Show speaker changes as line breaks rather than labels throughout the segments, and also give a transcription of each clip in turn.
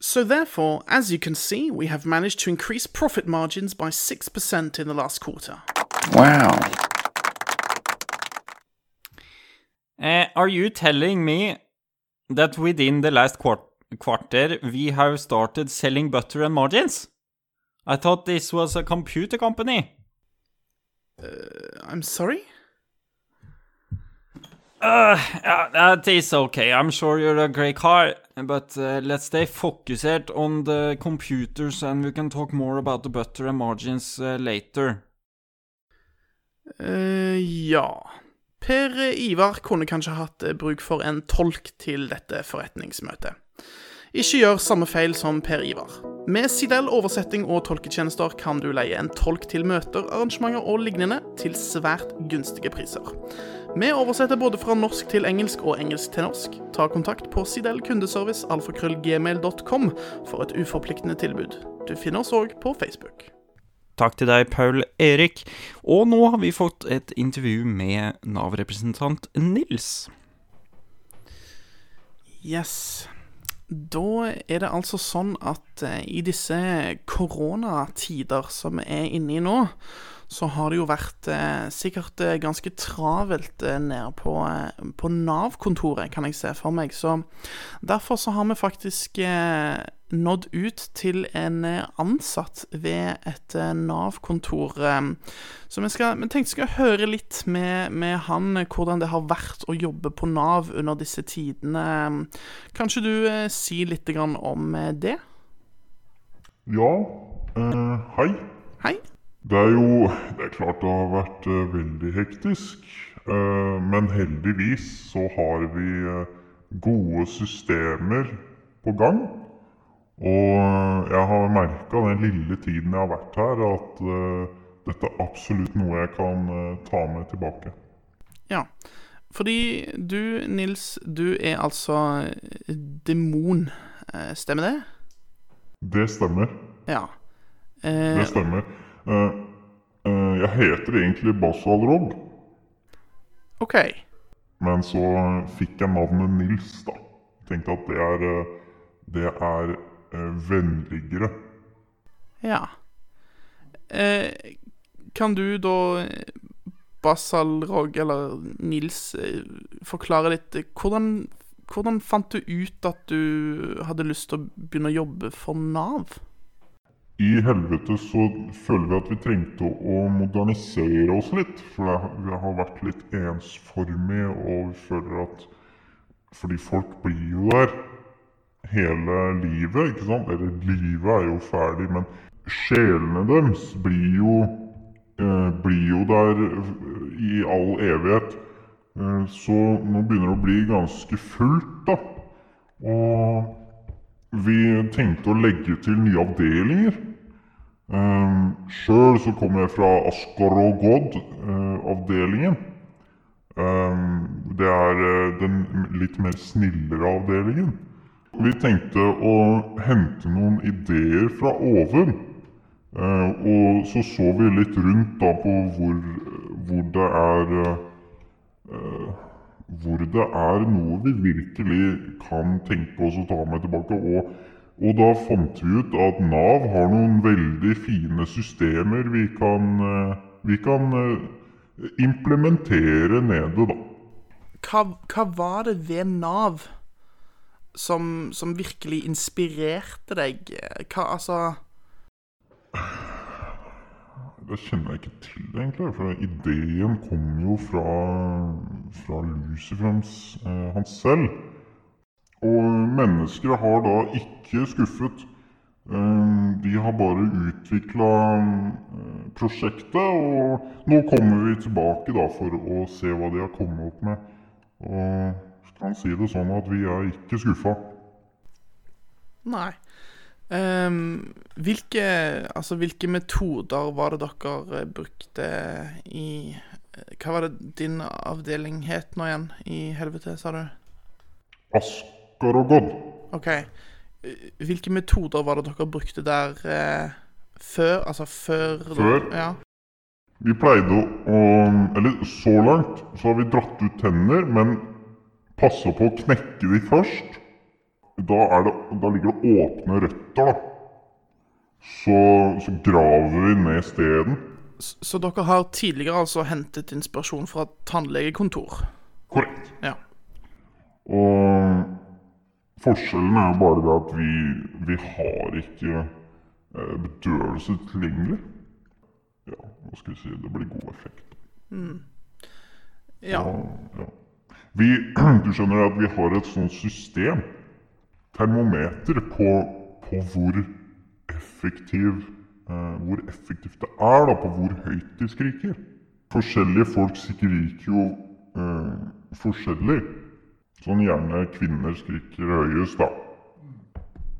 So, therefore, as you can see, we have managed to increase profit margins by 6% in the last quarter.
Wow.
Eh, are you telling me that within the last quar- quarter we have started selling butter and margins? I thought this was a computer company.
I'm sorry?
Uh, yeah, that is okay. I'm sure you're a great car, but uh, let's stay focused on the computers and we can talk more about the butter and margins uh, later.
eh, ja Per Ivar kunne kanskje hatt eh, bruk for en tolk til dette forretningsmøtet. Ikke gjør samme feil som Per Ivar. Med Sidel oversetting og tolketjenester kan du leie en tolk til møter, arrangementer og lignende til svært gunstige priser. Vi oversetter både fra norsk til engelsk og engelsk til norsk. Ta kontakt på sidelkundeservice.alfakrøllgmail.com for et uforpliktende tilbud. Du finner oss òg på Facebook.
Takk til deg, Paul Erik. Og nå har vi fått et intervju med Nav-representant Nils.
Yes. Da er det altså sånn at eh, i disse koronatider som vi er inne i nå, så har det jo vært eh, sikkert eh, ganske travelt eh, nede på, eh, på Nav-kontoret, kan jeg se for meg. Så derfor så har vi faktisk eh, nådd ut til en eh, ansatt ved et eh, Nav-kontor. Eh, så vi, skal, vi tenkte skal høre litt med, med han eh, hvordan det har vært å jobbe på Nav under disse tidene. Kanskje du eh, si litt grann om eh, det?
Ja, eh, hei.
Hei.
Det er jo Det er klart det har vært eh, veldig hektisk. Eh, men heldigvis så har vi eh, gode systemer på gang. Og eh, jeg har merka den lille tiden jeg har vært her, at eh, dette er absolutt noe jeg kan eh, ta med tilbake.
Ja. Fordi du, Nils, du er altså eh, demon. Eh, Stemmer det?
Det stemmer.
Ja. Eh,
Det stemmer. Eh, eh, jeg heter egentlig Basal Rog,
OK.
men så fikk jeg navnet Nils, da. Tenkte at det er eh, Det er eh, vennligere.
Ja. Eh, kan du da eh, Basal Rog, eller Nils, eh, forklare litt eh, hvordan, hvordan fant du ut at du hadde lyst til å begynne å jobbe for Nav?
I helvete så føler vi at vi trengte å modernisere oss litt. For det, vi har vært litt ensformige, og vi føler at Fordi folk blir jo der hele livet, ikke sant? Eller livet er jo ferdig, men sjelene deres blir jo eh, blir jo der eh, i all evighet. Eh, så nå begynner det å bli ganske fullt, da. Og vi tenkte å legge til nye avdelinger. Um, Sjøl så kommer jeg fra Askarogod-avdelingen. Ehm, det er eh, den litt mer snillere avdelingen. Vi tenkte å hente noen ideer fra oven. Eh, og så så vi litt rundt da på hvor, hvor det er eh, eh, hvor det er noe vi virkelig kan tenke oss å ta med tilbake. Og, og da fant vi ut at Nav har noen veldig fine systemer vi kan, eh, vi kan eh, implementere nede, da.
hva, hva var det ved Nav som, som virkelig inspirerte deg? Hva, altså
Det kjenner jeg ikke til, egentlig. For ideen kom jo fra, fra Lucifers eh, han selv. Og mennesker har da ikke skuffet. Eh, de har bare utvikla eh, prosjektet, og nå kommer vi tilbake da for å se hva de har kommet opp med. Og skal man si det sånn at vi er ikke skuffa.
Nei. Ehm, hvilke, altså, hvilke metoder var det dere eh, brukte i eh, Hva var det din avdeling het nå igjen? I helvete, sa du?
Askarogod.
OK. Eh, Hvilke metoder var det dere brukte der eh, før? Altså før
Før?
Ja.
Vi pleide å um, Eller så langt så har vi dratt ut tenner, men passa på å knekke de først. da, er det, da ligger det åpne røtter, da. Så, så graver vi ned steden.
S- Så dere har tidligere altså hentet inspirasjon fra tannlegekontor?
Korrekt.
Ja.
Og forskjellen er jo bare det at vi, vi har ikke eh, bedøvelse tilgjengelig. Ja, hva skal vi si Det blir god effekt.
ja.
Ja. Vi, du skjønner at vi har et sånt system, termometer, på, på hvor effektiv eh, hvor effektivt det er, da, på hvor høyt de skriker. Forskjellige folk skriker jo eh, forskjellig. Sånn gjerne kvinner skriker høyest, da.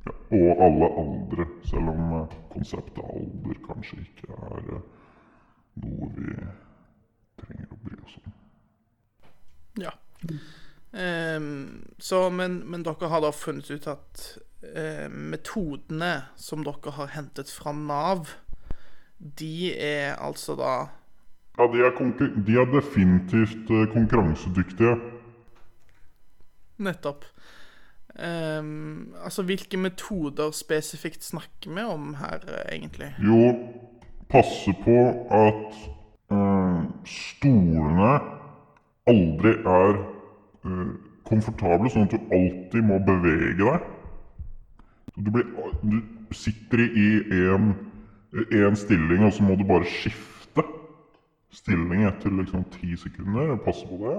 Ja, og alle aldre, selv om eh, konseptet alder kanskje ikke er eh, noe vi trenger å bry oss om.
ja. Ehm, så, men, men dere har da funnet ut at eh, metodene som dere har hentet fra Nav, de er altså da
Ja, de er, konkur de er definitivt eh, konkurransedyktige.
nettopp Ehm, Altså, hvilke metoder spesifikt snakker vi om her, eh, egentlig?
Jo, passe på at eh, stolene aldri er eh, komfortable, sånn at du alltid må bevege deg. Så du, blir, du sitter i en, en stilling, og så må du bare skifte stilling etter liksom ti sekunder. Passe på det.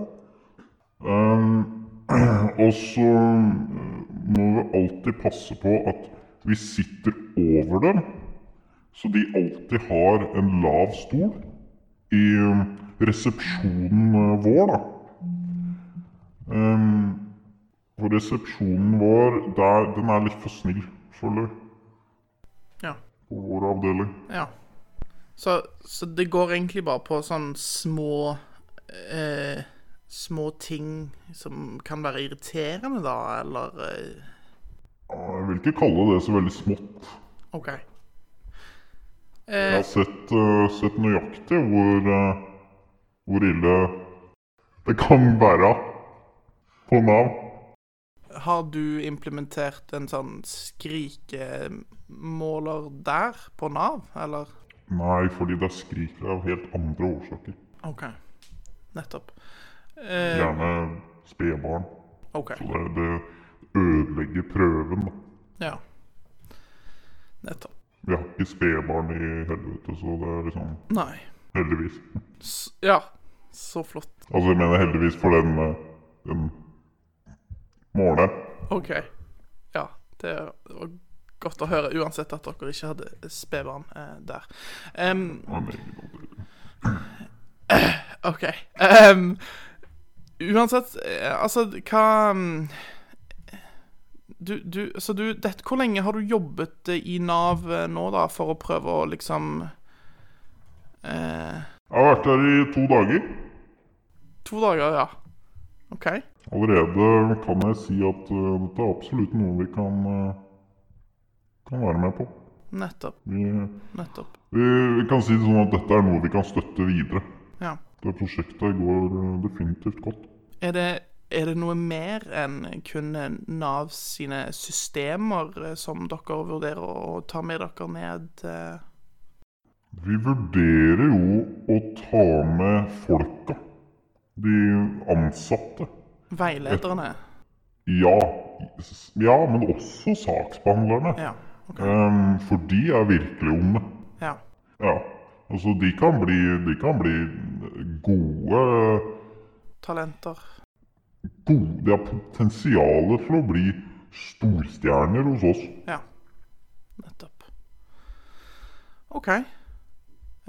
Um, og så eh, må vi alltid passe på at vi sitter over dem, så de alltid har en lav stol i um, resepsjonen eh, vår, da. Um, for resepsjonen vår, der, den er litt for snill, føler jeg,
Ja.
på vår avdeling.
ja. Så, så det går egentlig bare på sånn små eh, Små ting som kan være irriterende, da, eller eh,
Ja, Jeg vil ikke kalle det så veldig smått.
OK.
Jeg
Eh,
har sett, eh, sett nøyaktig hvor, eh, hvor ille det kan være på Nav.
har du implementert en sånn skrikemåler der, på Nav, eller?
Nei, fordi det skriker av helt andre årsaker.
OK. Nettopp. Eh,
Gjerne spedbarn.
OK.
Så eh, det, det ødelegger prøven. da.
Ja. Nettopp.
Vi har ikke spedbarn i helvete, så det er liksom
Nei.
Heldigvis.
S ja. Så flott.
Altså, jeg mener heldigvis for den, eh, den måleren.
OK. Ja, det var godt å høre, uansett at dere ikke hadde spedbarn eh, der. Em,
Han er ingen andre.
OK. Em, uansett, eh, altså, hva mm, du, du, så du, dette, Hvor lenge har du jobbet eh, i Nav eh, nå, da, for å prøve å liksom eh,
Jeg har vært der i to dager.
To dager, ja. OK.
Allerede kan jeg si at eh, dette er absolutt noe vi kan, eh, kan være med på.
Nettopp.
Vi,
Nettopp.
vi, vi kan si det sånn at dette er noe vi kan støtte videre.
Ja.
Det prosjektet går eh, definitivt godt.
Er det, er det noe mer enn kun eh, Nav sine systemer eh, som dere vurderer å ta med dere ned? eh?
Vi vurderer jo å ta med folka. De ansatte.
Veilederne?
Ja, s- ja men også saksbehandlerne.
Ja. ok.
Em, for de er virkelig onde.
ja.
Ja. Altså, de kan bli, de kan bli gode
Talenter?
gode, de har potensial til å bli storstjerner hos oss.
Ja. Nettopp. OK.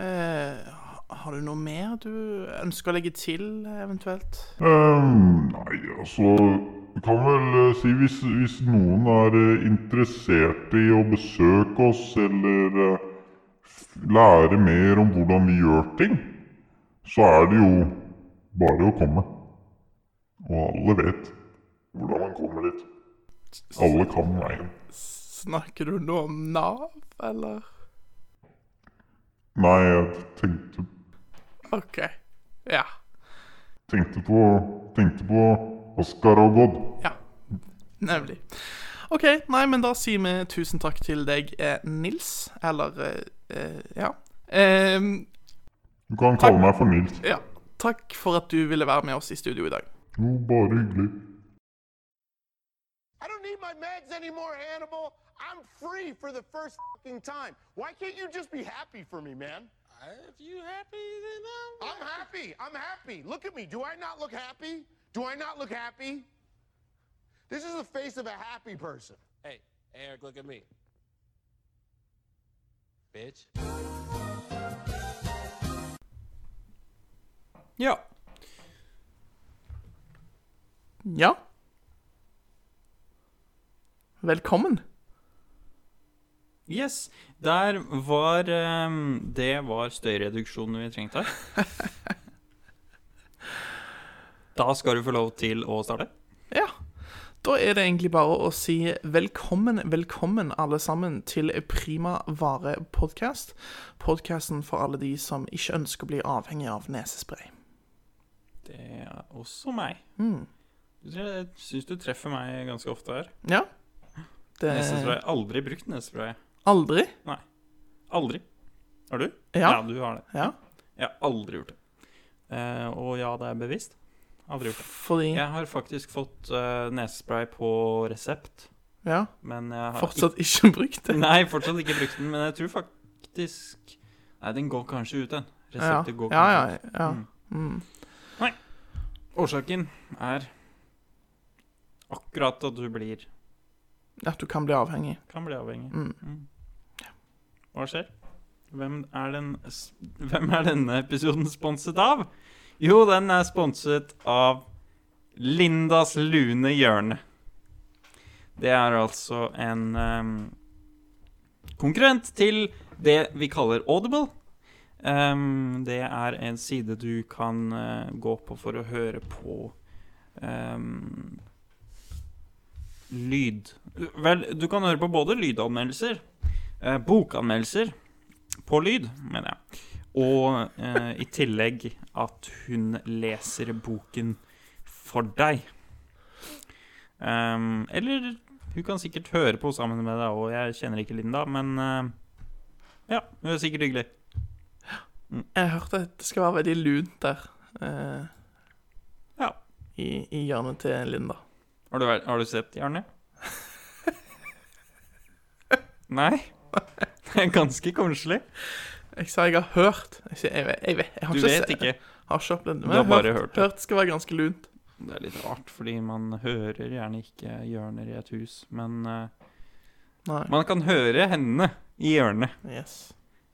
Eh, har du noe mer du ønsker å legge til, eventuelt?
Ehm, nei, altså Vi kan vel eh, si hvis, hvis noen er eh, interessert i å besøke oss eller eh, f- lære mer om hvordan vi gjør ting, så er det jo bare å komme. Og alle vet hvordan man kommer dit. Alle kan veien.
Snakker du nå om Nav, eller?
Nei, jeg tenkte
OK. Ja.
tenkte på, tenkte på Asgar og Odd.
Ja, nemlig. OK, nei, men da sier vi tusen takk til deg, eh, Nils. Eller eh, eh, Ja. Ehm,
Du kan kalle meg for Nils.
ja. Takk for at du ville være med oss i studio i dag.
Jo, bare hyggelig.
I don't need my meds anymore, Hannibal. I'm free for the first fucking time. Why can't you just be happy for me, man?
Uh, If you happy, then I'm.
I'm happy. I'm happy. Look at me. Do I not look happy? Do I not look happy? This is the face of a happy person.
Hey, Eric, look at me. Bitch.
Ja.
Ja. Velkommen.
Yes. Der var ehm, Det var støyreduksjonen vi trengte. Da skal du få lov til å starte.
Ja. Da er det egentlig bare å si velkommen, velkommen alle sammen til Prima Vare Podcast. Podkasten for alle de som ikke ønsker å bli avhengig av nesespray.
Det er også meg.
Hmm.
Du tre- Jeg syns du treffer meg ganske ofte her.
Ja. Det
Nesespray. Aldri brukt nesespray.
Aldri?
Nei. Aldri. Har du?
Ja.
du har det.
Ja.
Jeg har aldri gjort det. Eh, og ja, det er bevisst. Aldri gjort det.
Fordi
Jeg har faktisk fått eh, nesespray på resept,
Ja.
men jeg har
Fortsatt ikke brukt
ikke
det.
Nei, fortsatt ikke brukt den, men jeg tror faktisk Nei, den går kanskje ut, den.
Ja.
Reseptet går
ja,
kanskje
ja, ja.
Mm. ut. Årsaken er akkurat at du blir
At du kan bli avhengig.
Kan bli avhengig.
Mm.
Mm. Hva skjer? Hvem er, den, s- hvem er denne episoden sponset av? Jo, den er sponset av Lindas lune hjørne. Det er altså en ehm, konkurrent til det vi kaller Audible. Ehm, det er en side du kan eh, gå på for å høre på ehm, lyd. Vel, du kan høre på både lydanmeldelser, eh, bokanmeldelser på lyd, mener jeg, og eh, i tillegg at hun leser boken for deg. Ehm, eller hun kan sikkert høre på sammen med deg òg. Jeg kjenner ikke Linda, men eh, ja, hun er sikkert hyggelig.
Jeg hørte at det skal være veldig lunt der eh,
Ja.
i, i hjørnet til Linda.
Har du, vært- har du sett Jarne? Nei? Det er ganske koselig.
Jeg sa jeg har hørt. Jeg, sier- jeg, vet- jeg, vet- jeg har
Du
ikke,
vet
sett-
ikke.
Har ikke opplevd det.
Du har
jeg
bare hørt det.
hørt skal være ganske lunt.
Det er litt rart, fordi man hører gjerne ikke hjørner i et hus, men eh,
Nei.
man kan høre hendene i hjørnet
Yes.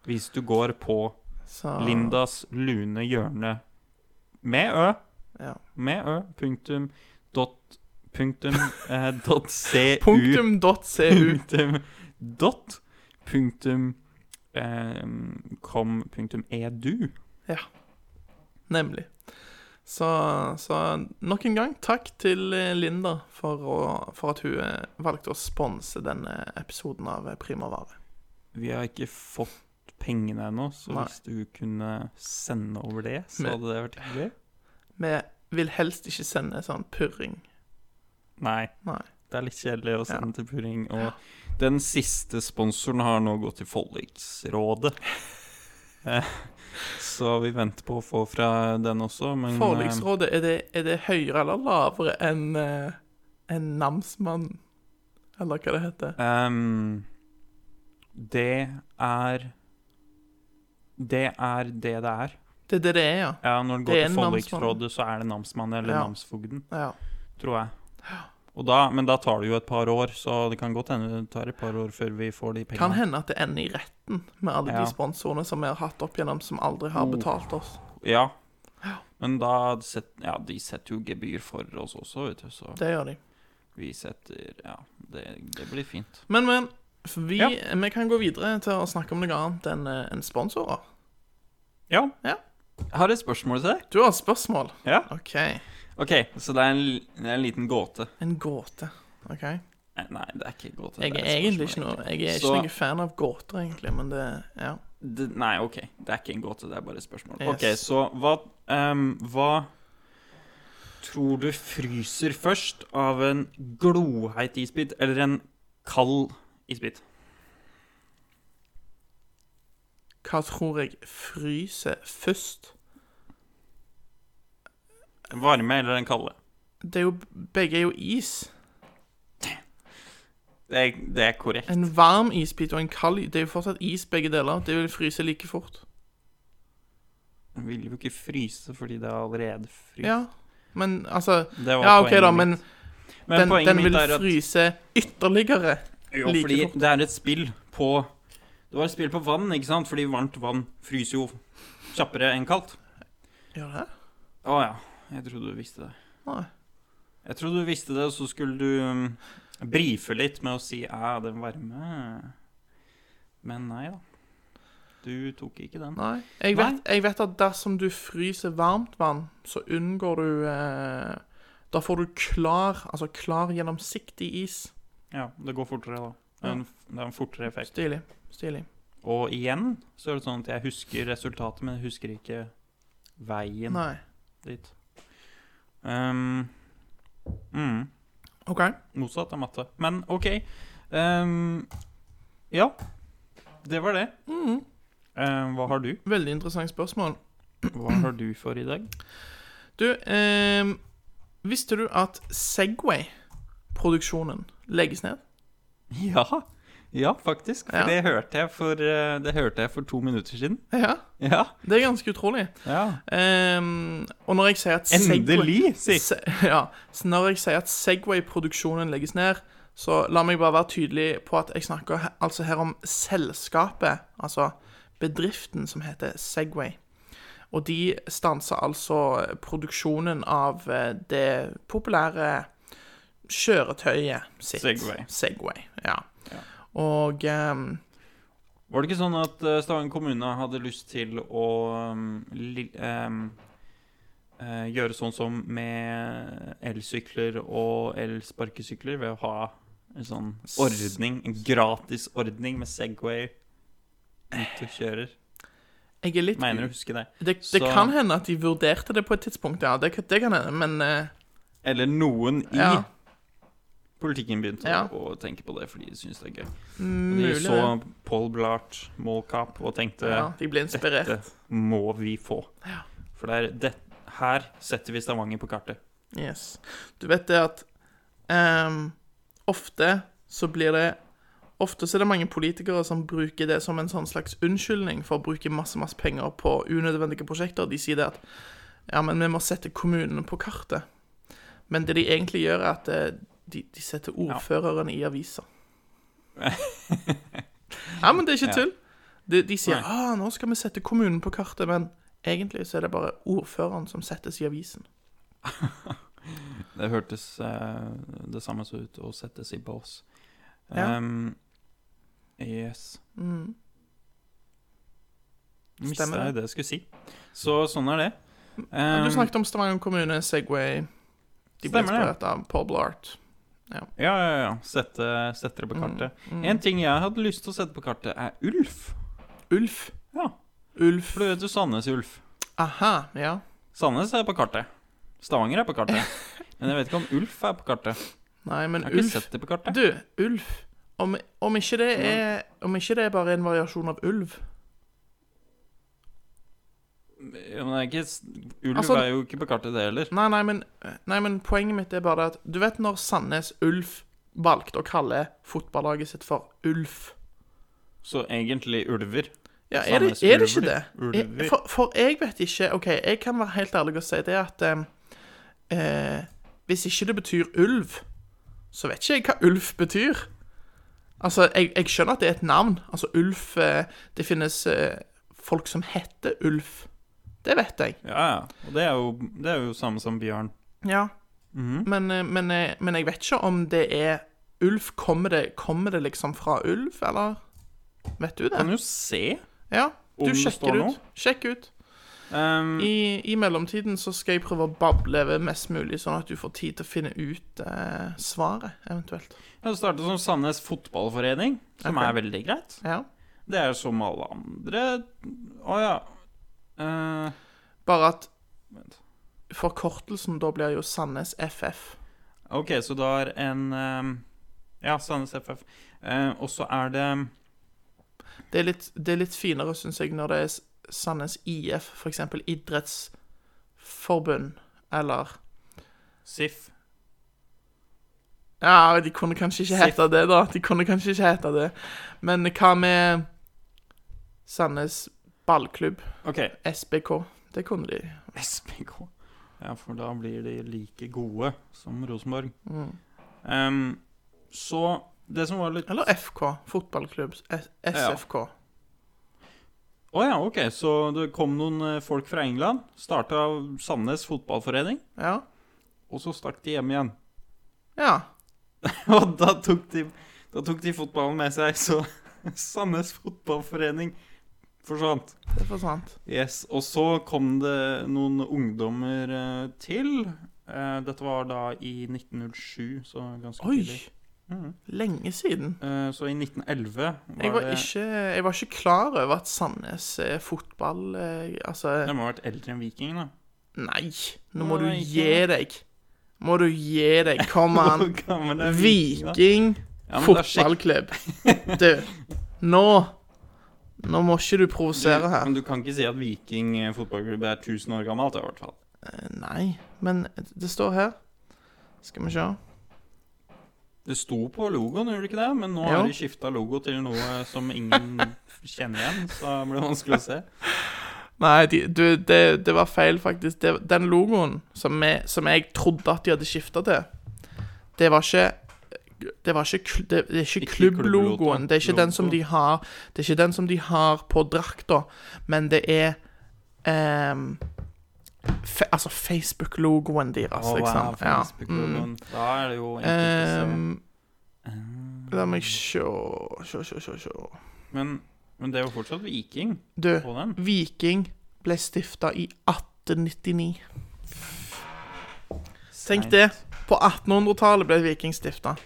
hvis du går på
Så
Lindas lune hjørne med ø,
Ja.
med ø, punktum, dot, punktum, eh, dot, cu,
Punktum dot cu.
punktum, dot, punktum, eh, kom, punktum, E edu.
Nemlig. Så, så nok en gang takk til eh, Linda for, å, for at hun eh, valgte å sponse denne episoden av eh, Primavare.
Vi har ikke fått pengene ennå, så
Nei.
hvis du kunne sende over det, så
Men-
hadde det vært hyggelig.
Vi vil helst ikke sende sånn purring.
Nei.
Nei.
Det er litt kjedelig å
Ja.
sende til purring. Og den siste sponsoren har nå gått til Forliksrådet. Eh, Så vi venter på å få fra den også, men eh,
Forliksrådet, er det, er det høyere eller lavere enn eh, enn namsmann? Eller hva det heter?
ehm, Det er Det er det det er.
Det er det det er, ja.
Ja, når det
Det
går
er
til
en
Forliksrådet, så er det namsmannen eller
Ja.
namsfogden,
ja.
tror jeg. Og da, men da tar det jo et par år, så det kan godt hende det tar et par år før vi får de
Kan
pengene.
hende at det ender i retten med alle
Ja. Oh.
de sponsorene som vi har hatt opp gjennom, som aldri har betalt oss.
Ja. Men da set, Ja, de setter jo gebyr for oss også, vet du, så
Det gjør de.
vi setter Ja, det, det blir fint.
Men, men. Vi,
Ja.
vi kan gå videre til å snakke om noe annet enn eh, enn sponsorer.
Ja.
Ja.
Jeg har et spørsmål til deg.
Du har et spørsmål.
Ja.
OK.
OK, så det er en, l- det er en liten gåte.
En gåte. OK.
Nei, Nei, det er ikke en gåte.
Jeg
det
er
et
egentlig ikke
spørsmål,
noe Jeg er ikke
Så-
noe fan av gåter, egentlig, men det Ja.
Det, nei, OK. Det er ikke en gåte, det er bare et spørsmål.
Yes.
OK, så hva ehm, Hva tror du fryser først av en gloheit isbit eller en kald isbit?
Hva tror jeg fryser først?
Den varme eller den kalde?
Det er jo, begge er jo is.
Det er, det er korrekt.
En varm isbit og en kald i- Det er jo fortsatt is, begge deler. Det vil fryse like fort.
Den vil jo ikke fryse fordi det er allerede fryst.
Ja. Men altså
Det var
Ja, OK,
poenget
da,
mitt.
men den,
poenget
den
mitt
vil
er at-
fryse ytterligere.
Jo,
like
fordi
fort.
det er et spill på Det var et spill på vann, ikke sant? Fordi varmt vann fryser jo kjappere enn kaldt.
Gjør det?
Å ja. Jeg trodde du visste det.
Nei.
Jeg trodde du visste det, og så skulle du um, brife litt med å si æ, den varme Men nei da. Du tok ikke den.
Nei. Jeg vet, jeg vet at dersom du fryser varmt vann, så unngår du eh, Da får du klar, altså klar gjennomsiktig is.
Ja, det går fortere, da. Det er en, det er en fortere effekt.
Stilig. Stilig.
Og igjen så er det sånn at jeg husker resultatet, men jeg husker ikke veien
Nei.
dit. Um, mm.
OK.
Motsatt av matte. Men OK. Ehm, ja. Det var det. Ehm, hva har du?
Mm, Veldig interessant spørsmål.
Hva har du for i dag?
Du, ehm, visste du at Segway-produksjonen legges ned?
Ja. Ja, faktisk. For
Ja.
det, hørte jeg for, eh, det hørte jeg for to minutter siden.
Ja,
Ja.
det er ganske utrolig.
ja.
Ehm, og når jeg sier at Segway-
Endelig, si.
Se, ja, så når jeg sier at Segway-produksjonen legges ned, så la meg bare være tydelig på at jeg snakker he- altså her om selskapet, altså bedriften som heter Segway. Og de stanser altså produksjonen av eh, det populære kjøretøyet sitt.
Segway.
Segway, ja. Og ehm,
Var det ikke sånn at eh, Stavanger kommune hadde lyst til å um, li, ehm, eh, gjøre sånn som med elsykler og elsparkesykler, ved å ha en sånn ordning, en gratis ordning med Segway ut og kjører?
jeg er litt
Mener du å huske det?
Det, det
Så-
kan hende at de vurderte det på et tidspunkt, ja. Det, kan- det kan hende, men eh,
Eller noen i
Ja.
politikken begynte
Ja.
å tenke på det fordi de syntes det er gøy. Og de
mulig
så eh,
det.
Paul Blart, Mallcap, og tenkte
Ja, de ble inspirert.
Dette må vi få. For det er det, her setter vi Stavanger på kartet.
Yes. Du vet det at ehm, ofte så blir det Ofte så er det mange politikere som bruker det som en sånn slags unnskyldning for å bruke masse masse penger på unødvendige prosjekter. De sier det at ja, men vi må sette kommunene på kartet. Men det de egentlig gjør, er at eh, de, de setter ordføreren i aviser. ja, men det er ikke tull. De, de sier
Nei.
ah, nå skal vi sette kommunen på kartet, men egentlig så er det bare ordføreren som settes i avisen.
Det hørtes eh, det samme så ut å settes i bås.
Ja.
Um, yes.
Mm.
Mista
Stemmer det.
jeg det jeg skulle si. Så sånn er det.
Ja,
Um,
du snakket om Stavanger kommune, Segway. De ble
Stemmer det.
inspirert av Paul Blart.
Ja, ja, ja. Sette, sette det på
Mm,
kartet. En ting jeg hadde lyst til å sette på kartet, er Ulf.
Ulf.
Ja,
Ulf.
For du vet jo Sandnes Ulf.
Aha, ja.
Sandnes er på kartet. Stavanger er på kartet. Men jeg vet ikke om Ulf er på kartet.
Nei, men
Jeg har ikke
Ulf
sett det på kartet.
Du, Ulf. Om, om, ikke det er, om ikke det er bare en variasjon av ulv
Ja, Men det er ikke, s- Ulv
Altså-
er jo ikke på kartet, det heller.
Nei, nei, men, nei, men poenget mitt er bare det at Du vet når Sandnes Ulf valgte å kalle fotballaget sitt for Ulf?
Så egentlig ulver.
Ja, er det,
Sandnes
er det ikke
Ulver.
det?
Ulver.
Jeg- For, for jeg vet ikke OK, jeg kan være helt ærlig og si det at eh, eh, Hvis ikke det betyr ulv, så vet ikke jeg hva ulv betyr. Altså, jeg, jeg skjønner at det er et navn. Altså, ulv eh, Det finnes eh, folk som heter Ulf. Det vet jeg.
Ja, ja. Og det er jo, det er jo samme som bjørn.
Ja. men, eh, men, eh, men jeg vet ikke om det er ulv. Kommer det, kommer det liksom fra ulv, eller? Vet du
Kan
det?
jo se.
Ja,
om
du
det står
sjekker det
noe?
ut. Sjekk ut.
Um,
I, I mellomtiden så skal jeg prøve å bable ved mest mulig, sånn at du får tid til å finne ut eh, svaret, eventuelt.
det startet som Sandnes fotballforening, som
Ok.
er veldig greit.
Ja.
Det er som alle andre Å ja. Eh,
Bare at Forkortelsen da blir jo Sandnes FF.
Ok, så da er en ehm, Ja, Sandnes FF. Eh, og så er det
Det er litt, det er litt finere, syns jeg, når det er S- Sandnes IF, f.eks. idrettsforbund, eller
SIF.
Ja, de kunne kanskje ikke
Sif.
hete det, da. De kunne kanskje ikke hete det. Men hva med Sandnes ballklubb,
OK.
SBK? Det kunne de.
SPK. Ja, for da blir de like gode som Rosenborg. Ehm, så det som var litt
Eller FK, fotballklubb. S- SFK.
Å ja, OK. Så det kom noen eh, folk fra England. Starta Sandnes fotballforening.
Ja.
Og så stakk de hjem igjen.
ja.
Og da tok de, da tok de fotballen med seg, så Sandnes fotballforening forsvant.
Det forsvant.
Yes, Og så kom det noen ungdommer eh, til. Eh, Dette var da i 1907, så ganske tidlig.
Oi! Lenge siden.
Eh, Så i 1911 Mm. var,
Jeg var,
det
ikke, jeg var ikke klar over at Sandnes eh, fotball eh,
De
Altså,
må ha vært eldre enn vikingene.
nei. Nå må du
Nei, ikke.
gi deg. Må du gi deg. Kom an.
Viking
Viking
Ja, men da sjekk-
fotballklubb. Du, nå Nå må ikke du provosere her.
Men du kan ikke si at Viking eh, fotballklubb er 1000 år gammelt, i hvert fall.
Eh, Nei, men det står her. Skal vi se.
Det sto på logoen, gjorde det ikke det? Men nå
Jo.
har de skifta logo til noe som ingen kjenner igjen, så det blir vanskelig å se.
Nei, de, du, det, det var feil, faktisk. Det, den logoen som, vi, som jeg trodde at de hadde skifta til, det var ikke det, var ikke, kl- det, det er ikke,
Ikke
klubblogoen.
klubblogoen,
Det er ikke, den som de har, det er ikke den som de har på drakta, men det er ehm, fe, Altså Facebook-logoen deres,
Å, hva
liksom.
er
Ja. Mm.
Facebook-logoen? Da er det jo enkelt å se.
Ehm, La meg sjå Sjå, sjå, sjå, sjå.
Men, men det er jo fortsatt Viking
Du,
på den.
Viking ble stifta i 1899. Tenk det. På 1800-tallet ble Viking stifta.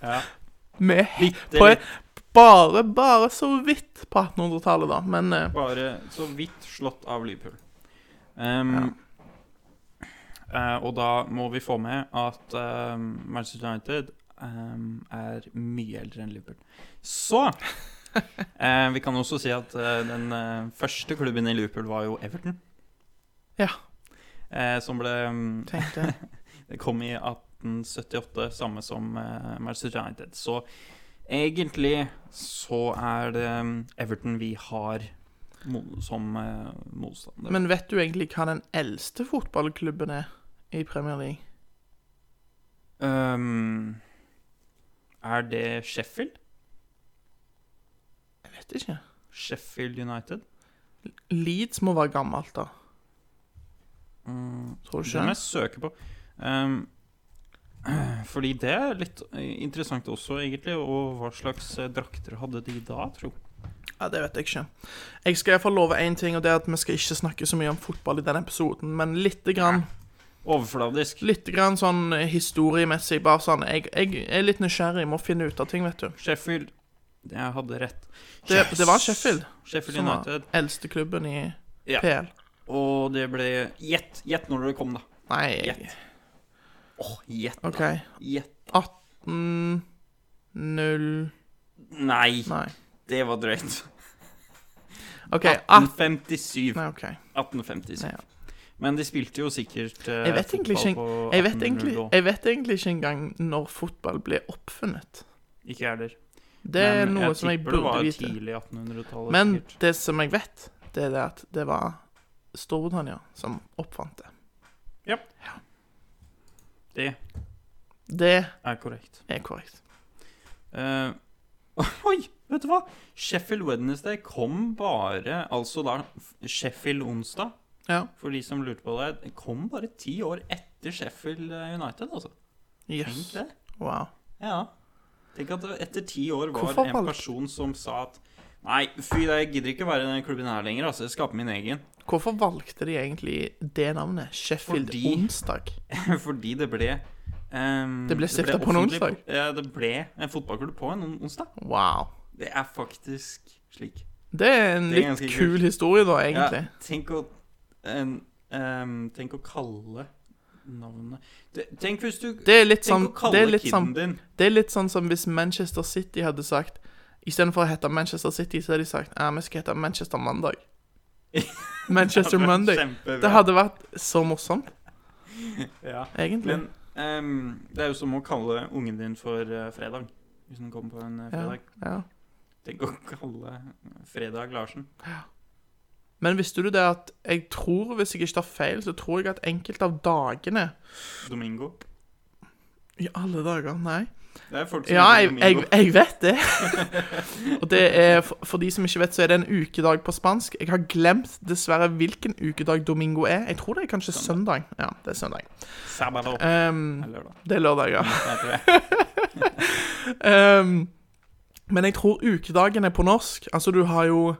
Ja.
Med
Bitte
på,
litt.
Bare, bare så vidt på 1800-tallet, da. Men eh,
Bare så vidt slått av Liverpool. Ehm, eh, og da må vi få med at ehm, Manchester United ehm, er mye eldre enn Liverpool. Så eh, Vi kan også si at eh, den eh, første klubben i Liverpool var jo Everton.
Ja.
Eh, som ble mm,
tenk det.
det kom i 1878, samme som eh, Manchester United. Så egentlig så er det mm, Everton vi har mo som eh, motstander.
Men vet du egentlig hva den eldste fotballklubben er i Premier League?
Ehm, er det Sheffield?
Jeg vet ikke.
Sheffield United?
Leeds må være gammelt, da. Tror du
Det
ikke?
må jeg søke på. Ehm, fordi det er litt eh, interessant også, egentlig. Og hva slags eh, drakter hadde de da, tro?
Ja, det vet jeg ikke. Jeg skal iallfall love én ting, og det er at vi skal ikke snakke så mye om fotball i denne episoden, men lite grann.
Overfladisk.
Litt grann sånn historiemessig, bare sånn Jeg, jeg er litt nysgjerrig, må finne ut av ting, vet du.
Sheffield. Jeg hadde rett.
Det,
Yes!
det var Sheffield
Sheffield
som var
United.
eldste klubben i
Ja.
PL.
Og det ble Gjett gjett når dere kom, da.
Nei
Gjett. Åh, gjett.
OK.
Gjett.
18 0
Nei,
Nei.
det var drøyt.
OK. 18
1857.
Nei, OK.
1857.
Ja.
Men de spilte jo sikkert eh,
Jeg vet egentlig
fotball
ikke,
på
jeg vet egentlig,
1800 og-
jeg vet egentlig ikke engang når fotball ble oppfunnet.
Ikke jeg heller.
Det er
Men
noe som jeg
tipper det
burde
var
vite.
tidlig 1800-tallet.
Men
sikkert.
det som jeg vet, det er det at det var Storbritannia som oppfant det.
Ja. Det
Det
er korrekt.
er korrekt.
Eh, oi, vet du hva? Sheffield Wednesday kom bare Altså da Sheffield onsdag,
Ja.
for de som lurte på det, kom bare ti år etter Sheffield United, altså.
Jøss.
Tenk
Yes.
det.
Wow.
Ja. Tenk at det etter ti år var
Hvorfor
en
valgte-
person som sa at Nei, fy, jeg gidder ikke være i den klubben her lenger, altså. Jeg skaper min egen.
Hvorfor valgte de egentlig det navnet? Sheffield
Fordi-
Onsdag?
Fordi det ble ehm,
Det ble stiftet på en
offentlig-
onsdag?
Ja, det ble en fotballklubb på en on- onsdag.
Wow.
Det er faktisk slik.
Det er en
Det er
litt
ganske
kul
kult.
historie, da,
Ja,
egentlig.
tenk å en, ehm, Tenk å kalle navnet Te- Tenk hvis du
Det er litt
Tenk
sånn
å kalle
det er litt
kiden
sånn,
din.
det er litt sånn som hvis Manchester City hadde sagt Istedenfor å hete Manchester City, så hadde de sagt ja, vi skal hete Manchester Mandag. Manchester
Det hadde vært
Monday.
kjempebra.
Det hadde vært så morsomt,
Ja.
egentlig.
Men ehm, det er jo som å kalle ungen din for eh, fredag. Hvis den kommer på en eh,
ja,
fredag.
ja.
Tenk å kalle Fredag Larsen.
Men visste du det at jeg tror, hvis jeg ikke tar feil, så tror jeg at enkelte av dagene
Domingo.
I alle dager, nei.
Det er folk som
Ja,
heter
jeg,
Domingo.
jeg, jeg vet det. Og det er, for, for de som ikke vet, så er det en ukedag på spansk. Jeg har glemt dessverre hvilken ukedag domingo er. Jeg tror det er kanskje søndag. Ja, det er søndag.
Sabado.
Ehm,
Eller lørdag.
det er lørdag, ja.
Jeg tror det.
Ehm, men jeg tror ukedagene på norsk Altså, du har jo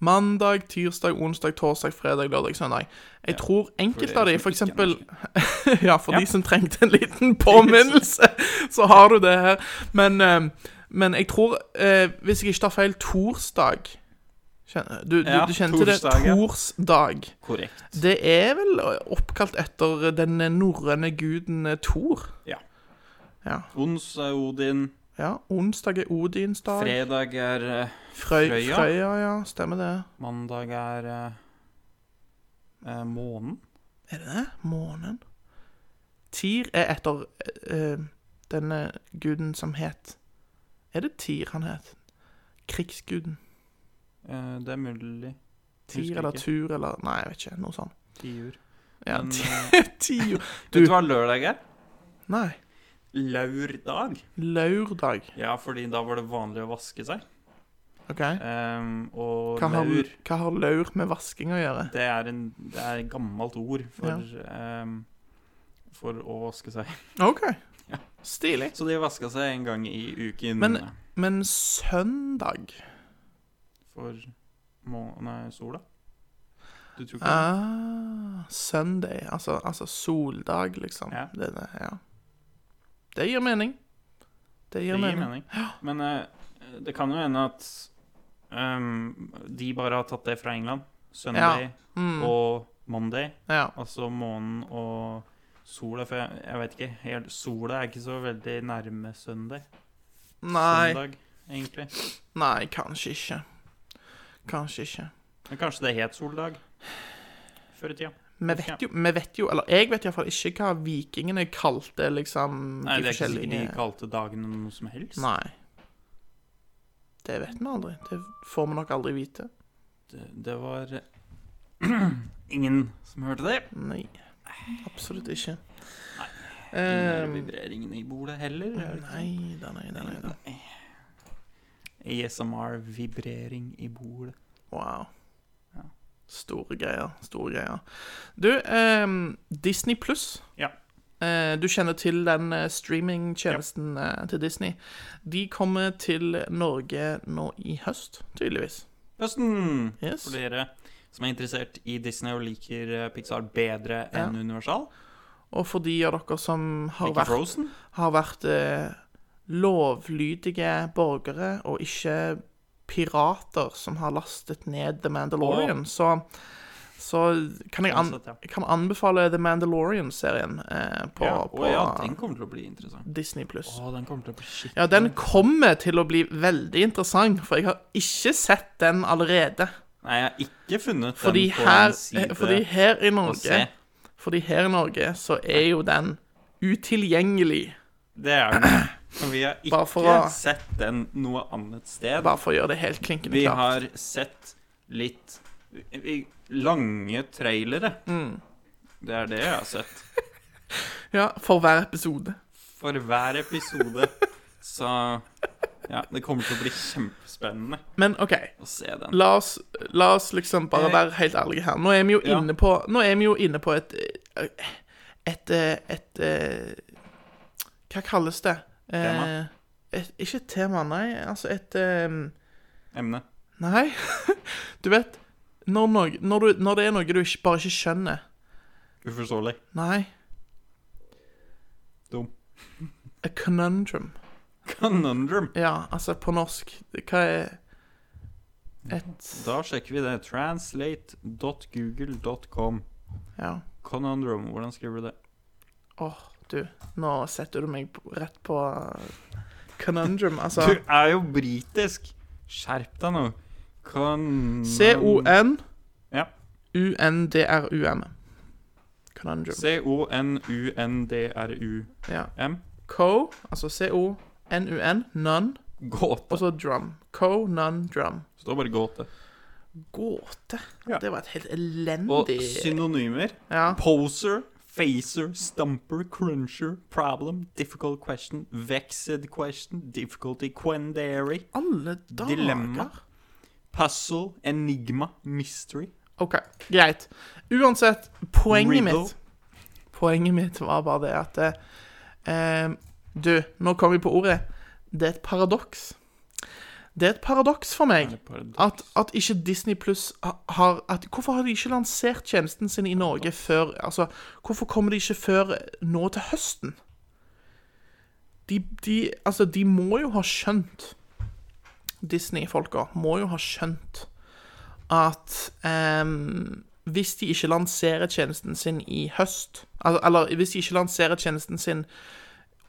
mandag, tirsdag, onsdag, torsdag, fredag, lørdag, søndag. Jeg tror enkelte
de
av de,
som
for
ikke er
eksempel Ja, for
Ja.
de som trengte en liten påminnelse, så har du det her. Men, ehm, men jeg tror, eh, hvis jeg ikke tar feil, torsdag Kjenner- Du, du,
Ja,
du kjente det?
torsdag, ja.
Torsdag.
Korrekt.
Det er vel oppkalt etter den norrøne guden Thor.
Ja.
Ja.
Ons er Odin.
Ja, onsdag er Odins dag.
Fredag er eh,
Frøy,
Frøya?
Frøya? ja. Stemmer det.
Mandag er eh, eh, månen.
Er det det? Månen? Tyr er etter eh, eh, denne guden som het Er det Tyr han het? Krigsguden.
Eh, det er mulig.
Tyr eller Tur eller Nei, jeg vet ikke. Noe sånt.
Tiur.
Ja,
Men, eh,
Tyr
Vet du
Du
hva lørdag er?
Nei.
Laurdag.
Laurdag.
Ja, fordi da var det vanlig å vaske seg.
OK?
Ehm, og
Hva har,
laur
hva har laur med vasking å gjøre?
det er, en, det er et gammelt ord for, ehm, for å vaske seg.
OK. Stilig.
Så de vaska seg en gang i uken
Men- Men søndag
for må nei, sola. Du tror
Eh,
ikke det?
Ah, Sunday, altså, altså soldag, liksom.
Ja.
Det, er det, ja. det gir mening. Det gir,
Det gir
mening.
mening. Men eh, det kan jo hende at ehm, de bare har tatt det fra England. Sunday
Mm,
og Monday.
ja.
Altså månen og sola, for jeg, jeg vet ikke helt Sola er ikke så veldig nærme søndag.
Nei,
Søndag, egentlig.
nei, kanskje ikke. Kanskje ikke.
Men kanskje det het soldag før i tida.
Vi vet jo, vi vet jo eller jeg vet iallfall ikke hva vikingene kalte liksom
Nei, det er ikke sikkert de kalte dagene noe som helst.
Nei. Det vet vi aldri. Det får vi nok aldri vite.
Det, det var ingen som hørte det.
Nei. Absolutt ikke.
Ingen
Eh,
hører vibreringene i bordet heller. er det ikke?
nei da, nei da, nei da.
E ASMR-vibrering i bordet.
Wow.
Ja.
Store greier. Store greier. Du, ehm, Disney pluss.
Ja.
Eh, du kjenner til den eh, streamingtjenesten eh, til Disney. De kommer til Norge nå i høst, tydeligvis.
Høsten!
Yes.
For dere som er interessert i Disney og liker eh, Pixar bedre enn Universal.
Og for de av dere som har
Ikke
vært,
Frozen.
har vært eh, lovlydige borgere og ikke pirater som har lastet ned The Mandalorian, så så kan jeg, an
Sånn sett, ja.
jeg kan anbefale The Mandalorian-serien eh, på,
ja.
på
Å ja, den kommer til å bli interessant.
Disney pluss.
Å, den kommer til å bli skikkelig
Ja, den kommer til å bli veldig interessant, for jeg har ikke sett den allerede.
Nei, jeg har ikke funnet
Fordi
den på
her, eh,
en side
fordi her i
å se.
Norge Fordi her i Norge så er jo den utilgjengelig.
Det er den. Og vi har ikke
Bare for å-
sett den noe annet sted.
Bare for å gjøre det helt klinkende
Vi
klart.
har sett litt i- lange trailere.
Mm.
Det er det jeg har sett.
Ja, For hver episode.
For hver episode. Så ja, det kommer til å bli kjempespennende
Men OK,
å se den.
la oss, la oss liksom bare
Eh,
være helt ærlige her. Nå er vi jo
ja.
inne på, nå er vi jo inne på et eh, Et, eh, et, eh, Hva kalles det? Eh,
Tema.
Et, ikke et tema, nei. Altså et eh,
Emnet.
Nei. Du vet, når, noe- når, du, når det er noe du ikke, bare ikke skjønner
Uforståelig.
Nei.
Dum.
A conundrum.
Conundrum.
Ja, altså på norsk Hva er et
Da sjekker vi det. Translate.google.com.
Ja.
Conundrum, hvordan skriver du det?
Åh, du. Nå setter du meg på- rett på eh, conundrum, altså.
Du er jo britisk! Skjerp deg nå. Con... Ja.
C-O-N-U-N-D-R-U-M. Conundrum.
C-o-n-u-n-d-r-u-m.
Ja. Co, altså C-O-N-U-N, none, og
Gåte.
så drum. Co, none, drum.
Det står bare gåte.
Gåte.
Ja.
Det var et helt
Og
elendig
synonymer.
Ja.
Poser, facer, stumper, cruncher, problem, difficult question, vexed question, difficulty, quendary,
Alle dager.
Dilemma. puzzle, enigma, mystery.
OK, greit. Uansett, poenget
Riddle.
mitt Poenget mitt var bare det at eh, Du, nå kom vi på ordet. Det er et paradoks. Det er et paradoks for meg
paradoks?
at, at ikke Disney Pluss har at, Hvorfor har de ikke lansert tjenesten sin i Norge før Altså, hvorfor kommer de ikke før nå til høsten? De, de, altså, de må jo ha skjønt Disney-folka må jo ha skjønt at ehm, hvis de ikke lanserer tjenesten sin i høst, al eller hvis de ikke lanserer tjenesten sin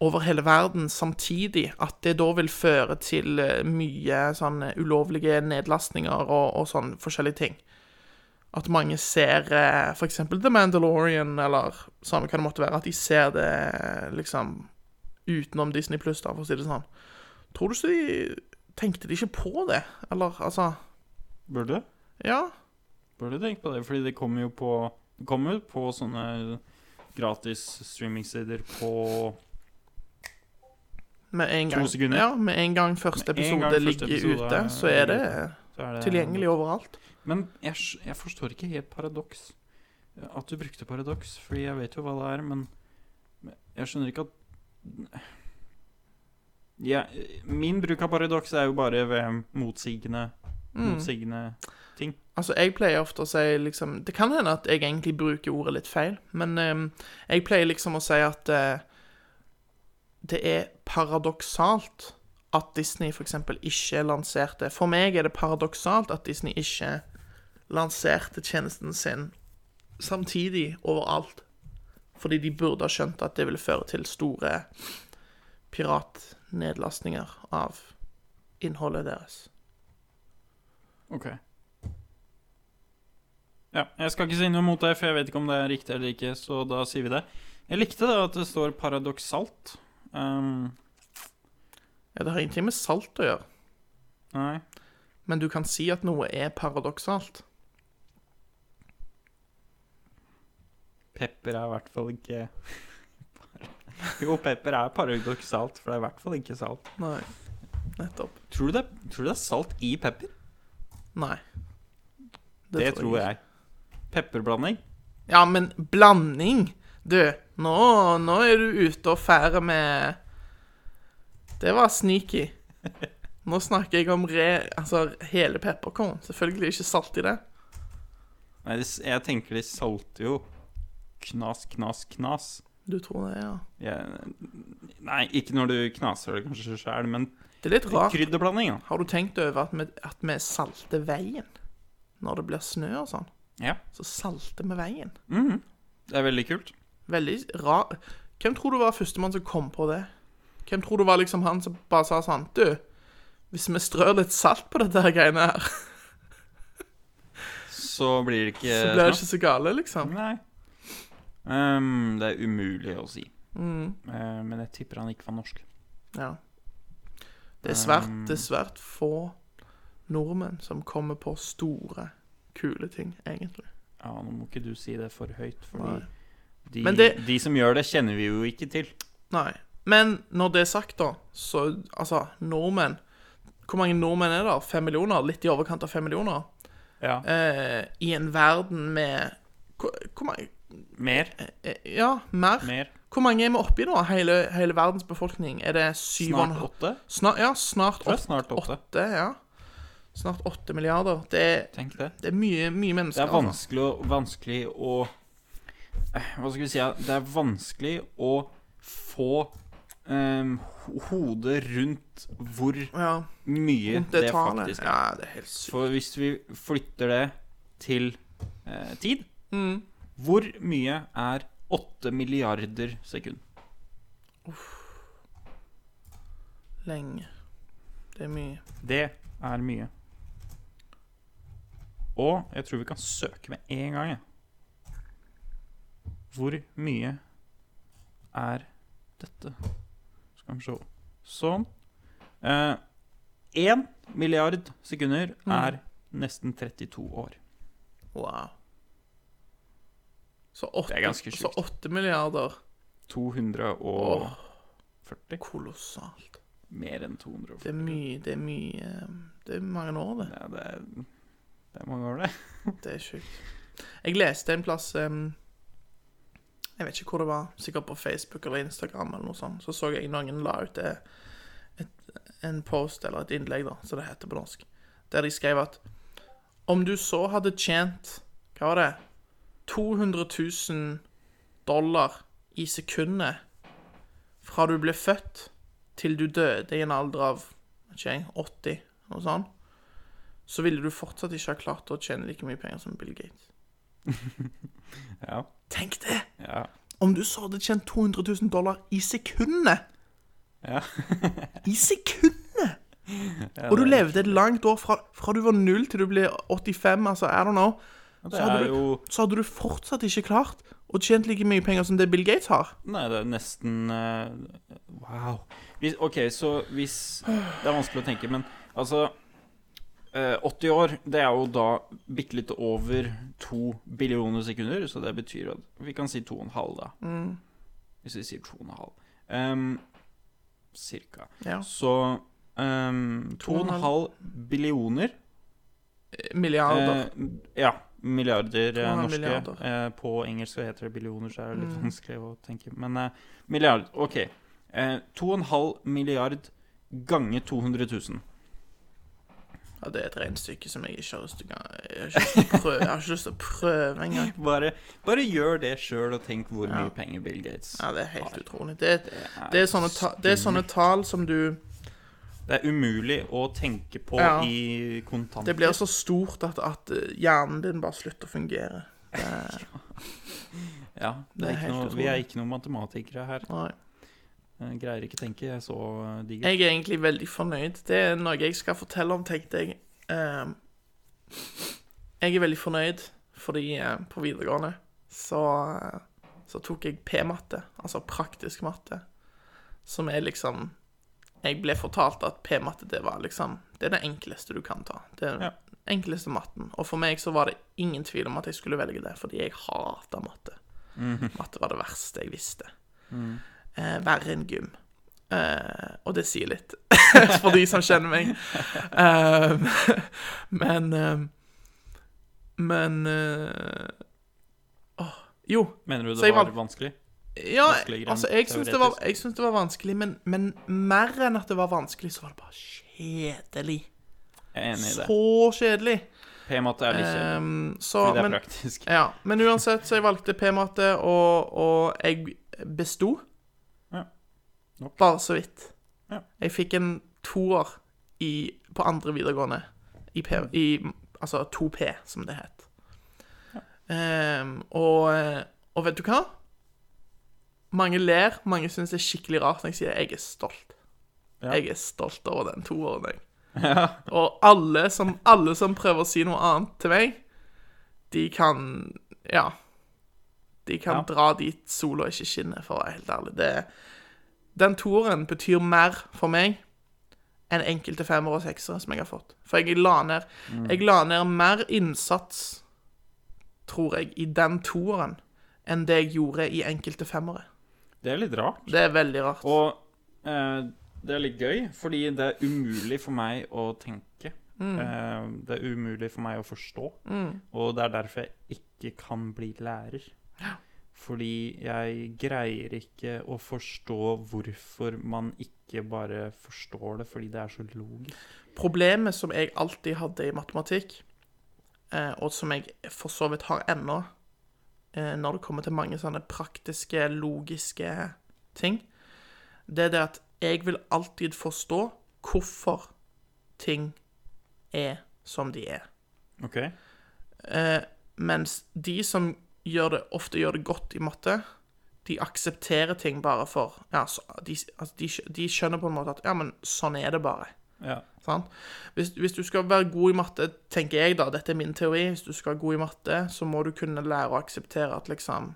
over hele verden samtidig, at det da vil føre til eh, mye sånn ulovlige nedlastninger og, og sånn forskjellige ting. At mange ser eh, for eksempel The Mandalorian, eller samme hva det måtte være, at de ser det liksom utenom Disney Pluss, da, for å si det sånn. Tror du ikke de Tenkte de ikke på det? Eller altså
Burde?
Ja.
Burde tenke på det, fordi det kommer jo på Det kommer jo på sånne gratis streamingsider på
Med en
To
gang,
sekunder.
Ja, med en gang første
Med en
episode
gang første
ligger
episode er-
ute, så er det
så er det-
tilgjengelig overalt.
Men jeg, skj- jeg forstår ikke helt paradoks. At du brukte paradoks, fordi jeg vet jo hva det er, men men jeg skjønner ikke at ja, Min bruk av paradoks er jo bare ved motsigende, motsigende ting.
Altså, jeg pleier ofte å si liksom Det kan hende at jeg egentlig bruker ordet litt feil, men ehm, jeg pleier liksom å si at eh, det er paradoksalt at Disney f.eks. ikke lanserte For meg er det paradoksalt at Disney ikke lanserte tjenesten sin samtidig overalt. Fordi de burde ha skjønt at det ville føre til store piratnedlastninger av innholdet deres.
Ok. Ja, jeg skal ikke si noe mot deg, for jeg vet ikke om det er riktig eller ikke, så da sier vi det. Jeg likte da at det står paradoksalt. Ehm,
Ja, det har ingenting med salt å gjøre.
nei.
Men du kan si at noe er paradoksalt.
Pepper er i hvert fall ikke Jo, pepper er paradoksalt, for det er i hvert fall ikke salt.
Nei. Nettopp.
Tror du det, tror du det er salt i pepper?
Nei.
Det, tror jeg. Pepperblanding?
ikke. Ja, men blanding Du, nå, nå er du ute og fære med Det var sneaky. Nå snakker jeg om re, altså, hele pepperkorn. Selvfølgelig ikke salt i det.
Nei, det s- jeg tenker de salter jo knas, knas, knas.
Du tror det, ja.
Jeg, nei, ikke når du knaser det kanskje sjøl, men
Det er litt rart.
krydderblanding, da.
Har du tenkt over at vi, at vi salter veien når det blir snø og sånn?
Ja.
Så salter vi veien.
Det er veldig kult.
Veldig rar Hvem tror du var førstemann som kom på det? Hvem tror du var liksom han som bare sa sånn Du, hvis vi strør litt salt på dette her greiene her,
Så blir det ikke
så blir det
snakk.
ikke så gale, liksom.
Nei. Ehm, det er umulig å si. Eh, men jeg tipper han ikke var norsk.
Ja. Det er svært, det er svært få nordmenn som kommer på store, kule ting, egentlig.
Ja, nå må ikke du si det for høyt,
Nei.
fordi de,
Men det-
de som gjør det, kjenner vi jo ikke til.
Nei. Men når det er sagt, da, så Altså, nordmenn Hvor mange nordmenn er det? Fem millioner? Litt i overkant av fem millioner?
Ja.
Eh, I en verden med Hvor, hvor mange
Mer.
Eh, Ja, mer.
Mer.
Hvor mange er vi oppe i nå? Hele, hele verdens befolkning? Er det syv og en
Snart
halv-
åtte.
Snar, ja, snart
Tror
åtte.
jeg snart åtte.
ja. Snart åtte milliarder. Det er,
Tenk det.
det er mye, mye
Det
mennesker. altså.
er vanskelig å, vanskelig å eh, Hva skal vi si ja? Det er vanskelig å få em, ho- hodet rundt hvor
altså. Ja,
mye
rundt
det,
det tallet.
faktisk er.
Ja, det er helt sykt. Mm.
For hvis vi flytter det til eh, tid, Hvor mye er 8 milliarder sekund?
Lenge. Det er mye.
Det er mye. Og jeg tror vi kan søke med en gang. jeg. Hvor mye er dette? Skal vi se. Sånn. Én milliard sekunder
Mm.
er nesten 32 år.
Wow. Så
Det er ganske
8, så
sjukt.
åtte milliarder.
240.
Kolossalt.
Mer enn 240.
Det er mye, det er mye eh, Det er mange år, det.
Ja, det er, det er mange år, det.
Det er sjukt. Jeg leste en plass em, Jeg vet ikke hvor det var, sikkert på Facebook eller Instagram, eller noe sånt, så så jeg noen la ut det, et, en post eller et innlegg, da, som det heter på norsk, der de skrev at om du så hadde tjent Hva var det? 200 000 dollar i sekundet fra du ble født til du døde i en alder av vet ikke jeg, 80, noe sånt, så ville du fortsatt ikke ha klart å tjene like mye penger som Bill Gates.
Ja,
Tenk det!
ja,
Om du så hadde tjent 200 000 dollar i sekundet!
ja.
I sekundet! Og du levde et langt år fra, fra du var null til du ble 85, altså I don't know.
Det
Så hadde,
er
du,
jo
så hadde du fortsatt ikke klart å tjent like mye penger som det Bill Gates har.
Nei, det er nesten eh, Wow. Hvis, OK, så hvis Det er vanskelig å tenke, men altså eh, 80 år, det er jo da bitte litt over 2 billioner sekunder, så det betyr at vi kan si 2,5, da. Hvis vi sier 2,5. Ehm, cirka.
Ja.
Så ehm, 2,5 billioner
Milliarder.
Eh, ja. Milliarder eh,
200
norske.
milliarder.
Eh, på engelsk så heter det billioner, så er det litt
Mm.
vanskelig å tenke. Men eh, milliard, OK. Eh, 2,5 milliard ganger 200 000.
Ja, det er et regnestykke som jeg ikke har lyst til å jeg har ikke lyst til å prøve, jeg har ikke lyst til å prøve engang.
Bare, bare gjør det sjøl og tenk hvor mye penger Bill Gates
Ja, det er helt utrolig. Det, det, er sånne ta, det er sånne tall som du
Det er umulig å tenke på
Ja.
i kontanter.
Det blir så stort at, at hjernen din bare slutter å fungere.
ja,
det
det er
er
ikke
helt
noe,
utrolig.
vi er ikke noen matematikere her.
Nei.
Eh, Greier ikke tenke så eh, digert.
Jeg er egentlig veldig fornøyd. Det er noe jeg skal fortelle om, tenkte jeg. Ehm, jeg er veldig fornøyd, fordi eh, på videregående så, så tok jeg P-matte, altså praktisk matte, som er liksom Jeg ble fortalt at P-matte, det var liksom Det er det enkleste du kan ta. Det er den
Ja.
enkleste matten. Og for meg så var det ingen tvil om at jeg skulle velge det, fordi jeg hata matte. Matte var det verste jeg visste. Eh, verre enn gym. Eh, og det sier litt, for de som kjenner meg. Eh, men eh, Men eh, åh, Jo.
Mener du
Så
det
jeg
var
valg-
vanskelig?
Ja,
Vanskelig grann,
altså, jeg syns det, var- jeg syns det var vanskelig, men, men mer enn at det var vanskelig, så var det bare kjedelig.
Jeg er enig i det.
Så kjedelig.
P-matte er litt kjedelig.
Um, så,
Det er
men,
praktisk.
ja, men uansett, så jeg valgte P-matte, og, og jeg besto.
Ja. Nok.
Bare så vidt.
Ja.
Jeg fikk en toer i, på andre videregående. I P, i, altså 2P, som det het. Ehm, og, og vet du hva? Mange ler, mange syns det er skikkelig rart når jeg sier jeg er stolt.
Ja.
Jeg er stolt over den toeren, jeg. Og alle som, alle som prøver å si noe annet til meg, de kan Ja. De kan
Ja.
dra dit sola ikke skinner, for å være helt ærlig. Det, den toeren betyr mer for meg enn enkelte femmer og seksere som jeg har fått. For jeg la ned, jeg la ned mer innsats, tror jeg, i den toeren enn det jeg gjorde i enkelte femmere.
Det er litt rart.
Det er veldig rart.
Og eh, det er litt gøy, fordi det er umulig for meg å tenke.
Mm.
Eh, det er umulig for meg å forstå. Og det er derfor jeg ikke kan bli lærer. Fordi jeg greier ikke å forstå hvorfor man ikke bare forstår det, fordi det er så logisk.
Problemet som jeg alltid hadde i matematikk, eh, og som jeg for så vidt har ennå, eh, når det kommer til mange sånne praktiske, logiske ting, det er det at jeg vil alltid forstå hvorfor ting er som de er.
OK?
Eh, mens de som gjør det, ofte gjør det godt i matte. De aksepterer ting bare for ja, så, de, altså, de, skj- de skjønner på en måte at ja, men sånn er det bare.
Ja.
Sant? Hvis, hvis du skal være god i matte, tenker jeg da, dette er min teori, hvis du skal være god i matte, så må du kunne lære å akseptere at liksom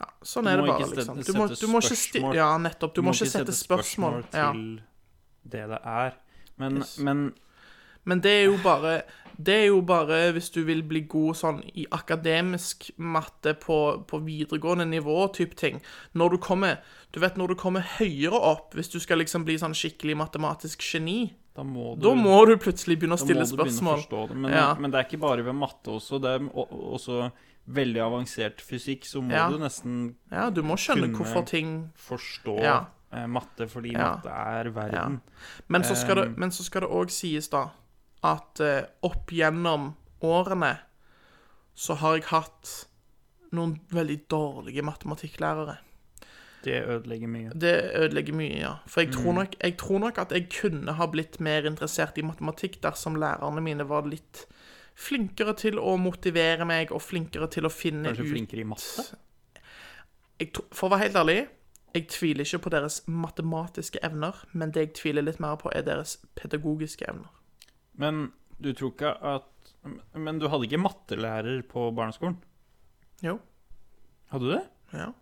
Ja, sånn
Du
er
må
det bare,
ikke
liksom.
sette-
Du må,
sette
du må ikke sti
spørsmål.
Ja, nettopp. Du, må, ikke sette, spørsmål. Ja.
til det det er. Men,
Yes.
men
Men det er jo bare Det er jo bare hvis du vil bli god sånn i akademisk matte på, på videregående nivå type ting. Når du kommer Du vet når du kommer høyere opp, hvis du skal liksom bli sånn skikkelig matematisk geni,
da må du
da må du plutselig begynne å
Mm.
stille
da må du begynne å
spørsmål.
forstå det. Men,
Ja.
men det er ikke bare ved matte også. Det er o- også veldig avansert fysikk, så må
Ja.
du nesten
Ja, du må skjønne
kunne-
hvorfor ting
forstå
Ja.
eh, matte, fordi
Ja.
matte er verden.
Men så skal det-
Um,
men så skal det òg sies, da, at eh, opp gjennom årene så har jeg hatt noen veldig dårlige matematikklærere.
Det ødelegger mye.
Det ødelegger mye, ja. For jeg
Mm.
tror, nok, jeg tror nok at jeg kunne ha blitt mer interessert i matematikk dersom lærerne mine var litt flinkere til å motivere meg, og flinkere til å finne ut
Kanskje flinkere i matte?
jeg, tro- For å være helt ærlig, jeg tviler ikke på deres matematiske evner, men det jeg tviler litt mer på, er deres pedagogiske evner.
Men du tror ikke at Men du hadde ikke mattelærer på barneskolen?
Jo.
Hadde du det?
Ja.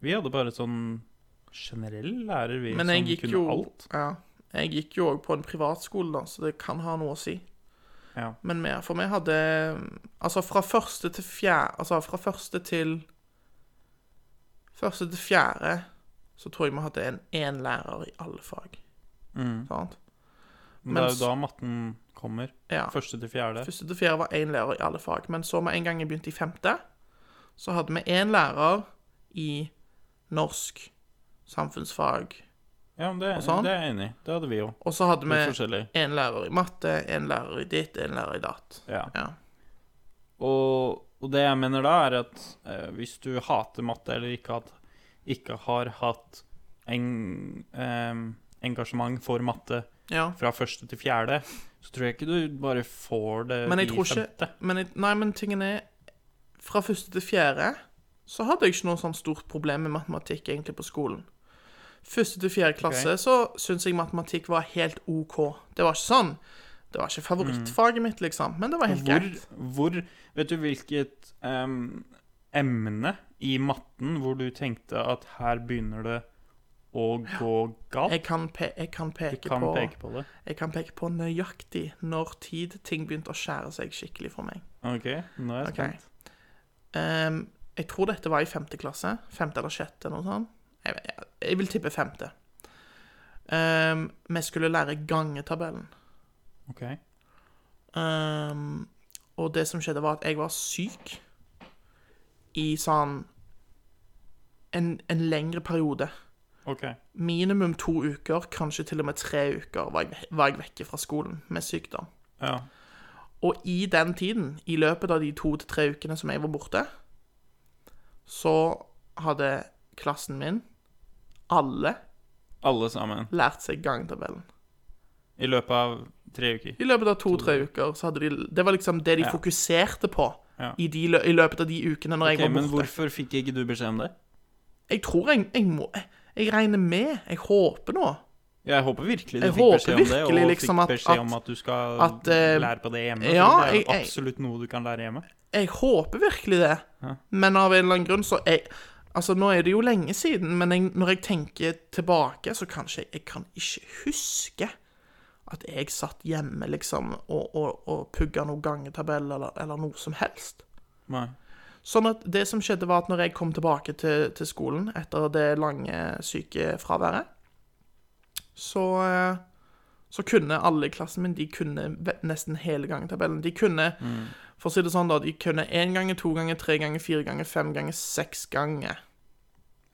Vi hadde bare sånn generell lærer, vi,
Men jeg
som
gikk
sånn kunne
jo
alt.
Ja, jeg gikk jo òg på en privatskole, da, så det kan ha noe å si.
Ja.
Men vi, for vi hadde Altså, fra første til fjerde Altså, fra første til Første til fjerde så tror jeg vi hadde en én lærer i alle fag.
Mm.
Sant?
Men det er
Mens-
jo da matten kommer.
Ja.
Første til fjerde.
Første til fjerde var én lærer i alle fag. Men så med en gang jeg begynte i femte, så hadde vi én lærer i norsk, samfunnsfag,
Ja, men det,
Og sånn.
det er jeg enig i. Det hadde vi jo.
og så hadde
Litt
vi
forskjellig.
én lærer i matte, én lærer i ditt, én lærer i datt.
Ja.
Ja.
Og, og det jeg mener da, er at eh, hvis du hater matte eller ikke, hat, ikke har hatt en, em, engasjement for matte
ja.
fra første til fjerde, så tror jeg ikke du bare får det
Men jeg
eh, i
tror ikke-
femte.
Men jeg, nei, men tingen er Fra første til fjerde så hadde jeg ikke noe sånn stort problem med matematikk egentlig på skolen. Første til fjerde klasse så syns jeg matematikk var helt OK. Det var ikke sånn. Det var ikke favorittfaget mitt, liksom, men det var helt
Mm. Hvor,
greit.
hvor Vet du hvilket em, emne i matten hvor du tenkte at her begynner det å gå galt?
Jeg kan, pe jeg, kan
Du
peke
kan
på,
peke på det.
jeg kan peke på nøyaktig når tid ting begynte å skjære seg skikkelig for meg.
OK, nå er jeg
Ok.
spent.
Ehm, jeg tror dette var i femte klasse. Femte eller sjette, noe sånt. Jeg, jeg, jeg vil tippe femte. Ehm, vi skulle lære gangetabellen.
Ok.
Ehm, og det som skjedde, var at jeg var syk i sånn en, en lengre periode.
ok.
Minimum to uker, kanskje til og med tre uker, var jeg, var jeg vekke fra skolen med sykdom.
Ja.
Og i den tiden, i løpet av de to til tre ukene som jeg var borte, så hadde klassen min, alle,
Alle sammen.
lært seg gangtabellen.
I løpet av tre uker.
I løpet av to-tre uker så hadde de Det var liksom det de
Ja.
fokuserte på
Ja.
i, de, lø- i løpet av de ukene når
Ok,
jeg var
Men
borte.
hvorfor fikk ikke du beskjed om det?
Jeg tror jeg, jeg må jeg, jeg regner med, jeg håper nå,
Jeg håper virkelig du
Jeg
fikk
håper
beskjed om det, og
virkelig liksom at-
fikk beskjed
at-
om at du skal
at, eh,
lære på det hjemme.
ja,
for det er
jeg-
jo
jeg-
absolutt noe du kan lære hjemme.
Jeg håper virkelig det. Men av en eller annen grunn så jeg, Altså, nå er det jo lenge siden, men jeg, når jeg tenker tilbake, så kanskje jeg, jeg kan ikke huske at jeg satt hjemme, liksom, og, og, og pugga noen gangetabell eller, eller noe som helst.
Nei.
Sånn at det som skjedde, var at når jeg kom tilbake til, til skolen etter det lange sykefraværet, så, eh, så kunne alle i klassen min de kunne ve- nesten hele gangetabellen. De kunne for å si det sånn da, de kunne én ganger, to ganger, tre ganger, fire ganger, fem ganger, seks ganger.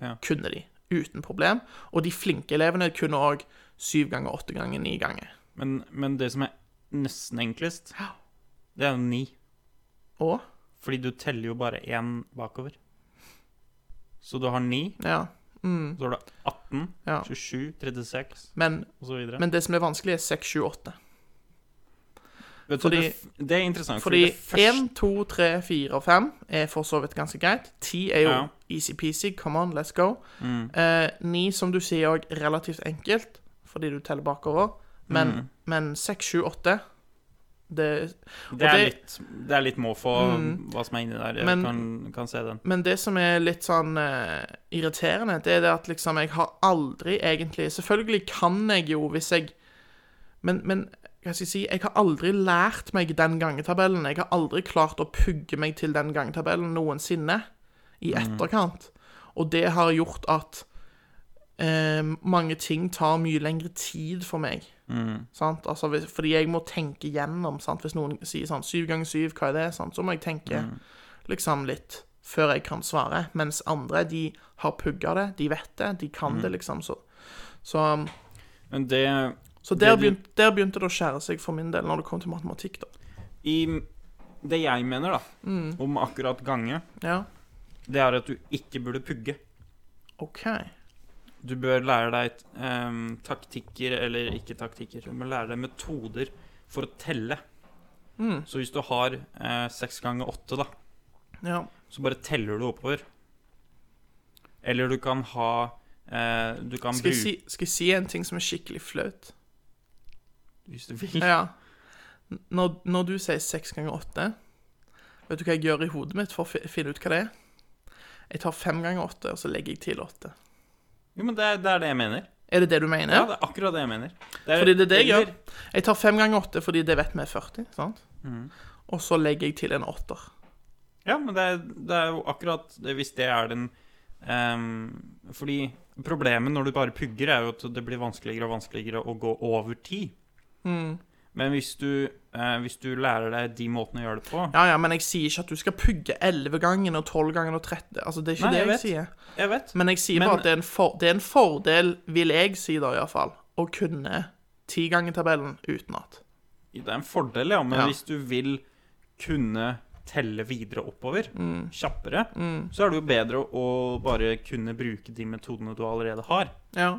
Ja.
Kunne de, uten problem. Og de flinke elevene kunne òg syv ganger, åtte ganger, ni ganger.
Men, men det som er nesten enklest, det er jo ni.
Og
Fordi du teller jo bare én bakover. Så du har 9,
Ja.
så har du 18,
Mm. Ja.
27, 36
Men,
osv.
men det som er vanskelig, er seks, sju, åtte.
Vet
Fordi-
du, det, f- det er interessant,
Fordi
det første-
1, 2, 3, 4 og 5 er for så vidt ganske greit. 10 er jo
Ja. Mm.
easy-peasy, come on, let's go. Eh, 9, som du sier, òg relativt enkelt, fordi du teller bakover. Men,
Mm.
men 6, 7, 8 det, og Mm.
det, er litt, det er litt må for hva som er inni der. Jeg
Men-
kan, kan se den.
Men det som er litt sånn eh, irriterende, det er det at liksom jeg har aldri egentlig Selvfølgelig kan jeg jo hvis jeg Men, men hva skal jeg si Jeg har aldri lært meg den gangetabellen. Jeg har aldri klart å pugge meg til den gangetabellen noensinne i etterkant. Og det har gjort at eh, mange ting tar mye lengre tid for meg. Sant? Altså, hvis, fordi jeg må tenke gjennom. Sant? Hvis noen sier sånn 7 ganger 7, hva er det? Sant? Så må jeg tenke liksom litt før jeg kan svare. Mens andre, de har pugga det, de vet det, de kan
Mm.
det, liksom. Så, så,
Men det
så der,
Det du-
begynte, der begynte det å skjære seg for min del, når det kom til matematikk, da.
i, Det jeg mener, da, om akkurat gange,
Ja,
det er at du ikke burde pugge.
OK.
Du bør lære deg et, ehm, taktikker, eller ikke taktikker, du må lære deg metoder for å telle. Så hvis du har eh, seks ganger åtte, da,
Ja.
så bare teller du oppover. Eller du kan ha eh, Du kan
Skal jeg,
bruke
si, skal jeg si en ting som er skikkelig flaut?
Hvis du vil.
Ja. Når, når du sier seks ganger åtte, vet du hva jeg gjør i hodet mitt for å fi- finne ut hva det er? Jeg tar fem ganger åtte, og så legger jeg til åtte.
Jo, men det er, det er det jeg mener.
Er det det du mener?
Ja, det er akkurat det jeg mener. Det
Fordi det er det jeg
eller-
gjør. Jeg tar fem ganger åtte fordi det vet vi er 40. sant?
Mm.
Og så legger jeg til en åtter.
Ja, men det er, det er jo akkurat det, Hvis det er den ehm, Fordi problemet når du bare pugger, er jo at det blir vanskeligere og vanskeligere å gå over tid. Men hvis du, eh, hvis du lærer deg de måtene å gjøre det på
Ja, ja, men jeg sier ikke at du skal pugge 11 gangen og 12 gangen og 30. Altså, det er ikke
Nei,
det
jeg
jeg,
vet.
sier.
Jeg vet.
Men jeg sier
Men-
bare at det er, en for, det er en fordel, vil jeg si da iallfall, å kunne tigangetabellen utenat.
Det er en fordel, ja. Men
Ja.
hvis du vil kunne telle videre oppover kjappere, så er det jo bedre å bare kunne bruke de metodene du allerede har.
Ja.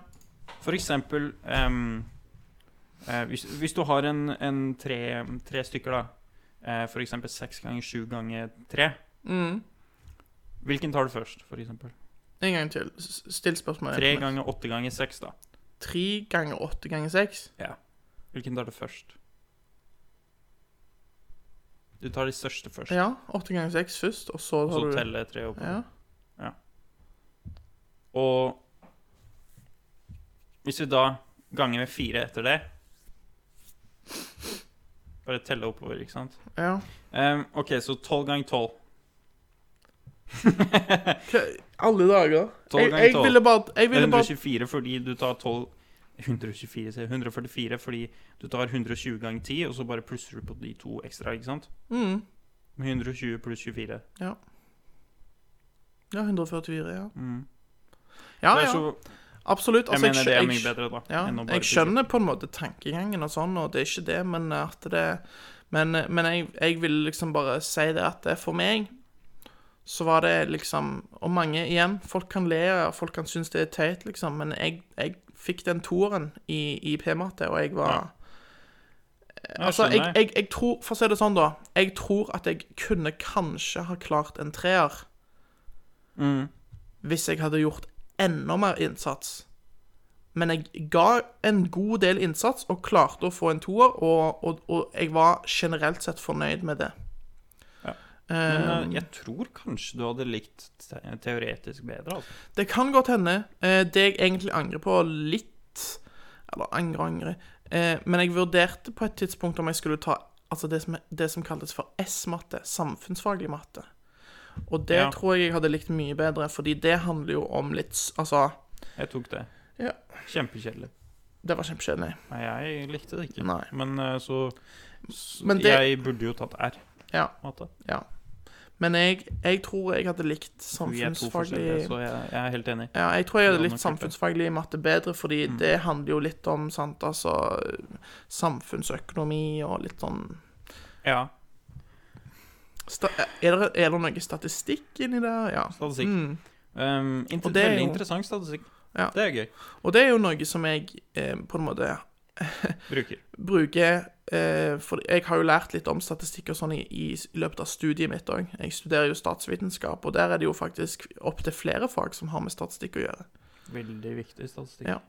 For eksempel ehm, eh, hvis, hvis du har en, en tre, tre stykker, da. eh, for eksempel seks ganger sju ganger tre. Hvilken tar du først, for eksempel?
Mm. En gang til. S- Still spørsmålet.
Tre ganger åtte ganger seks, da.
Tre ganger åtte ganger seks?
Ja. Hvilken tar du først? Du tar de største først,
Ja. Åtte ganger seks først, og så
og
tar
så
du
teller jeg tre opp.
Ja.
Og hvis vi da ganger med fire etter det Bare telle oppover, ikke sant?
ja.
Ehm, OK, så tolv ganger tolv.
Hva- Alle dager.
Tolv
Jeg,
ganger
jeg
tolv.
ville bare Jeg ville bare
124 fordi du tar 12 124, sier jeg. 144 fordi du tar 120 ganger 10, og så bare plusser du på de to ekstra, ikke sant?
mm.
Med 120 pluss 24.
Ja. Ja, 144, ja.
Mm.
Ja, ja,
det er så,
absolutt.
jeg
Altså,
mener det er
skjø-
mye
skj-
bedre, da.
Ja,
enn å bare
jeg skjønner på en måte tankegangen og sånn, og det er ikke det, men at det Men, men jeg, jeg vil liksom bare si det at det for meg så var det liksom Og mange, igjen, folk kan le, og folk kan synes det er teit, liksom, men jeg, jeg fikk den toeren i, i P-matte, og jeg var
bygge.
Altså,
skjønner
jeg, jeg, jeg tror, for å si det sånn da Jeg tror at jeg kunne kanskje ha klart en treer
Mm.
Hvis jeg hadde gjort enda mer innsats Men jeg ga en god del innsats Og klarte å få en toer Og, og, og jeg var generelt sett fornøyd med det
Men eh, jeg tror kanskje du hadde likt te teoretisk bedre, altså.
Det kan godt hende. Eh, det jeg egentlig angrer på litt Eller angre og angre. Eh, men jeg vurderte på et tidspunkt om jeg skulle ta altså det som, det som kaltes for S-matte. Samfunnsfaglig matte. Og det
Ja.
tror jeg jeg hadde likt mye bedre, fordi det handler jo om litt s- Altså,
Jeg tok det.
Ja.
Kjempekjedelig.
det var kjempekjedelig.
Nei, jeg likte det ikke.
Nei.
Men eh, så, så
Men det-
Jeg burde jo tatt R.
Ja.
Matte.
ja. Men jeg, jeg tror jeg hadde likt
Vi er
samfunnsfaglig
to forskjellige, så jeg, jeg er helt enig.
Ja, jeg tror jeg hadde
Ja,
likt
nok Mm. klart det.
samfunnsfaglig matte bedre, fordi det handler jo litt om sant, altså, samfunnsøkonomi og litt sånn
Ja.
Sta er, det, er det noe statistikk inni der? Ja. Mm.
Statistikk. Um, inter
Ehm, Og det er
veldig
jo-
interessant statistikk.
Ja.
Det er gøy.
Og det er jo noe som jeg eh, på en måte
Bruker.
bruker eh, For jeg har jo lært litt om statistikk og sånn i, i, i løpet av studiet mitt òg. Jeg studerer jo statsvitenskap, og der er det jo faktisk opptil flere fag som har med statistikk å gjøre.
Veldig viktig statistikk.
Ja.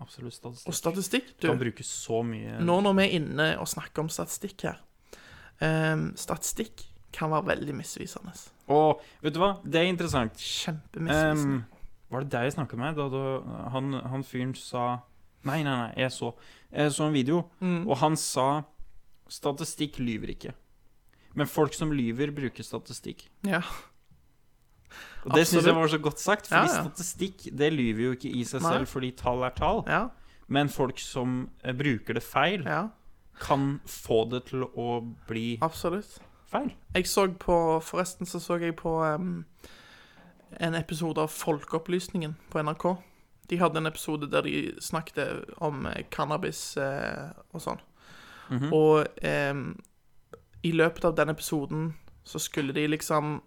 Absolutt statistikk.
Og statistikk,
Du
du
kan bruke så mye
Nå når vi er inne og snakker om statistikk her ehm, Statistikk kan være veldig misvisende.
Og vet du hva, det er interessant.
Kjempemisvisende.
Ehm, var det deg jeg snakket med da du, han, han fyren sa Nei, nei, nei, jeg så, jeg så en video,
Mm.
og han sa Statistikk lyver ikke. Men folk som lyver, bruker statistikk.
ja.
Og det syns
Absolutt.
jeg var så godt sagt, fordi
Ja, ja.
statistikk det lyver jo ikke i seg
Nei.
selv, fordi tall er tall.
ja,
Men folk som eh, bruker det feil,
ja,
kan få det til å bli
absolutt.
feil.
Jeg så på Forresten så så jeg på ehm, en episode av Folkeopplysningen på NRK. De hadde en episode der de snakket om eh, cannabis eh, og sånn. Og ehm, i løpet av den episoden så skulle de liksom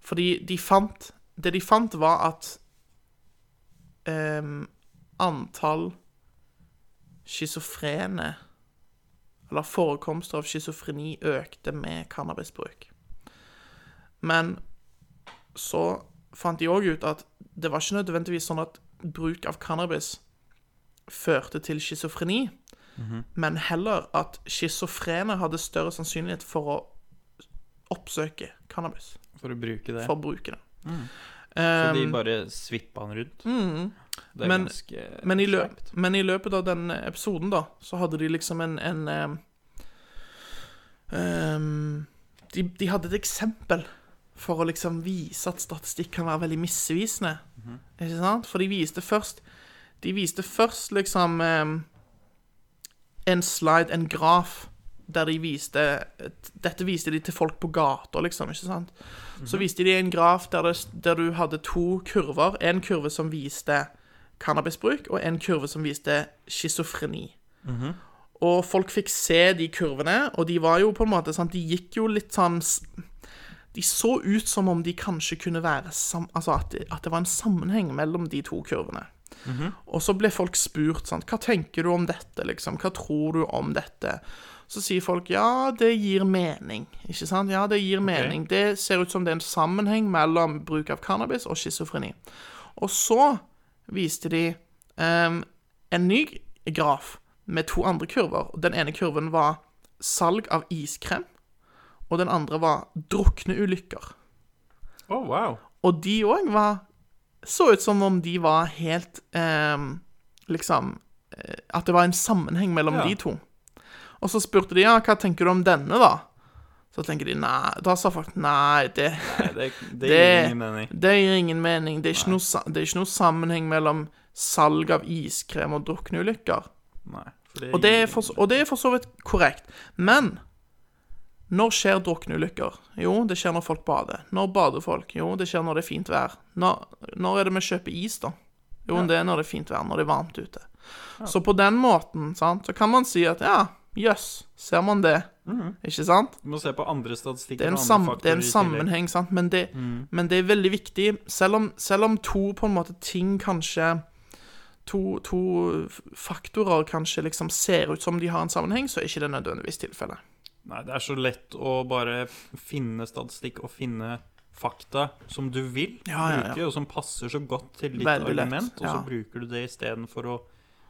Fordi de fant Det de fant, var at ehm, antall schizofrene eller forekomster av schizofreni økte med cannabisbruk. Men så fant de òg ut at det var ikke nødvendigvis sånn at bruk av cannabis førte til schizofreni,
Mhm.
men heller at schizofrene hadde større sannsynlighet for å oppsøke cannabis,
For å bruke det.
for å bruke det.
Mm. Så de
Um, mm.
bare svippa han rundt. Det er
Men-
ganske
Men i, løp,
sleipt.
men i løpet av den episoden, da, så hadde de liksom en, en eh, ehm, de, de hadde et eksempel for å liksom vise at statistikk kan være veldig misvisende. Ikke sant? For de viste først De viste først liksom ehm, en slide, en graf, der de viste Dette viste de til folk på gata, liksom, ikke sant? Så viste de en graf der, det, der du hadde to kurver. En kurve som viste cannabisbruk, og en kurve som viste schizofreni. Og folk fikk se de kurvene, og de var jo på en måte sant, De gikk jo litt sånn s- De så ut som om de kanskje kunne være sam, Altså at, det- at det var en sammenheng mellom de to kurvene. Og så ble folk spurt sånn Hva tenker du om dette, liksom? Hva tror du om dette? Så sier folk ja, det gir mening. Ikke sant? Ja, det gir mening. Det ser ut som det er en sammenheng mellom bruk av cannabis og schizofreni. Og så viste de ehm, en ny graf med to andre kurver. Og Den ene kurven var salg av iskrem, og den andre var drukneulykker.
Å, Oh, wow.
Og de òg var Så ut som om de var helt ehm, Liksom eh, At det var en sammenheng mellom
Ja.
de to. Og så spurte de ja, hva tenker du om denne, da? Så tenker de nei Da sa folk nei, det
Nei, det, det gir ingen
det,
mening.
det gir ingen mening. Det er ikke, noe, sa- det er ikke noe sammenheng mellom salg av iskrem og drukneulykker.
Nei, for det
Og det,
gir
er for, og det er for så vidt korrekt. Men når skjer drukneulykker? Jo, det skjer når folk bader. Når bader folk? Jo, det skjer når det er fint vær. Når, når er det vi kjøper is, da? Jo, det er når det er fint vær, når det er varmt ute. Så på den måten sant, så kan man si at ja, jøss, ser man det? Ikke sant?
Du må se på andre statistikker.
det er en,
og andre
sam, det er
faktorer
en
i tillegg. Mm.
sammenheng, sant? Men, det, men det er veldig viktig, selv om, selv om to på en måte ting kanskje To, to faktorer kanskje liksom ser ut som de har en sammenheng, så er ikke det nødvendigvis tilfellet.
Nei, det er så lett å bare finne statistikk og finne fakta som du vil
Ja, ja, ja.
bruke, og som passer så godt til ditt
Veldig lett,
argument, og så
ja.
bruker du det istedenfor å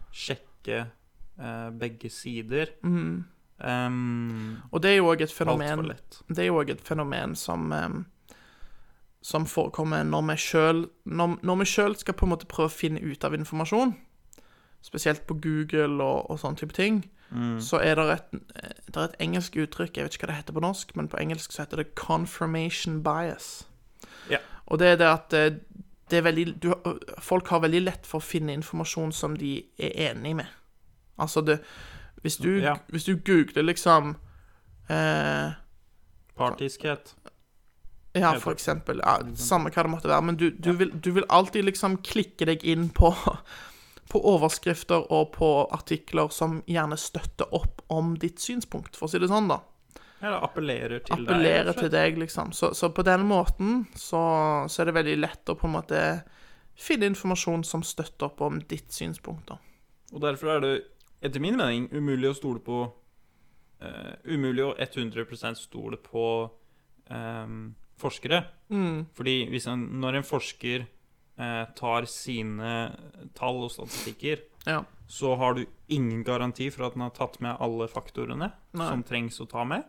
sjekke eh, begge sider.
Mm.
Ehm,
Og det er jo òg et
Altfor
fenomen
lett.
Det er jo òg et fenomen som em, Som forekommer når vi sjøl når, når vi sjøl skal på en måte prøve å finne ut av informasjon, spesielt på Google og, og sånne type ting,
Mm.
så er det et, det er et engelsk uttrykk Jeg vet ikke hva det heter på norsk, men på engelsk så heter det 'confirmation bias'.
Ja.
Og det er det at eh, det er veldig, du, folk har veldig lett for å finne informasjon som de er enig med. Altså, det, hvis, du,
Ja.
hvis du googler liksom eh,
Partiskhet.
ja, for eksempel. Ja, samme hva det måtte være. Men du, du, vil, du vil alltid liksom klikke deg inn på, på overskrifter og på artikler som gjerne støtter opp om ditt synspunkt, for å si det sånn, da.
Eller appellerer til deg.
Appellerer
rett og
til deg, liksom. Så, så på den måten så, så er det veldig lett å på en måte finne informasjon som støtter opp om ditt synspunkt, da.
slett. Og derfor er det etter min mening umulig å stole på eh, Umulig å 100 stole på ehm, forskere.
Mm.
Fordi hvis en, når en forsker eh, tar sine tall og statistikker,
Ja.
så har du ingen garanti for at den har tatt med alle faktorene
Nei.
som trengs å ta med.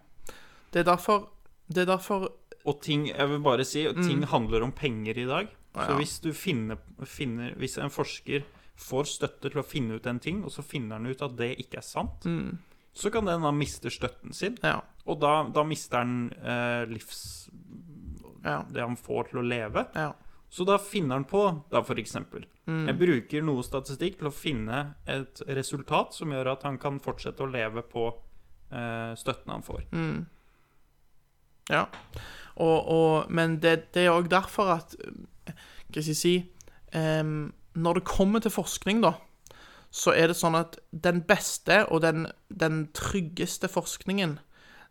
Det er derfor Det er derfor
Og ting, jeg vil bare si, ting handler om penger i dag.
Mm. Ja,
Så
ja.
hvis du finner, finner Hvis en forsker får støtte til å finne ut en ting, og så finner han ut at det ikke er sant, så kan den da miste støtten sin.
mm, Ja.
Og da, da mister han eh, livs...
Ja.
Det han får til å leve.
Ja.
Så da finner han på, da for eksempel
Mm.
Jeg bruker noe statistikk til å finne et resultat som gjør at han kan fortsette å leve på eh, støtten han får.
Mm. ja. Og, og, men det, det er òg derfor at eh, Hva skal jeg si em, Når det kommer til forskning, da, så er det sånn at den beste og den, den tryggeste forskningen,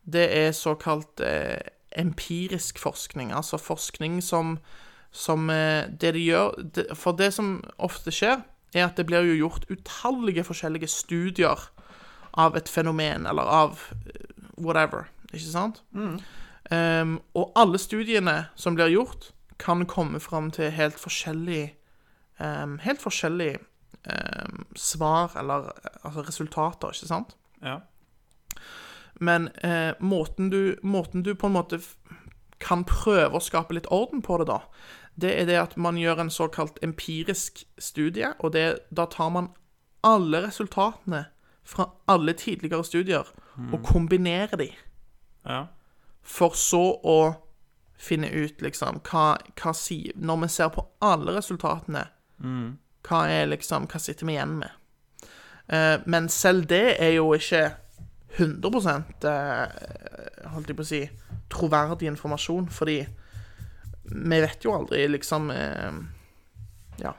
det er såkalt eh, empirisk forskning. Altså forskning som, som eh, Det de gjør det, For det som ofte skjer, er at det blir jo gjort utallige forskjellige studier av et fenomen, eller av eh, whatever. Ikke sant? Ehm, og alle studiene som blir gjort, kan komme fram til helt forskjellig ehm, Helt forskjellig ehm, svar, eller eh, altså resultater, ikke sant?
Ja.
Men eh, måten, du, måten du på en måte f- kan prøve å skape litt orden på det, da, det er det at man gjør en såkalt empirisk studie, og det, da tar man alle resultatene fra alle tidligere studier og kombinerer de,
ja.
for så å finne ut liksom hva, hva sier Når vi ser på alle resultatene,
Mm.
hva er liksom Hva sitter vi igjen med? Eh, men selv det er jo ikke 100 eh, holdt jeg på å si, troverdig informasjon, fordi vi vet jo aldri liksom eh, Ja.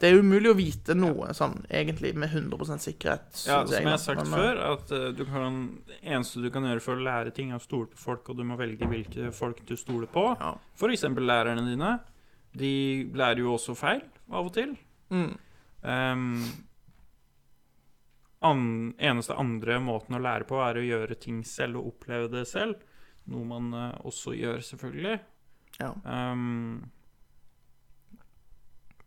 Det er umulig å vite noe sånn egentlig med 100 sikkerhet.
Ja,
synes
som jeg
da.
har sagt
Men, eh,
før, at eh, du kan, eneste du kan gjøre for å lære ting, er å stole på folk, og du må velge hvilke folk du stoler på.
Ja.
For eksempel lærerne dine. De lærer jo også feil, av og til.
eh, mm,
Ehm, an, eneste andre måten å lære på er å gjøre ting selv og oppleve det selv. Noe man eh, også gjør, selvfølgelig.
Ja.
Ehm,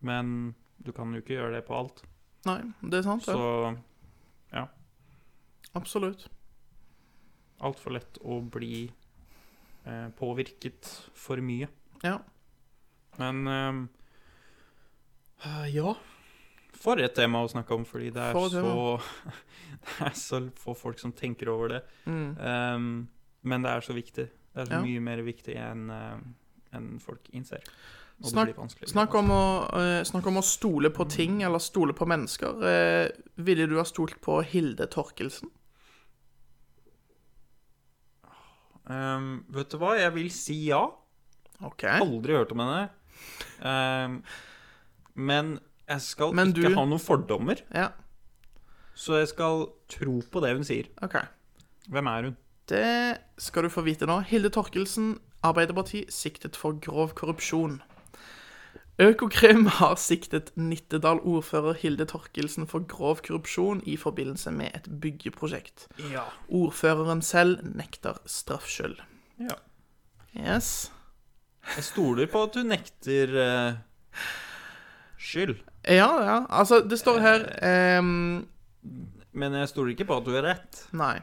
men du kan jo ikke gjøre det på alt.
Nei, det er sant. det.
Så
Absolutt.
altfor lett å bli eh, påvirket for mye.
Ja.
Men ehm,
ja.
for et tema å snakke om, fordi det er,
For et
så, det er så få folk som tenker over det.
Mm.
Ehm, men det er så viktig. Det er så
Ja.
mye mer viktig enn eh, enn folk innser. Og det
Snakk,
blir vanskeligere og
snakk, om å, eh, snakk om å stole
Mm.
på ting, eller stole på mennesker. Eh, ville du ha stolt på Hilde Torkelsen?
vanskeligere. Ehm, vet du hva, jeg vil si ja.
OK.
Aldri hørt om henne. Ehm, men jeg skal
Men
ikke
du-
ha noen fordommer,
Ja,
så jeg skal tro på det hun sier.
OK.
Hvem er hun?
Det skal du få vite nå. Hilde Torkelsen, Arbeiderparti, siktet for grov korrupsjon. Økokrim har siktet Nittedal-ordfører Hilde Torkelsen for grov korrupsjon i forbindelse med et byggeprosjekt.
Ja.
Ordføreren selv nekter straffskyld.
Ja.
Yes.
Jeg stoler på at du nekter eh, skyld,
Ja, ja. Altså, det står her
Eh.
ehm,
men jeg stoler ikke på at du har rett.
Nei.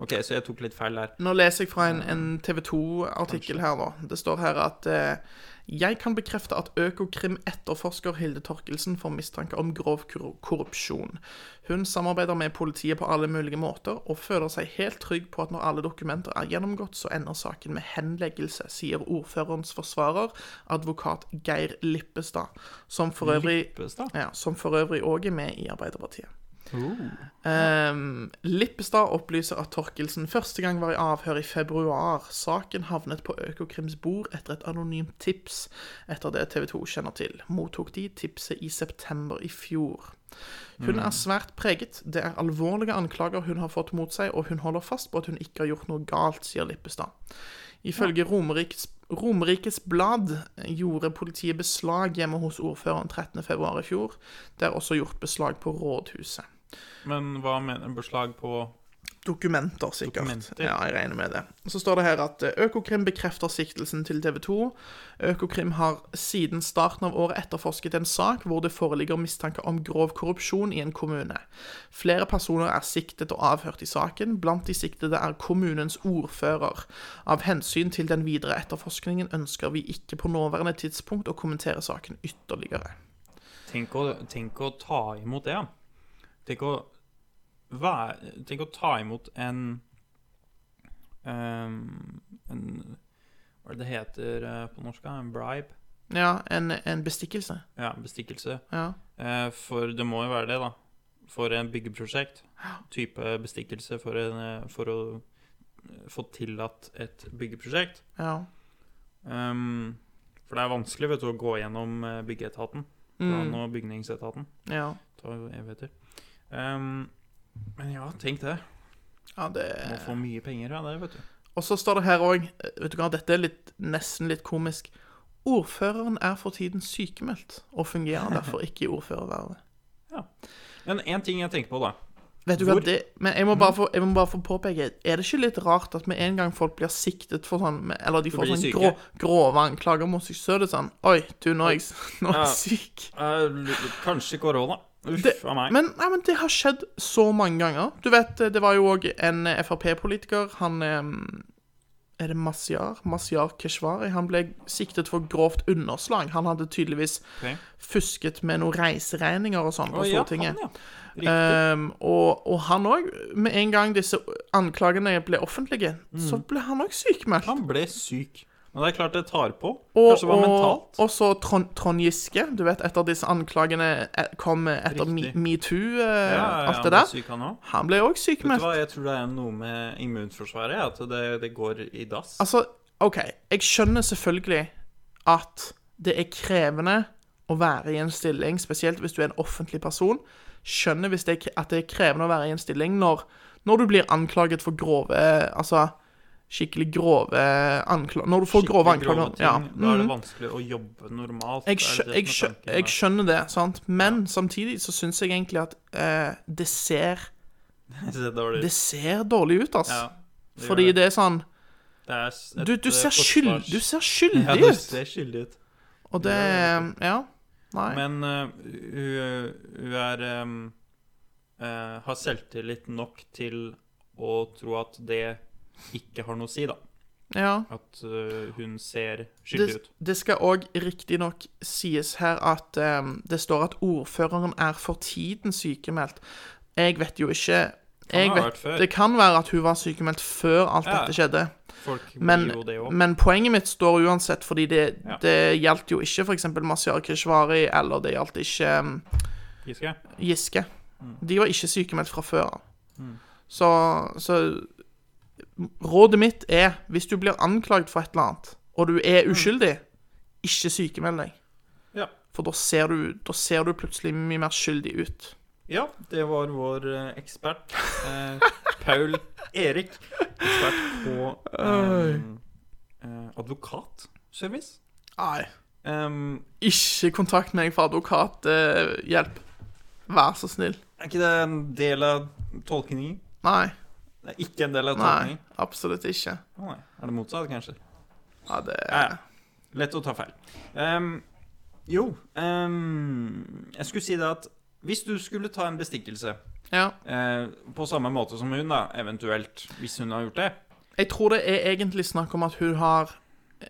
OK, så jeg tok litt feil der.
Nå leser jeg fra en, en TV 2-artikkel her, da. Det står her at eh, jeg kan bekrefte at Økokrim etterforsker Hilde Torkelsen for mistanke om grov kor- korrupsjon. Hun samarbeider med politiet på alle mulige måter, og føler seg helt trygg på at når alle dokumenter er gjennomgått, så ender saken med henleggelse, sier ordførerens forsvarer, advokat Geir Lippestad, som for øvrig
Lippestad?
Ja, som for øvrig òg er med i Arbeiderpartiet. Ehm, Lippestad opplyser at Torkelsen første gang var i avhør i februar. Saken havnet på Økokrims bord etter et anonymt tips, etter det TV 2 kjenner til. Mottok de tipset i september i fjor. Hun er svært preget. Det er alvorlige anklager hun har fått mot seg, og hun holder fast på at hun ikke har gjort noe galt, sier Lippestad. Ifølge Romerikes, Romerikes Blad gjorde politiet beslag hjemme hos ordføreren 13.2. i fjor. Det er også gjort beslag på rådhuset.
Men hva mener Beslag på
Dokumenter, sikkert.
Dokumenter.
Ja, jeg regner med det. Så står det her at eh, Økokrim bekrefter siktelsen til TV 2. Økokrim har siden starten av året etterforsket en sak hvor det foreligger mistanke om grov korrupsjon i en kommune. Flere personer er siktet og avhørt i saken. Blant de siktede er kommunens ordfører. Av hensyn til den videre etterforskningen ønsker vi ikke på nåværende tidspunkt å kommentere saken ytterligere.
Tenk å, tenk å ta imot det, ja. Tenk å, være, tenk å ta imot en ehm, En Hva er det det heter eh, på norsk? da? En bribe?
Ja, en, en bestikkelse.
Ja, bestikkelse.
Ja.
Eh, For det må jo være det, da. For en byggeprosjekt. Type bestikkelse for, en, eh, for å eh, få tillatt et byggeprosjekt.
ja.
Ehm, for det er vanskelig vet du, å gå gjennom eh, byggeetaten.
Mm.
Plan- og bygningsetaten.
ja.
Ta evigheter. Ehm, men ja, tenk det.
Ja, det
Må få mye penger av det, vet du.
Og så står det her òg Vet du hva, dette er litt, nesten litt komisk. Ordføreren er for tiden sykemeldt og fungerer derfor ikke i ordførervervet.
Men én ting jeg tenker på, da.
Vet du hva
Hvor- Mm.
det Men jeg må, bare få, jeg må bare få påpeke Er det ikke litt rart at med en gang folk blir siktet for sånn Eller de får
blir
sånn
syke.
grå, grove anklager mot seg, så er det sånn Oi, du, nå er jeg, s- nå er jeg syk.
Eh, l- kanskje korona.
Det,
Uff a meg.
men, nei, men det har skjedd så mange ganger. Du vet, eh, det var jo òg en eh, Frp-politiker, han eh, Er det Mazyar? Mazyar Keshvari. Han ble siktet for grovt underslag. Han hadde tydeligvis
Ok.
fusket med noen reiseregninger og sånn på
Å, ja,
Stortinget.
han, ja. Riktig.
Ehm, og, og han òg, med en gang disse anklagene ble offentlige, så ble han òg sykemeldt.
Mm. Han ble syk. Men det er klart det tar på.
Og,
Kanskje det var mentalt.
og så Trond, Trond Giske. Du vet, etter disse anklagene eh, kom etter Me-
Riktig.
metoo, eh,
ja, ja,
alt det
han ble
der.
Syk, han også.
Han ble òg
Vet du
sykmeldt.
hva, jeg tror det er noe med immunforsvaret, ja, at det, det går i dass.
Altså, OK, jeg skjønner selvfølgelig at det er krevende å være i en stilling, spesielt hvis du er en offentlig person. Skjønner hvis det er, kre- at det er krevende å være i en stilling når, når du blir anklaget for grove Altså skikkelig grove anklager Når du får
Skikkelig
grove anklager.
ting.
ja. Mm.
Da er det vanskelig å jobbe normalt.
jeg,
Det er
skjø
det
jeg,
som
skjø
er tanken
jeg
med-
skjønner det, sant? Men samtidig så syns jeg egentlig at eh, det ser
Det ser dårlig ut.
Det ser dårlig ut, ass.
Ja, det gjør
Fordi det er sånn
Det er s- et,
Du, du,
eh,
ser,
forsvars-
skyld, du ser skyldig
ja, du
ut!
ser skyldig ut.
Og det Ja. Nei.
Men eh, hun, hun er em, eh, har selvtillit nok til å tro at det ikke har noe å si, da.
ja.
At eh, hun ser skyldig
Det,
ut.
det skal òg riktignok sies her at eh, det står at ordføreren er for tiden sykemeldt. Jeg vet jo ikke jeg
ha vært
vet,
før.
Det kan være at hun var sykemeldt før alt
Ja.
dette skjedde.
Folk
Men,
blir jo det òg.
men poenget mitt står uansett, fordi det,
Ja.
det gjaldt jo ikke f.eks. Mazyar Keshvari, eller det gjaldt ikke eh,
Giske.
Giske. De var ikke sykemeldt fra før av.
Mm.
Så, så rådet mitt er, hvis du blir anklagd for et eller annet, og du er uskyldig, ikke sykemeld deg.
Mm. Ja.
For da ser, du, da ser du plutselig mye mer skyldig ut.
Ja, det var vår eh, ekspert. Eh, Paul Erik. Ekspert på eh, eh, advokatservice.
Nei.
Em,
Ikke kontakt meg for advokathjelp. Vær så snill.
er ikke det en del av tolkningen?
Nei.
Det er ikke en del av
Nei,
tolkningen.
absolutt ikke.
Å, nei. Er det motsatt, kanskje?
Ja, det
Ja, ja. Lett å ta feil. Em, jo, em, jeg skulle si det at hvis du skulle ta en bestikkelse
Ja.
eh, på samme måte som hun, da, eventuelt, hvis hun har gjort det
Jeg tror det er egentlig snakk om at hun har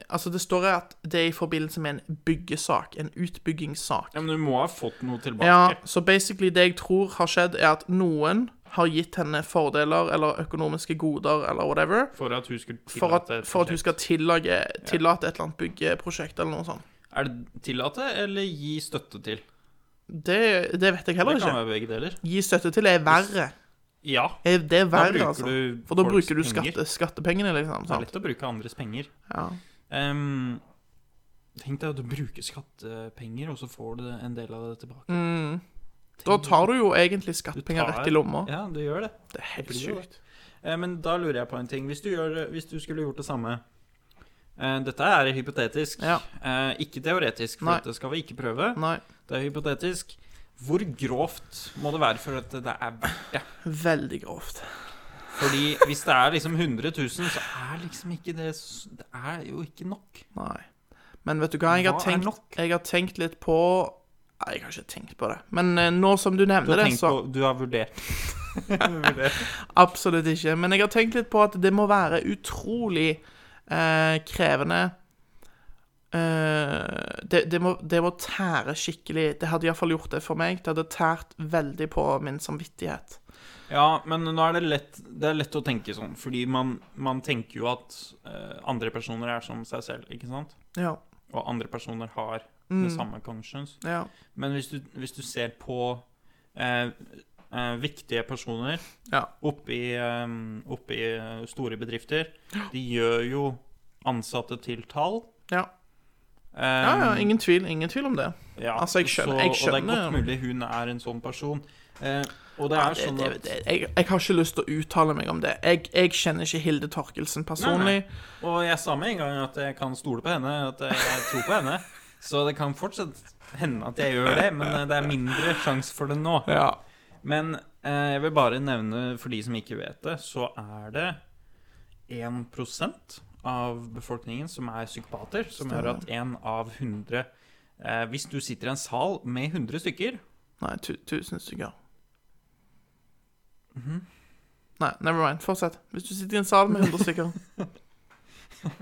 Altså, det står her at det er i forbindelse med en byggesak. En utbyggingssak.
Ja, Men hun må ha fått noe tilbake.
Ja, så basically det jeg tror har skjedd, er at noen har gitt henne fordeler eller økonomiske goder eller whatever
For at hun skulle
for at,
tillate et
for at hun
prosjekt.
skal tillage, tillate et eller annet byggeprosjekt eller noe sånt.
Er det tillate eller gi støtte til?
Det, det vet jeg
Det
heller
kan
ikke.
være begge deler.
Gi støtte til er verre.
Ja.
Er det er
bruker
verre, altså.
du
For da
folks
bruker du
penger.
skatte, skattepengene, liksom.
Det er
Sant?
lett å bruke andres penger.
Ja.
Ehm, tenk deg at du bruker skattepenger, og så får du en del av det tilbake.
Mm. Da tar du jo egentlig
Du
skattepenger
tar-
rett i lomma.
Ja, du gjør det.
Det er helt
blir jo det.
sjukt.
Eh, men da lurer jeg på en ting. Hvis du, gjør, hvis du skulle gjort det samme eh, Dette er hypotetisk,
Ja.
eh, ikke teoretisk, for
Nei.
dette skal vi ikke prøve.
Nei.
Det er hypotetisk. Hvor grovt må det være for at det er verdt det?
Veldig grovt.
Fordi hvis det er liksom 100 000, så er liksom ikke det s- Det er jo ikke nok.
Nei. Men vet du hva, jeg har,
Hva er
tenkt,
nok?
jeg har tenkt litt på Nei, jeg har ikke tenkt på det. Men eh, nå som du
Du
nevner
har,
det,
tenkt
så
på, du har vurdert
Absolutt ikke. Men jeg har tenkt litt på at det må være utrolig eh, krevende eh, det, det, må, det må tære skikkelig. Det hadde iallfall gjort det for meg. Det hadde tært veldig på min samvittighet.
Ja, men nå er det lett, det er lett å tenke sånn, fordi man, man tenker jo at eh, andre personer er som seg selv, ikke sant?
Ja.
Og andre personer har
Mm.
det samme conscience.
Ja.
Men hvis du, hvis du ser på eh, eh, viktige personer
Ja.
oppe i, eh, oppe i eh, store bedrifter, de gjør jo ansatte til tall.
Ja.
Eh,
ja, ja ingen tvil. Ingen tvil om det.
ja,
altså, jeg skjønner- jeg
Og det er
skjønner-
godt mulig hun er en sånn person. Eh, og det
Ja,
er
det,
sånn
det,
at
det, jeg, jeg har ikke lyst til å uttale meg om det. Jeg, jeg kjenner ikke Hilde Torkelsen personlig.
Nei, nei. Og jeg sa med en gang at jeg kan stole på henne, at jeg tror på henne. Så det kan fortsatt hende at jeg gjør det, men eh, det er mindre sjanse for det nå.
Ja.
Men eh, jeg vil bare nevne, for de som ikke vet det, så er det 1 av befolkningen som er psykopater, som gjør at én av 100 eh, Hvis du sitter i en sal med 100 stykker
Nei, tu, tusen stykker.
Mhm.
Nei, never mind. Fortsett. Hvis du sitter i en sal med 100 stykker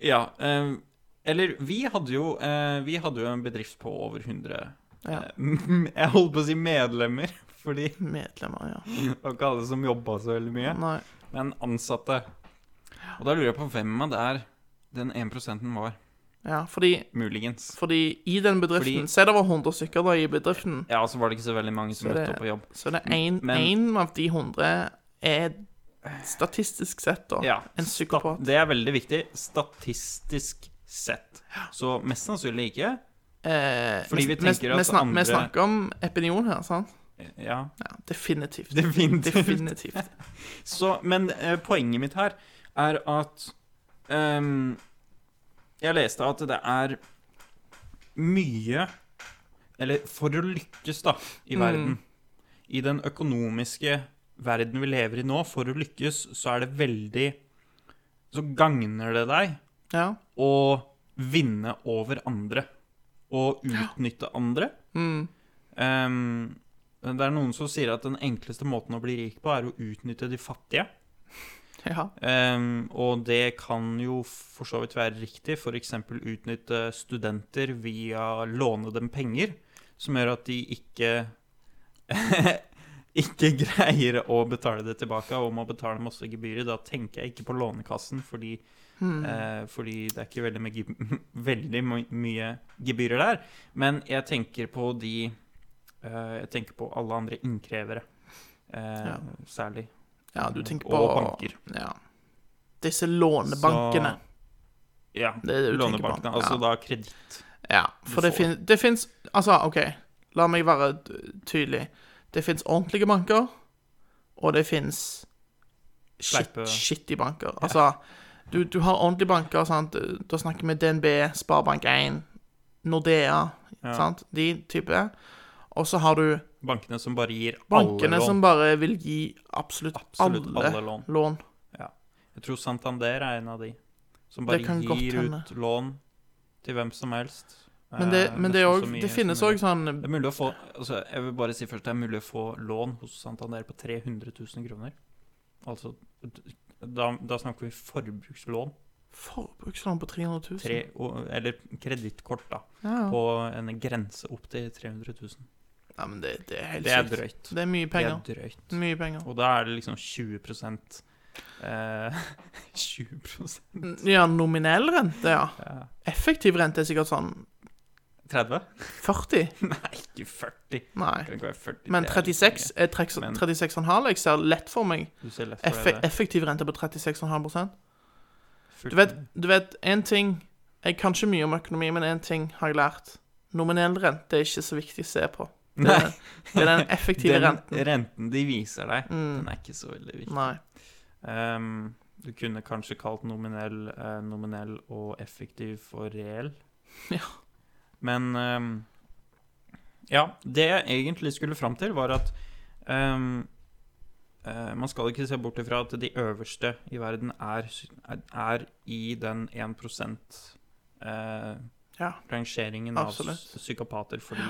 Ja. Eh, eller vi hadde, jo, eh, vi hadde jo en bedrift på over 100
Ja.
Jeg holdt på å si medlemmer, fordi
medlemmer, ja.
det var ikke alle som jobba så veldig mye.
Nei.
Men ansatte. Og da lurer jeg på hvem av der den 1 var.
Ja, fordi,
Muligens.
fordi i den bedriften
Fordi-
Se, det var 100 stykker da i bedriften.
Ja, så var det ikke så veldig mange som
Så det-
møtte opp på jobb.
Så det er en,
Men-
en av de 100 er statistisk sett da
Ja,
en psykopat.
stat- Det er veldig viktig. Statistisk sett. Så mest sannsynlig ikke.
Eh,
Fordi
vi-
vi
vi-
tenker at
vi snak-
andre-
Vi snakker om epinion her, sant?
Ja,
Ja, definitivt.
definitivt.
Definitivt.
Så, men eh, poenget mitt her er at ehm, Jeg leste at det er mye Eller for å lykkes, da, i verden I den økonomiske verden vi lever i nå, for å lykkes, så er det veldig Så gagner det deg
Ja.
å vinne over andre og utnytte andre. Ehm, det er noen som sier at den enkleste måten å bli rik på, er å utnytte de fattige.
ja.
Ehm, og det kan jo for så vidt være riktig, f.eks. utnytte studenter via låne dem penger, som gjør at de ikke ikke greier å betale det tilbake og må betale masse gebyrer. Da tenker jeg ikke på Lånekassen, fordi, eh, fordi det er ikke veldig, mye gib- veldig my mye gebyrer der. Men jeg tenker på de eh, Jeg tenker på alle andre innkrevere, eh,
Ja.
særlig.
ja, du tenker på
Og banker.
Ja. Disse lånebankene.
Ja,
Det er det du tenker på.
Lånebankene. Altså
Ja.
da kreditt.
Ja, for det,
får-
fin det fins Altså, OK, la meg være d- tydelig. Det fins ordentlige banker, og det fins shit,
Sleipe-
shitty banker. Altså, du, du har ordentlige banker, sant? da snakker vi DNB, Sparebank1, Nordea, sant? de type. Og så har du
Bankene som bare gir
bankene
alle lån.
som bare vil gi absolutt,
Absolutt
alle,
alle lån.
lån.
Ja. Jeg tror Santander er en av de som bare
Det kan godt
gir
hende.
ut lån til hvem som helst.
Men det,
eh,
men det, er
nesten
også,
så mye
det
som
finnes
mulig.
òg sånn
Det er mulig å få altså, Jeg vil bare si først det er mulig å få lån hos Santander på 300 000 kroner. Altså d- da, da snakker vi forbrukslån.
forbrukslån på 300 000.
Tre, og, eller kredittkort, da.
Ja.
På en grense opp til 300 000.
Ja, men det, det er helt
Det er
sykt.
drøyt.
Det er mye
Det er
penger.
drøyt.
Mye penger.
Og da er det liksom 20 eh, 20
Ja, nominell rente, ja.
Ja.
Effektiv rente er sikkert sånn
30?
40?
Nei, ikke 40.
Nei.
Det kan ikke være 40.
Men
det er
36
mye.
er treks-
Men-
36,5 jeg ser lett for meg.
Du ser lett
Eff
for deg det.
effektiv rente på 36,5
40.
Du vet, du vet, en ting Jeg kan ikke mye om økonomi, men en ting har jeg lært. Nominell rente er ikke så viktig å se på. Det er,
Nei.
det er den effektive
den
renten. Mm.
renten de viser deg, den er ikke så veldig viktig.
Nei.
Ehm, du kunne kanskje kalt nominell, eh, nominell og effektiv for reell.
Ja.
Men ehm, Ja, det jeg egentlig skulle fram til, var at ehm, eh, man skal ikke se bort ifra at de øverste i verden er, er i den 1 eh,
Ja.
rangeringen
Absolutt.
av psy- psykopater, fordi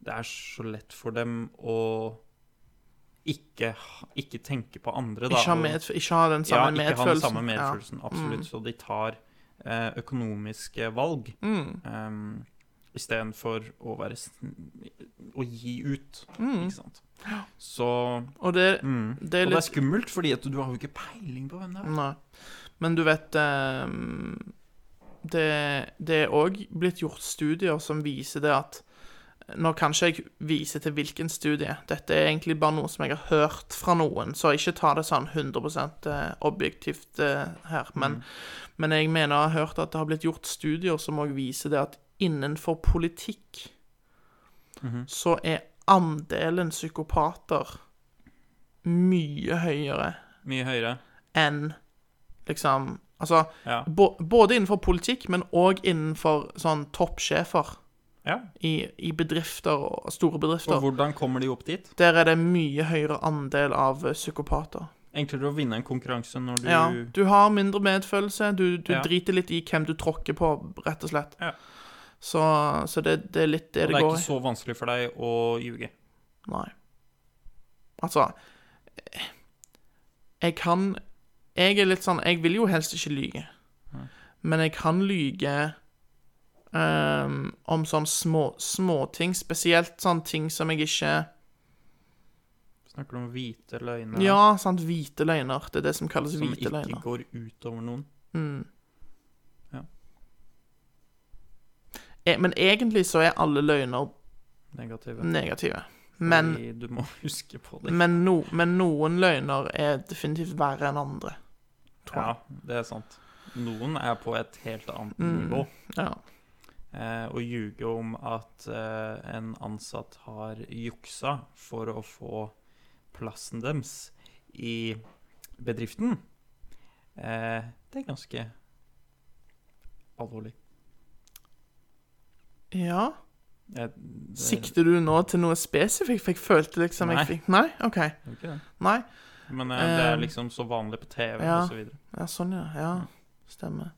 det er så lett for dem å ikke, ha- ikke tenke på andre. Da.
Ikke ha,
og-
medf ikke ha den
ja,
samme
ikke ha den
medfølelsen. Mm.
samme medfølelsen. Absolutt. Så de tar eh, økonomiske valg
Ja. Mm.
um, istedenfor å være sn- Å gi ut, ikke sant. Så
Og det,
mm.
Mm. det er
Og det er
litt Mm.
skummelt, fordi at du har jo ikke peiling på hvem det er.
Nei. Men du vet ehm, det, det er òg blitt gjort studier som viser det at Nå kan ikke jeg vise til hvilken studie. Dette er egentlig bare noe som jeg har hørt fra noen, så ikke ta det sånn 100 objektivt eh, her. Men, men jeg mener jeg har hørt at det har blitt gjort studier som òg viser det at innenfor politikk så er andelen psykopater mye høyere
Mye høyere.
enn liksom Altså,
Ja.
bo, både innenfor politikk, men òg innenfor sånn toppsjefer
ja.
i, i bedrifter og store
Og
bedrifter.
hvordan kommer de opp dit?
Der er det mye høyere andel av eh, psykopater.
Enklere å vinne en konkurranse når du
Ja, du har mindre medfølelse, du, du
Ja.
driter litt i hvem du tråkker på, rett og slett.
Ja.
Så, så det, det er litt det
Og
det,
det er
går
ikke så vanskelig for deg å ljuge.
Nei. Altså eh, Jeg kan Jeg er litt sånn Jeg vil jo helst ikke lyge. Men jeg kan lyge ehm, om sånne små småting. Spesielt sånne ting som jeg ikke
Snakker du om hvite løgner
Ja, sant, hvite løgner. Det er det som kalles
som
hvite
ikke
løgner. Mm.
går utover noen?
E- Men egentlig så er alle løgner
Negative.
negative. Men,
Fordi Du må huske på det.
men, no, men noen løgner er definitivt verre enn andre.
Ja, det er sant. Noen er på et helt annet
Mm.
nivå.
Ja.
eh, og ljuge om at eh, en ansatt har juksa for å få plassen deres i bedriften, eh, det er ganske alvorlig.
ja.
Jeg, det,
Sikter du nå til noe spesifikt? For jeg følte liksom
Nei.
jeg fikk Nei? OK.
det er ikke det.
Nei.
Men eh, det er
Eh,
liksom så vanlig på TV
ja.
og så videre.
Ja, sånn, ja. Ja, stemmer.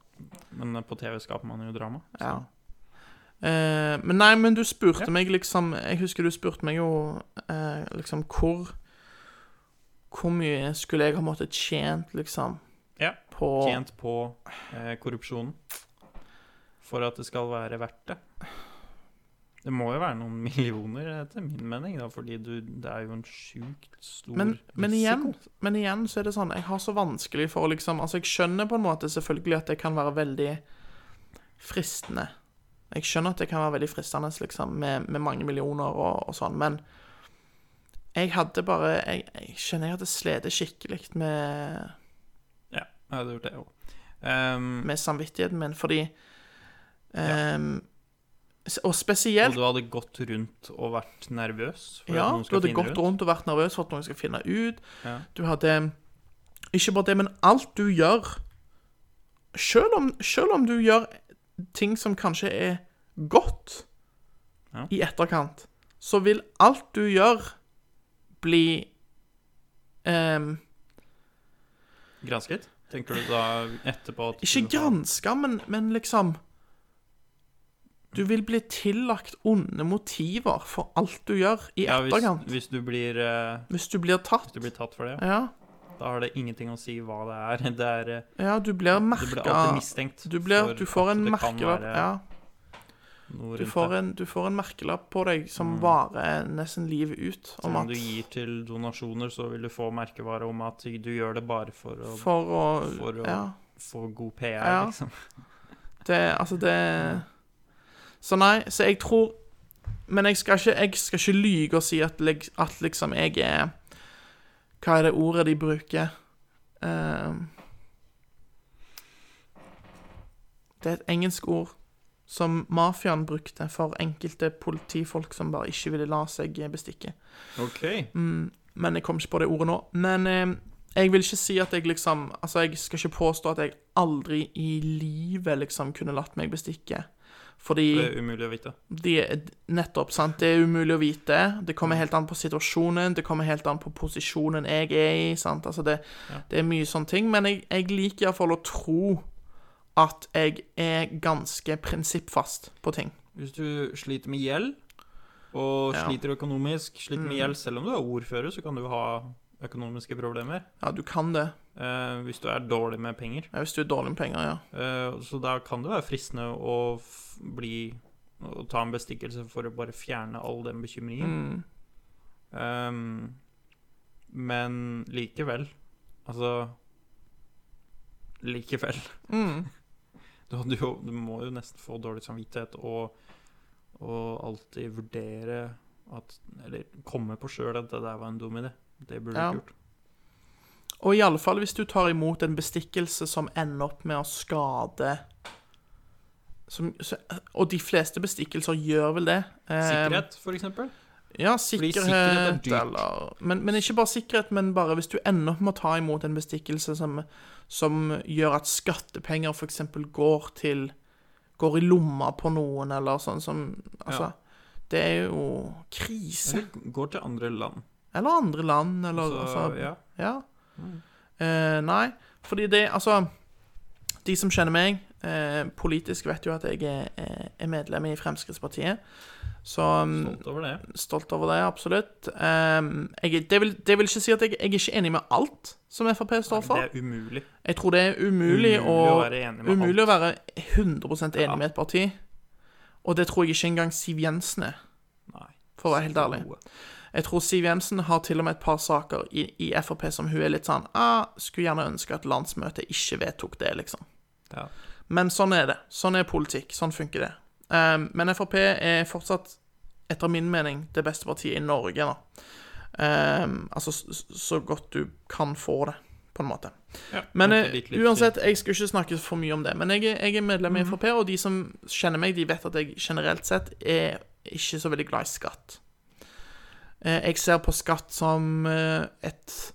Men eh, på TV skaper man jo drama. så-
Ja. Eh, men nei, men du spurte
Sånn. Ja.
meg liksom Jeg husker du spurte meg jo eh, liksom hvor Hvor mye skulle jeg ha måttet tjent, liksom,
Ja.
på
Tjent på eh, korrupsjonen for at det skal være verdt det. Det må jo være noen millioner, etter min mening, da, fordi du, det er jo en sjukt stor
men, men, igjen,
risiko.
men igjen så er det sånn Jeg har så vanskelig for å liksom Altså, jeg skjønner på en måte selvfølgelig at det kan være veldig fristende. Jeg skjønner at det kan være veldig fristende liksom, med, med mange millioner og, og sånn, men jeg hadde bare Jeg, jeg skjønner jeg hadde slitt skikkelig med,
Ja, jeg hadde gjort det òg. Um,
med samvittigheten min, fordi ehm, s- Og spesielt
og du hadde gått rundt og vært nervøs? For
Ja,
at noen
du
skal
hadde
finne
gått
ut?
rundt og vært nervøs for at noen skal finne ut.
Ja.
Du hadde Ikke bare det, men alt du gjør Selv om, selv om du gjør ting som kanskje er godt
Ja.
i etterkant, så vil alt du gjør, bli ehm,
Gransket? Tenker du da etterpå at
Ikke
du har-
granska, men, men liksom Du vil bli tillagt onde motiver for alt du gjør i
Ja, hvis,
etterkant. hvis,
hvis du blir eh,
du blir tatt.
hvis du blir tatt for det, ja.
Ja.
da har det ingenting å si hva det er. Det er eh,
Ja, du blir
Du
merka
blir alltid mistenkt.
Du, blir,
for
du får
at
en
det kan
merkelapp
være
ja,
noe
du,
rundt
får
det.
en, du får en merkelapp på deg som varer nesten livet ut. Om
Om
at
Mm. du gir til donasjoner, så vil du få merkevare om at du gjør det bare for å
For å
for å-
Ja.
få god PR,
Ja.
liksom.
Det Altså, det Så nei, så jeg tror Men jeg skal ikke, jeg skal ikke lyge og si at, lik- at liksom jeg er Hva er det ordet de bruker? Ehm, det er et engelsk ord som mafiaen brukte for enkelte politifolk som bare ikke ville la seg bestikke.
OK.
Mm. Men jeg kom ikke på det ordet nå. Men eh, jeg vil ikke si at jeg liksom Altså, jeg skal ikke påstå at jeg aldri i livet liksom kunne latt meg bestikke. Fordi
Det er umulig å vite.
de, nettopp, sant? Det er umulig å vite. Det kommer helt an på situasjonen, det kommer helt an på posisjonen jeg er i. sant? Altså det, det er mye sånne ting. Men jeg, jeg liker iallfall å tro at jeg er ganske prinsippfast på ting.
Hvis du sliter med gjeld, og
Ja. Mm.
sliter økonomisk, sliter med gjeld selv om du er ordfører, så kan du ha økonomiske problemer.
Ja, du kan det.
eh, hvis du er dårlig med penger.
Ja, Hvis du er dårlig med penger, ja.
Eh, så da kan det være fristende å f bli Å ta en bestikkelse for å bare fjerne all den bekymringen.
Mm.
Ehm, men likevel Altså Likevel.
Mm.
Du, hadde jo, du må jo nesten få dårlig samvittighet og, og alltid vurdere at Eller komme på sjøl at det der var en dum idé. Det burde
Ja.
du ikke gjort.
Og iallfall hvis du tar imot en bestikkelse som ender opp med å skade som, så, Og de fleste bestikkelser gjør vel det. Eh,
Sikkerhet, for eksempel.
Ja,
Fordi
sikkerhet,
sikkerhet er dyrt.
eller men, men ikke bare sikkerhet, men bare hvis du ender opp med å ta imot en bestikkelse som, som gjør at skattepenger f.eks. går til Går i lomma på noen, eller sånn som Altså, det er jo krise.
Eller går til andre land.
Eller andre land, eller
Så,
altså,
ja.
ja.
Mm.
Eh, nei, fordi det Altså, de som kjenner meg eh, politisk, vet jo at jeg er, eh, er- er medlem i Fremskrittspartiet. Så mm,
Stolt over det.
stolt over det, absolutt. Ehm, jeg, er- det, vil, det vil ikke si at jeg, jeg er ikke enig med alt som Frp står
Det
for.
er umulig.
Jeg tror det er umulig,
Umulig
å,
å være enig med
umulig å være 100 enig
Ja.
med et parti. Og det tror jeg ikke engang Siv Jensen er,
Nei.
for å være helt ærlig.
Noe.
Jeg tror Siv Jensen har til og med et par saker i, i Frp som hun er litt sånn ah, Skulle gjerne ønske at landsmøtet ikke vedtok det, liksom.
Ja.
Men sånn er det. Sånn er politikk. Sånn funker det. Ehm, men Frp er fortsatt, etter min mening, det beste partiet i Norge, da. Ehm, altså s- s- så godt du kan få det, på en måte.
Ja,
Men
det er
eh,
litt livssyn.
uansett, jeg skal ikke snakke for mye om det. Men jeg, er- jeg er medlem i Frp, og de som kjenner meg, de vet at jeg generelt sett er ikke så veldig glad i skatt. Eh, Jeg ser på skatt som eh, et,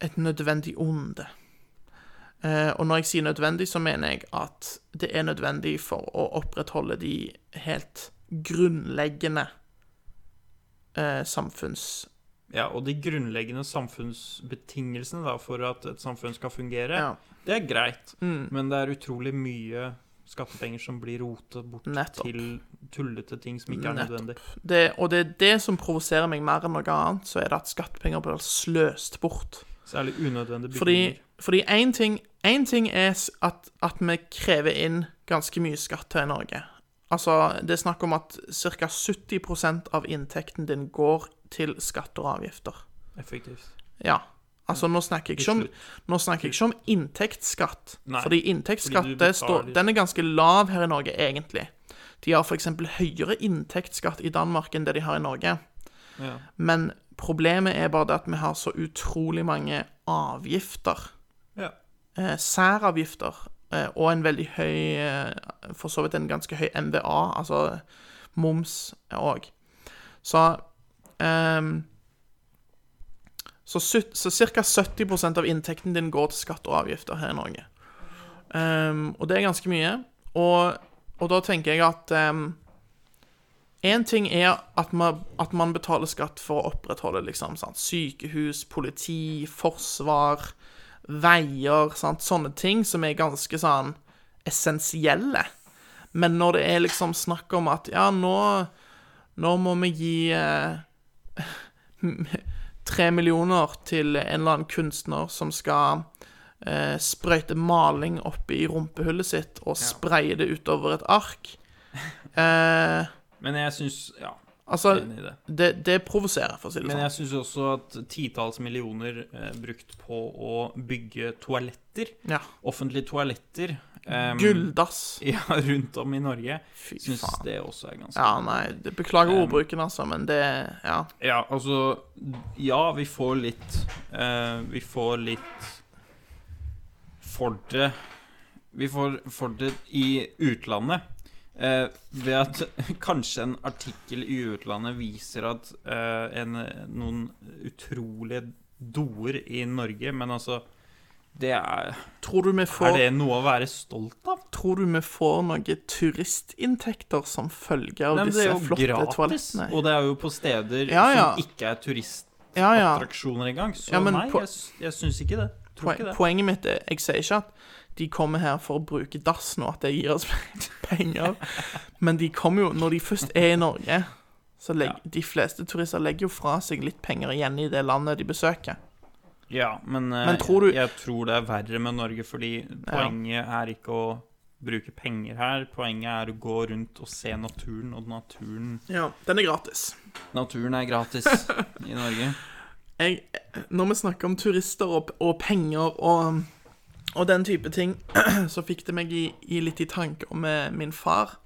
et nødvendig onde. Eh, Og når jeg sier nødvendig, så mener jeg at det er nødvendig for å opprettholde de helt grunnleggende eh, samfunns...
Ja, og de grunnleggende samfunnsbetingelsene da, for at et samfunn skal fungere,
Ja. Mm.
det er greit. Men det er utrolig mye skattepenger som blir rotet bort
Nettopp.
til tullete ting som ikke er
Nettopp.
nødvendig.
Det, og det er det som provoserer meg mer enn noe annet, så er det at skattepenger blir sløst bort.
Særlig unødvendige
Fordi
bygninger.
fordi én ting, en ting er s- at, at vi krever inn ganske mye skatt her i Norge. Altså, det er snakk om at ca. 70 av inntekten din går til skatter og avgifter.
Effektivt.
Ja. Altså, nå snakker jeg ikke om,
Til
nå snakker jeg ikke om inntektsskatt.
Nei,
fordi inntektsskatt
fordi du
det står,
betaler-
den er ganske lav her i Norge, egentlig. De har f.eks. høyere inntektsskatt i Danmark enn det de har i Norge.
Ja.
Men problemet er bare det at vi har så utrolig mange avgifter.
ja.
Eh, særavgifter. Eh, og en veldig høy eh, For så vidt en ganske høy MVA, altså moms òg. Så ehm, Så, syt- så ca. 70 av inntekten din går til skatt og avgifter her i Norge. Ehm, og det er ganske mye. Og, og da tenker jeg at ehm, en ting er at man, at man betaler skatt for å opprettholde liksom, sant? sykehus, politi, forsvar, veier, sant? sånne ting som er ganske sånn essensielle. Men når det er liksom snakk om at ja, nå, nå må vi gi eh, tre millioner til en eller annen kunstner som skal eh, sprøyte maling opp i rumpehullet sitt og spraye det utover et ark eh,
Men jeg syns Ja,
Altså,
enig i det.
det, det provoserer, for å si det
Men
sånn.
jeg syns også at titalls millioner eh, brukt på å bygge toaletter,
Ja.
offentlige toaletter ehm, em,
Gulldass.
Ja, rundt om i Norge,
Fy
syns
faen.
det Um, også er ganske
Ja, nei, det- beklager ordbruken, altså, men det Ja.
Ja, altså Ja, vi får litt eh, Vi får litt for det Vi får for det i utlandet. eh, ved at kanskje en artikkel i utlandet viser at eh, en, noen utrolige doer i Norge Men altså Det er
Tror du vi
Er
får,
det noe å være stolt av?
tror du vi får noen turistinntekter som følge av
Nei, men det
disse
er jo
flotte
gratis,
toalettene?
og det er jo på steder
Ja, ja.
som ikke er turistattraksjoner
Ja, ja.
engang. Så
Ja, men
nei,
på-
jeg, s- jeg syns ikke det. Tror
Poen,
ikke det.
poenget mitt er Jeg sier ikke at de kommer her for å bruke dassen, og at det gir oss penger, men de kommer jo Når de først er i Norge, så legger de fleste turister legger jo fra seg litt penger igjen i det landet de besøker.
Ja, men, eh,
Men tror du-
jeg tror det er verre med Norge, fordi poenget er ikke å bruke penger her. Poenget er å gå rundt og se naturen, og naturen
Ja, den er gratis.
Naturen er gratis i Norge.
jeg, når vi snakker om turister og, og penger og, og den type ting, så fikk det meg i, i litt i tanke om eh, min far,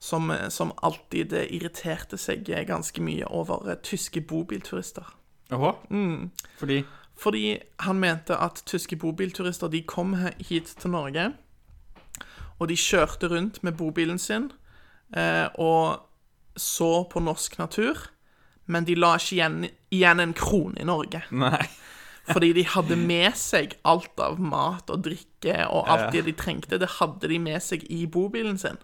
som, eh, som alltid eh, irriterte seg eh, ganske mye over eh, tyske bobilturister.
Jaha? Mm. Fordi
Fordi han mente at tyske bobilturister de kom he- hit til Norge, og de kjørte rundt med bobilen sin eh, og så på norsk natur, men de la ikke igjen, igjen en krone i Norge.
Nei.
Fordi de hadde med seg alt av mat og drikke og alt det de trengte. Det hadde de med seg i bobilen sin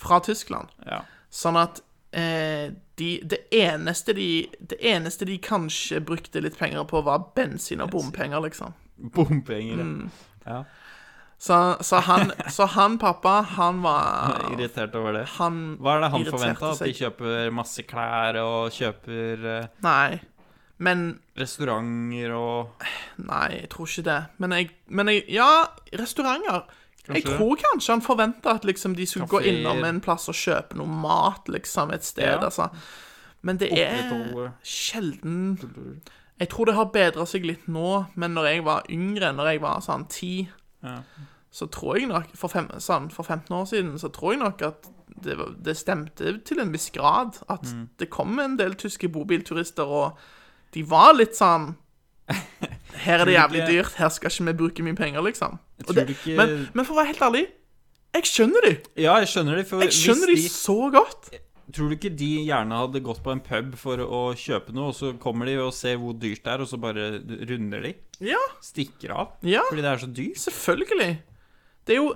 fra Tyskland.
Ja.
Sånn at eh, de, det, eneste de, det eneste de kanskje brukte litt penger på, var bensin og bompenger, liksom.
Bompenger. ja.
Mm. Så, så, han, så han pappa, han var
Irritert over det.
Han
Hva er det han
irriterte
forventa? At de
seg.
kjøper masse klær og kjøper eh,
Nei. Men
restauranter og
Nei, jeg tror ikke det. Men jeg, men jeg Ja, restauranter. jeg
Kanskje det.
tror kanskje han forventa at liksom de skulle gå
Kaféer.
innom en plass og kjøpe noe mat, liksom, et sted,
Ja.
altså. Men det er
Opprettholde.
sjelden Jeg tror det har bedra seg litt nå, men når jeg var yngre, når jeg var sånn ti,
Ja.
så tror jeg nok for, fem, sånn, for 15 år siden så tror jeg nok at det, var- det stemte til en viss grad at
Mm.
det kom en del tyske bobilturister, og de var litt sånn Her er det
Tror du
jævlig
ikke-
dyrt, her skal ikke vi bruke mye penger, liksom. Og
tror
det,
du ikke-
men, men for å være helt ærlig, jeg skjønner de.
Ja, jeg skjønner det. For
Jeg skjønner de
hvis de
så godt.
Tror du ikke de gjerne hadde gått på en pub for å kjøpe noe, og så kommer de og ser hvor dyrt det er, og så bare runder de?
Ja,
Stikker av?
Ja.
Fordi det er så dyrt?
selvfølgelig. Det er jo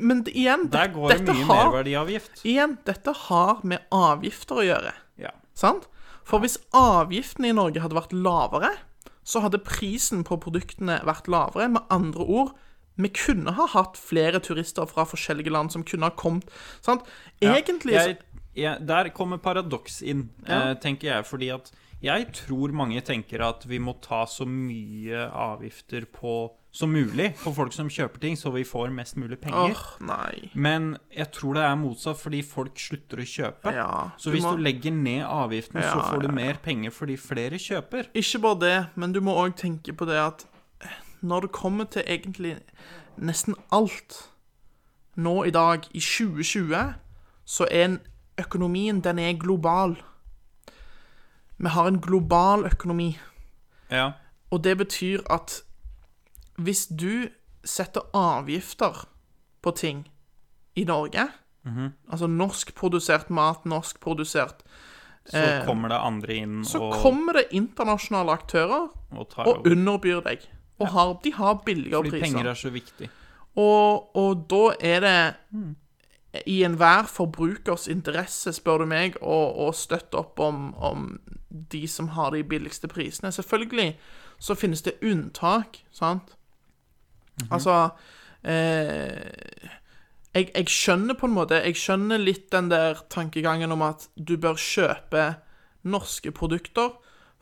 Men det- igjen,
Der
det-
går det mye
har-
merverdiavgift.
Igjen, dette har med avgifter å gjøre.
Ja.
Sant? For hvis avgiftene i Norge hadde vært lavere, så hadde prisen på produktene vært lavere. Med andre ord, vi kunne ha hatt flere turister fra forskjellige land som kunne ha kommet Sant? Egentlig
jeg, jeg, Der kommer paradoks inn,
Ja.
eh, tenker jeg. Fordi at jeg tror mange tenker at vi må ta så mye avgifter på som mulig på folk som kjøper ting, så vi får mest mulig
så
penger.
Åh, nei.
Men jeg tror det er motsatt, fordi folk slutter å kjøpe.
Ja,
så
du
hvis
må-
du legger ned avgiften, så
Ja,
får du
ja,
mer penger fordi flere kjøper.
Ikke bare det, men du må òg tenke på det at eh, når det kommer til egentlig nesten alt nå i dag, i 2020, så er en- økonomien den er global. Vi har en global økonomi.
Ja.
Og det betyr at hvis du setter avgifter på ting i Norge, altså norskprodusert mat, norskprodusert,
Så kommer det andre inn
Eh, så
og,
kommer det internasjonale aktører
og tar
og
over.
underbyr deg. Og har, de har billigere
Fordi penger
priser.
er så viktig.
Og, og da er det i enhver forbrukers interesse, spør du meg, å, å støtte opp om, om de som har de billigste prisene. Selvfølgelig så finnes det unntak, sant? Altså eh, jeg, jeg skjønner på en måte Jeg skjønner litt den der tankegangen om at du bør kjøpe norske produkter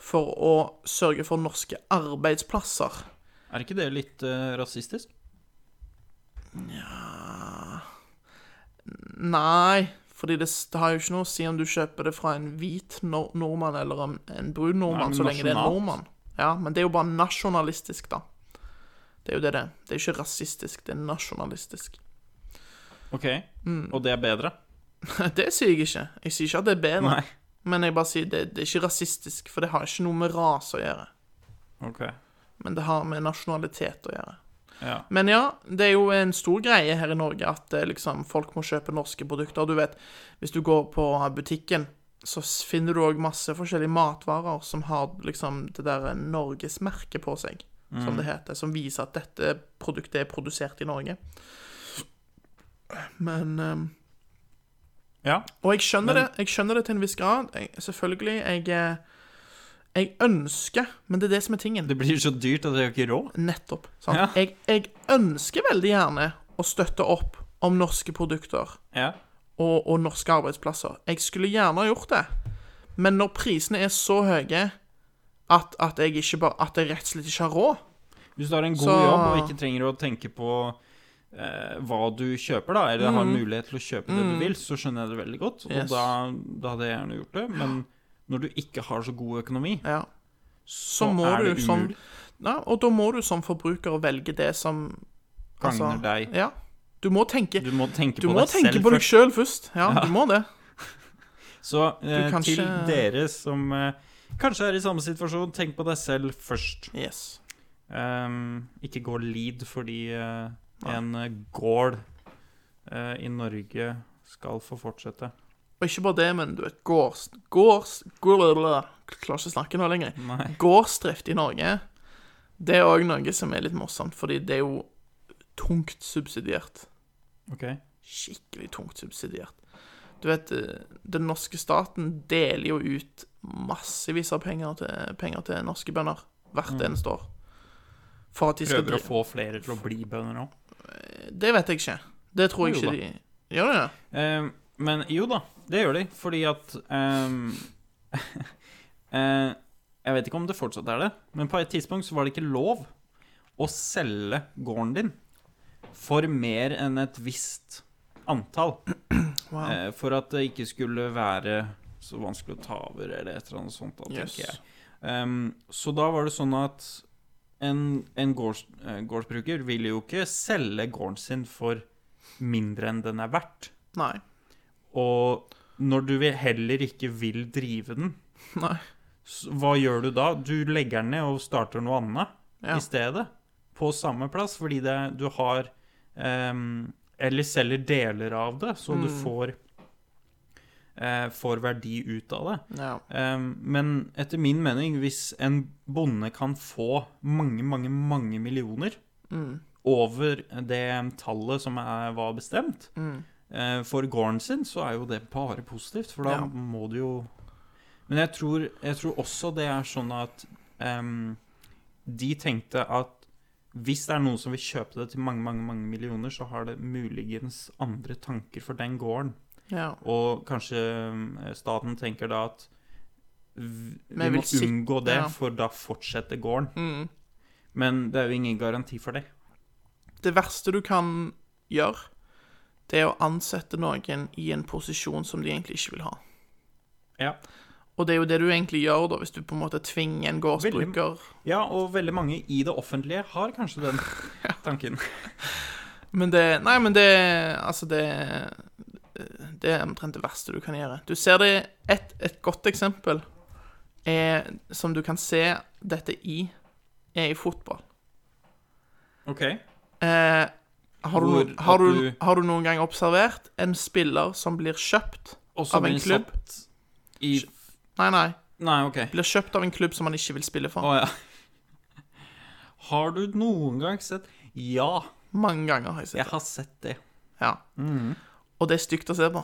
for å sørge for norske arbeidsplasser.
Er ikke det litt eh, rasistisk?
Nei, fordi det, s- det har jo ikke noe å si om du kjøper det fra en hvit nor nordmann eller en, en brun
Nei,
nordmann,
men
så lenge det er en
nasjonalt.
nordmann. Ja, men det er jo bare nasjonalistisk, da. Det er jo det det er. Det er ikke rasistisk, det er nasjonalistisk.
OK,
Mm.
og det er bedre?
Det sier jeg ikke. Jeg sier ikke at det er bedre,
Nei.
men jeg bare sier det, det er ikke rasistisk, for det har ikke noe med rase å gjøre.
OK.
Men det har med nasjonalitet å gjøre.
Ja.
Men ja, det er jo en stor greie her i Norge at eh, liksom, folk må kjøpe norske produkter. Du vet, hvis du går på butikken, så s- finner du òg masse forskjellige matvarer som har liksom det der eh, Norgesmerket på seg. som det heter, som viser at dette produktet er produsert i Norge. Men eh,
Ja.
og jeg skjønner, det, jeg skjønner det til en viss grad. Jeg, selvfølgelig. Jeg, eh, jeg ønsker Men det er det som er tingen.
Det blir så dyrt at jeg har ikke råd.
Nettopp. Sant?
Ja.
Jeg, jeg ønsker veldig gjerne å støtte opp om norske produkter
Ja.
og, og norske arbeidsplasser. Jeg skulle gjerne ha gjort det. Men når prisene er så høye at, at, jeg, ikke bare, at jeg rett og slett ikke har råd
Hvis du har en god
Så-
jobb og ikke trenger å tenke på eh, hva du kjøper, da, eller har mulighet til å kjøpe det du vil, så skjønner jeg det veldig godt. Og
Mhm. Yes.
da, da hadde jeg gjerne gjort det. Men når du ikke har så god økonomi
ja, så,
Så
må
er
du
det
sånn
umulig.
ja, Og da må du som forbruker velge det som altså,
Gagner deg.
Ja. Du må tenke
Du må tenke
Du
på
må
deg
tenke
selv
på deg
først.
sjøl først. Ja, du må det.
Så eh,
kan
til
ikke-
dere som eh, kanskje er i samme situasjon, tenk på deg selv først.
Yes.
Ehm, ikke gå lead fordi eh, en eh, gård eh, i Norge skal få fortsette.
Og ikke bare det, men du vet, gårds... Gårds... Glululul. Klarer ikke å snakke nå lenger.
Nei.
Gårdsdrift i Norge, det er òg noe som er litt morsomt, fordi det er jo tungt subsidiert.
OK.
Skikkelig tungt subsidiert. Du vet, eh, den norske staten deler jo ut massevis av penger til, penger til norske bønder hvert eneste år. For at de skal
Mm. Prøver å
drive-
få flere til å bli bønder nå.
Det vet jeg ikke. Det tror jeg
Jo
ikke de Gjør det det?
Ehm, men jo da, det gjør de, fordi at ehm, eh, Jeg vet ikke om det fortsatt er det, men på et tidspunkt så var det ikke lov å selge gården din for mer enn et visst antall.
Wow.
Eh, for at det ikke skulle være så vanskelig å ta over eller et eller annet sånt, da,
Yes.
tenker jeg. Ehm, så da var det sånn at en, en gårds, eh, gårdsbruker vil jo ikke selge gården sin for mindre enn den er verdt.
Nei.
Og når du vil- heller ikke vil drive den,
Nei.
s- hva gjør du da? Du legger den ned og starter noe annet
Ja.
i stedet. På samme plass, fordi det, du har ehm, Eller selger deler av det, så du får, eh, får verdi ut av det.
Ja.
Ehm, men etter min mening, hvis en bonde kan få mange, mange, mange millioner over det tallet som er, var bestemt eh, for gården sin, så er jo det bare positivt, for da
Ja.
må du jo Men jeg tror, jeg tror også det er sånn at ehm, de tenkte at hvis det er noen som vil kjøpe det til mange, mange, mange millioner, så har det muligens andre tanker for den gården.
ja.
Og kanskje mm, staten tenker da at v- vi
Men
må
vil sik-
unngå det,
ja. Mm.
for da fortsetter gården. Men det er jo ingen garanti for det.
det verste du kan gjøre, det er å ansette noen i en posisjon som de egentlig ikke vil ha.
Ja.
Og det er jo det du egentlig gjør, da, hvis du på en måte tvinger en gårdsbruker
ja, og veldig mange i det offentlige har kanskje den tanken.
Men det Nei, men det Altså, det Det er omtrent det verste du kan gjøre. Du ser det Et, et godt eksempel er, som du kan se dette i, er i fotball.
OK.
Eh, har, du,
Hvor
har,
at
du,
du-
har du noen gang observert en spiller som blir kjøpt
Og så
av en
blir
klubb?
satt I
Nei, nei.
Nei, OK.
Blir kjøpt av en klubb som han ikke vil spille
Å
for.
ja. Har du noen gang sett Ja,
Mange ganger har jeg
jeg
sett det.
har sett det.
Ja.
Mm.
Og det er stygt å se på.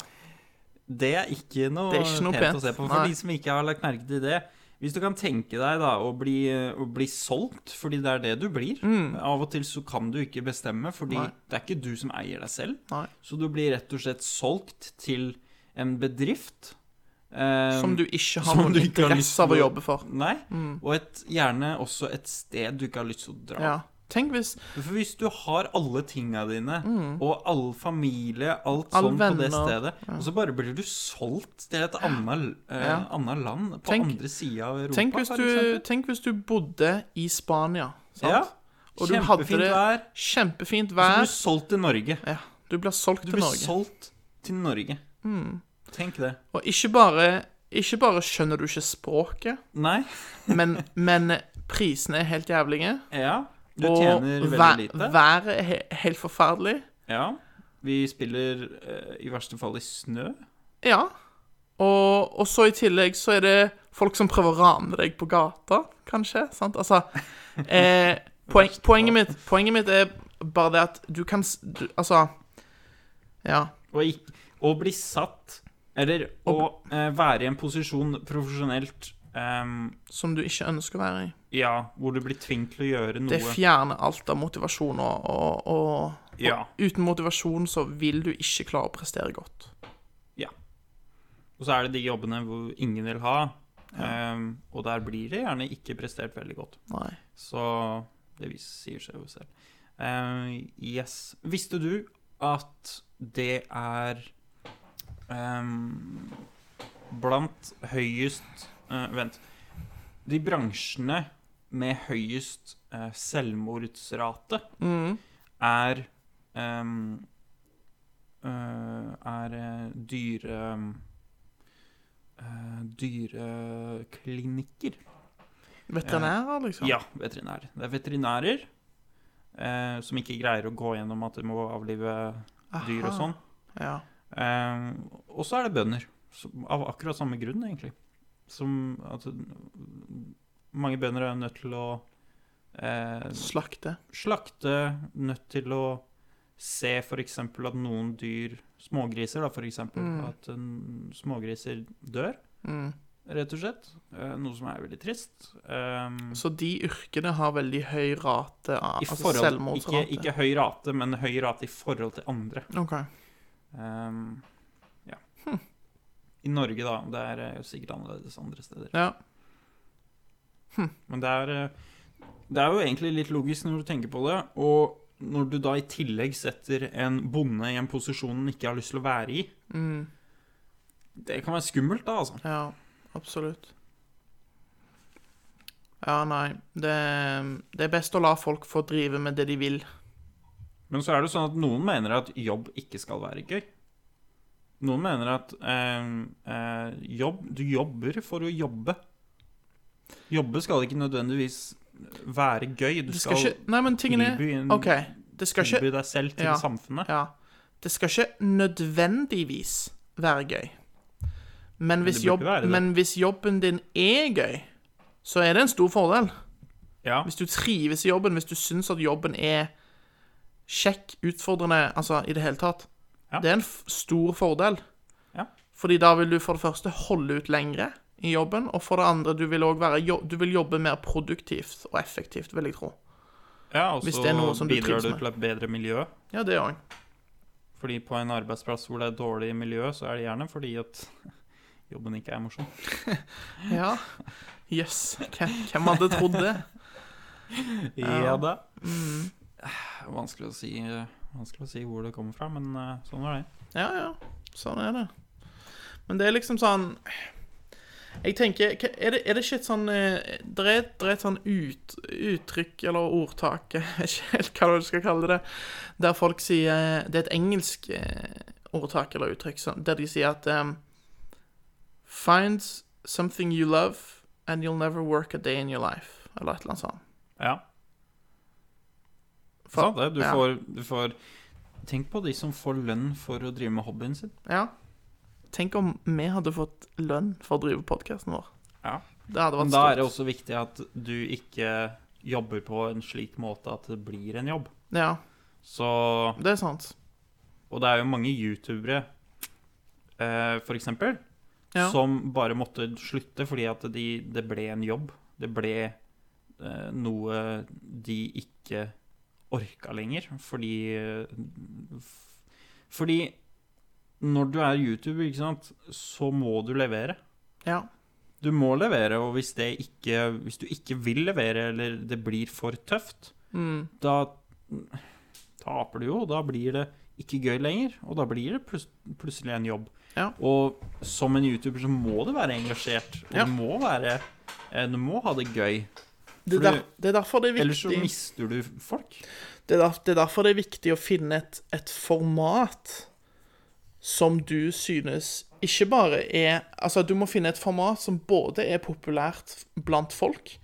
Det er ikke noe,
Det er ikke noe
pent,
pent,
å se på. For
nei.
de som ikke har lagt merke til det Hvis du kan tenke deg da å bli, å bli solgt, fordi det er det du blir Av og til så kan du ikke bestemme, fordi
Mm. Nei.
det er ikke du som eier deg selv.
Nei.
Så du blir rett og slett solgt til en bedrift eh,
Som du ikke har
som
noen
du ikke har lyst
interesse av
til
å
å-
jobbe for. Mm.
Nei, og et, gjerne også et sted du ikke har lyst til å dra.
Ja. Tenk hvis
For hvis du har alle tinga dine, og all familie, alt
Mm. All
sånn på det
venner.
stedet, og så bare blir du solgt til et annet, eh,
Ja.
annet land på
Tenk-
andre sida av Europa,
Tenk hvis
for
du,
eksempel.
tenk hvis du bodde i Spania, sant?
Ja.
Og du hadde
Kjempefint
det-
vær.
Kjempefint
Og så blir
vær.
du solgt til Norge.
Ja. Du blir solgt
Du
til
blir
Norge. Mm.
solgt til Norge. Tenk det.
Og ikke bare, ikke bare skjønner du ikke språket,
Nei.
men, men prisene er helt jævlige.
Ja. Du
og
tjener veldig
væ-
lite.
været er he helt forferdelig.
Ja. Vi spiller eh, i verste fall i snø.
Ja. Og, og så i tillegg så er det folk som prøver å rane deg på gata, kanskje. Sant? Altså eh, Poeng, poenget, mitt, poenget mitt er bare det at du kan s- du, Altså Ja.
Å, ikk- å bli satt, eller å eh, være i en posisjon profesjonelt ehm,
Som du ikke ønsker å være i.
Ja, hvor du blir tvunget til å gjøre noe.
Det fjerner alt av motivasjon, og, og, og, og
Ja.
uten motivasjon så vil du ikke klare å prestere godt.
Ja. Og så er det de jobbene hvor ingen vil ha, ehm, og der blir det gjerne ikke prestert veldig godt.
Nei.
Så det vis- sier seg jo selv. Ehm, yes. Visste du at det er ehm, blant høyest eh, Vent. De bransjene med høyest eh, selvmordsrate
Mm.
er ehm, eh, er eh, dyre ehm, eh, dyreklinikker.
Veterinærer, liksom.
Ja, veterinær. Det er veterinærer eh, som ikke greier å gå gjennom at de må avlive dyr og sånn.
Ja.
Eh, og så er det bønder, som, av akkurat samme grunn, egentlig. Som at mange bønder er nødt til å eh,
Slakte.
slakte, nødt til å se f.eks. at noen dyr, smågriser da, f.eks., eksempel, at en, smågriser dør,
Mm.
rett og slett. Eh, noe som er veldig trist. Eh,
Så de yrkene har veldig høy rate av
I
altså
forhold, ikke,
selvmordsrate.
ikke høy rate, men høy rate i forhold til andre.
OK.
Ehm, ja. I Norge, da. Det er eh, sikkert annerledes andre steder.
Ja.
Men det er, eh, det er jo egentlig litt logisk når du tenker på det. Og når du da i tillegg setter en bonde i en posisjon han ikke har lyst til å være i Det kan være skummelt, da, altså.
Ja, absolutt. Ja, nei. Det, det er best å la folk få drive med det de vil.
Men så er det jo sånn at noen mener at jobb ikke skal være gøy. Noen mener at eh, eh, jobb, du jobber for å jobbe. Jobbe skal ikke nødvendigvis være gøy. Du
Det skal
skal,
ikke Nei, men tingen er
tilby en-
OK. Det skal
tilby
ikke
deg selv til
Ja.
samfunnet.
Ja. Det skal ikke nødvendigvis være gøy. Men hvis,
det burde
jobb,
være det.
men hvis jobben din er gøy, så er det en stor fordel.
Ja.
Hvis du trives i jobben, hvis du syns at jobben er kjekk, utfordrende, altså i det hele tatt,
Ja.
det er en f stor fordel.
Ja.
Fordi da vil du for det første holde ut lengre i jobben, og for det andre du vil også være jo- du vil jobbe mer produktivt og effektivt, vil jeg tro.
ja, og
Hvis
så
det er noe som du
bidrar
trives
du
med.
til et bedre miljø.
Ja, det òg.
Fordi på en arbeidsplass hvor det er dårlig miljø, så er det gjerne fordi at jobben ikke er morsom.
Ja. Jøss, hvem, hvem hadde trodd det? Mm.
Ja da. Vanskelig å si, eh, vanskelig å si hvor det kommer fra, men eh, sånn var det.
Ja, ja. Sånn er det. Men det er liksom sånn Jeg tenker hva- Er det, er det ikke et sånn eh, Det er, et- det er et sånn ut, uttrykk eller ordtak Jeg vet ikke helt hva du skal kalle det. Der folk sier Det er et engelsk eh, ordtak eller uttrykk som- der de sier at eh, Find something you love, and you'll never work a day in your life. Eller et eller annet sånt.
Ja.
For-
Sant det. Du,
ja.
får, du får Tenk på de som får lønn for å drive med hobbyen sin.
Ja. Tenk om vi hadde fått lønn for å drive podkasten vår.
Ja.
Det hadde vært
Men da er det
stort.
også viktig at du ikke jobber på en slik måte at det blir en jobb.
Ja,
Så
det er sant.
Og det er jo mange youtubere, eh, for eksempel,
Ja.
som bare måtte slutte fordi at de, det ble en jobb. Det ble eh, noe de ikke orka lenger, fordi eh, f- Fordi når du er youtuber, ikke sant, så må du levere.
Ja.
Du må levere, og hvis, det ikke, hvis du ikke vil levere, eller det blir for tøft,
Mm.
da taper du jo. og Da blir det ikke gøy lenger, og da blir det plus plutselig en jobb.
Ja.
Og som en YouTuber så må du være engasjert, og
Ja.
du, må være, eh, du må ha det gøy.
Det er,
For
der, det er derfor det er
Ellers så
viktig
mister du folk.
det er, der, det er derfor det er viktig å finne et, et format som du synes ikke bare er Altså, du må finne et format som både er populært blant folk,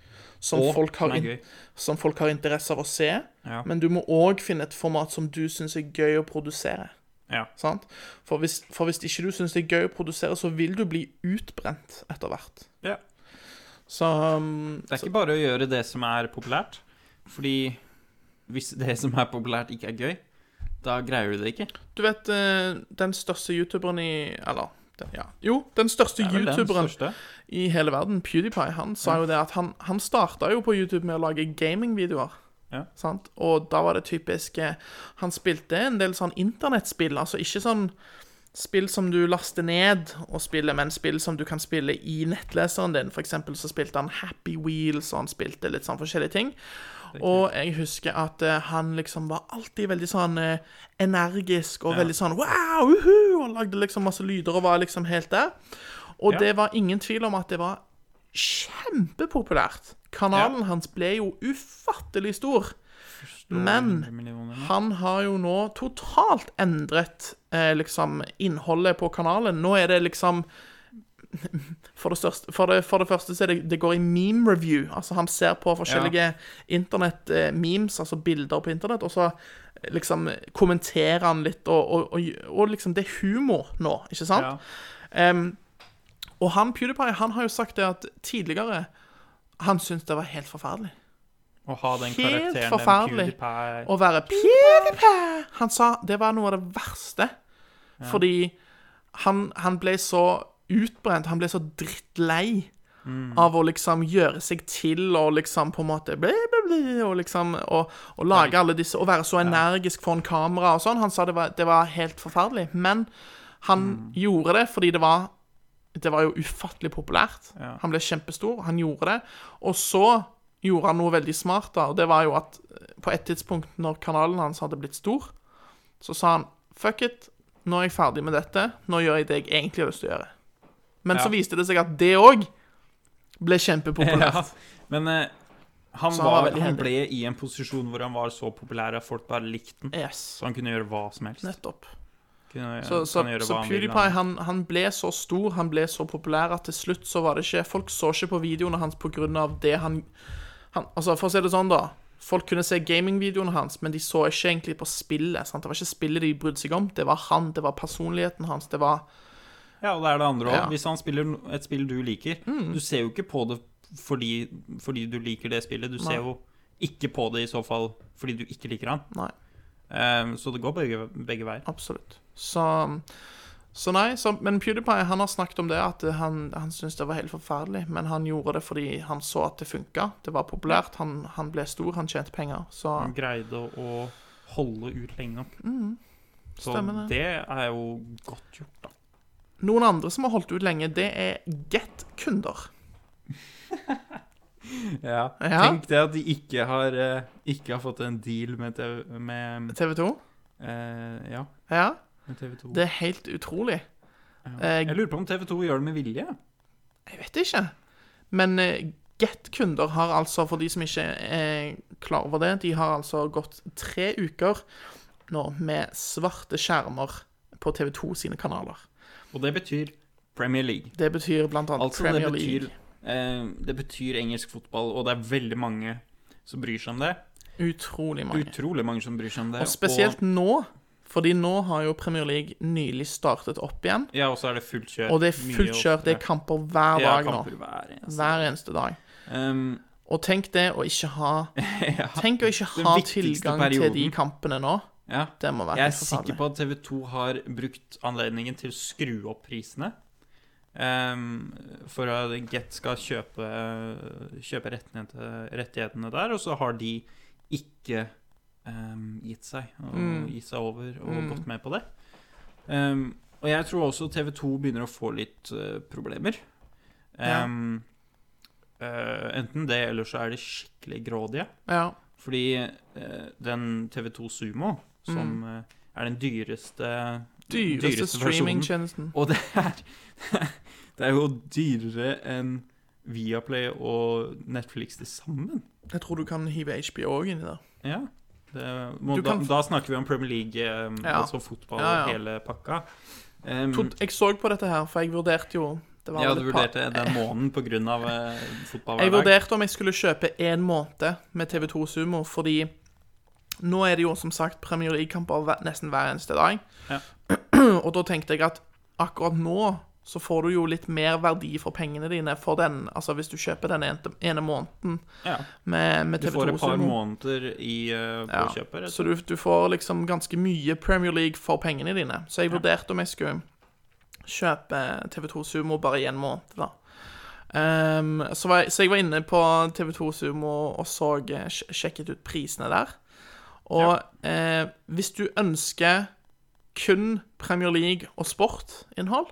som,
Og
folk, har
som er
in,
gøy.
som folk har interesse av å se,
Ja.
men du må òg finne et format som du syns er gøy å produsere.
Ja.
Sant? For, hvis, for hvis ikke du syns det er gøy å produsere, så vil du bli utbrent etter hvert.
ja.
Så um,
Det er ikke bare å gjøre det som er populært. Fordi hvis det som er populært, ikke er gøy, da greier du det ikke.
Du vet eh, den største youtuberen i Eller den, ja. jo, den største
Det er vel den
youtuberen
største.
i hele verden, PewDiePie, han sa jo det at han, han starta jo på YouTube med å lage gamingvideoer.
Ja.
Sant? Og da var det typisk eh, Han spilte en del sånn internettspill, altså ikke sånn spill som du laster ned og spiller, men spill som du kan spille i nettleseren din. For eksempel så spilte han Happy Wheels, og han spilte litt sånn forskjellige ting. Og jeg husker at eh, han liksom var alltid veldig sånn eh, energisk og veldig sånn wow, uhu, og lagde liksom masse lyder og var liksom helt der. Og
Ja.
det var ingen tvil om at det var kjempepopulært. Kanalen hans ble jo ufattelig stor. Men
100 Eh, millioner.
han har jo nå totalt endret eh, liksom innholdet på kanalen. Nå er det liksom For det, største, for det, for det første så er det, det går i meme review. Altså Han ser på forskjellige internett-memes, altså bilder på internett, og så eh, liksom kommenterer han litt, og, og, og, og liksom Det er humor nå, ikke sant?
Ja.
Em, og han PewDiePie han har jo sagt det at tidligere han syntes det var helt forferdelig.
Å ha den
Helt
karakteren,
forferdelig.
den PewDiePie
Å være PewDiePie Han sa det var noe av det verste. Fordi han, han ble så utbrent, han ble så drittlei av å liksom gjøre seg til og liksom på en måte bli, bli, bli, Og liksom og, og lage alle disse Og være så energisk foran kamera og sånn. Han sa det var, det var helt forferdelig. Men han
Mm.
gjorde det fordi det var det var jo ufattelig populært. Han ble kjempestor, han gjorde det. Og så gjorde han noe veldig smart, da, og det var jo at eh, på et tidspunkt når kanalen hans hadde blitt stor, så sa han fuck it, nå er jeg ferdig med dette, nå gjør jeg det jeg egentlig har lyst til å gjøre. Men
Ja.
så viste det seg at det òg ble kjempepopulært.
Ja, men eh, han,
Så han var
var,
veldig
han
heldig.
ble i en posisjon hvor han var så populær at folk bare likte den.
Yes.
Så han kunne gjøre hva som helst.
Nettopp.
Kunne,
Så, så,
kan gjøre
så
hva han vil,
PewDiePie han, han ble så stor, han ble så populær at til slutt så var det ikke Folk så ikke på videoene hans pga. det han, han Altså, for å si det sånn, da. Folk kunne se gamingvideoene hans, men de så ikke egentlig på spillet. Sant? Det var ikke spillet de brydde seg om, det var han, det var personligheten hans, det var
Ja, og det er det andre òg.
Ja. Mm.
Hvis han spiller no- et spill du liker Du ser jo ikke på det fordi, fordi du liker det spillet. Du ser jo ikke på det i så fall fordi du ikke liker han.
Nei,
Eh, så det går begge, begge veier.
absolutt. Så så nei, så, men PewDiePie han har snakket om det, at han, han syntes det var helt forferdelig. Men han gjorde det fordi han så at det funka. Det var populært, han, han ble stor, han tjente penger. Så
Han greide å holde ut lenge nok. Så
Mm. Stemmer det.
det er jo godt gjort, da.
Noen andre som har holdt ut lenge, det er Get-kunder.
Ja.
Ja.
Tenk det at de ikke har, eh, ikke har fått en deal med TV, med,
TV 2.
eh, ja,
Ja,
med TV 2.
det er helt utrolig. eh,
Jeg lurer på om TV 2 gjør det med vilje.
Jeg vet ikke. Men eh, Get-kunder har altså, for de som ikke er klar over det, de har altså gått tre uker nå med svarte skjermer på TV 2 sine kanaler.
Og det betyr Premier League.
Det betyr blant annet
Altså, det
Premier
betyr,
League.
eh, det betyr engelsk fotball, og det er veldig mange som bryr seg om det.
Utrolig mange.
Utrolig mange som bryr seg om det.
og spesielt nå, fordi nå har jo Premier League nylig startet opp igjen.
ja, og så er det fullt kjør.
Og det er
Mye
fullt kjør. Det er
oftere.
kamper hver
ja,
dag nå.
kamper hver eneste.
Hver eneste dag.
Um,
Og tenk det å ikke ha
ja.
Tenk å ikke
Den
ha
viktigste
tilgang til de
perioden.
kampene nå.
ja.
Det må være
Jeg er
helt forferdelig.
sikker på at TV 2 har brukt anledningen til å skru opp prisene. ehm, for at Get skal kjøpe, kjøpe rettighetene, til- rettighetene der, og så har de ikke ehm, gitt seg. Og
Mm.
gitt seg over og gått med på det. Ehm, og jeg tror også TV 2 begynner å få litt eh, problemer.
Ja.
Ehm, eh, enten det, eller så er de skikkelig grådige.
Ja.
Fordi eh, den TV2 Sumo, som eh, er den dyreste
Mm. Dyreste,
versjonen,
streamingtjenesten.
Og det er, det er jo dyrere enn Viaplay og Netflix til sammen.
Jeg tror du kan hive HBO òg inn i det.
Ja. Det, må,
Du
da,
kan-
da snakker vi om Premier League, eh,
Ja.
altså fotball og
Ja, ja.
hele pakka. Em,
Tod- Jeg så på dette her, for jeg vurderte jo det var
jeg
vel
hadde
et par-
vurdert det den måneden pga. Uh, fotball
Jeg
hver dag.
vurderte om jeg skulle kjøpe én måned med TV2 Sumo, fordi nå er det jo som sagt Premier League-kamper hver- nesten hver eneste dag.
Ja.
Og da tenkte jeg at akkurat nå så får du jo litt mer verdi for pengene dine for den, altså hvis du kjøper den ene, ene måneden
Ja.
med, med
Du
TV2
får et par
Sumo.
måneder i uh,
Ja,
påkjøpet. rett og
Så du, du får liksom ganske mye Premier League for pengene dine. Så jeg vurderte om jeg skulle kjøpe TV2 Sumo bare i en måned, da. Ehm, så, var jeg, så jeg var inne på TV2 Sumo og så eh, sj- sjekket ut prisene der. Og eh, hvis du ønsker kun Premier League og sportinnhold,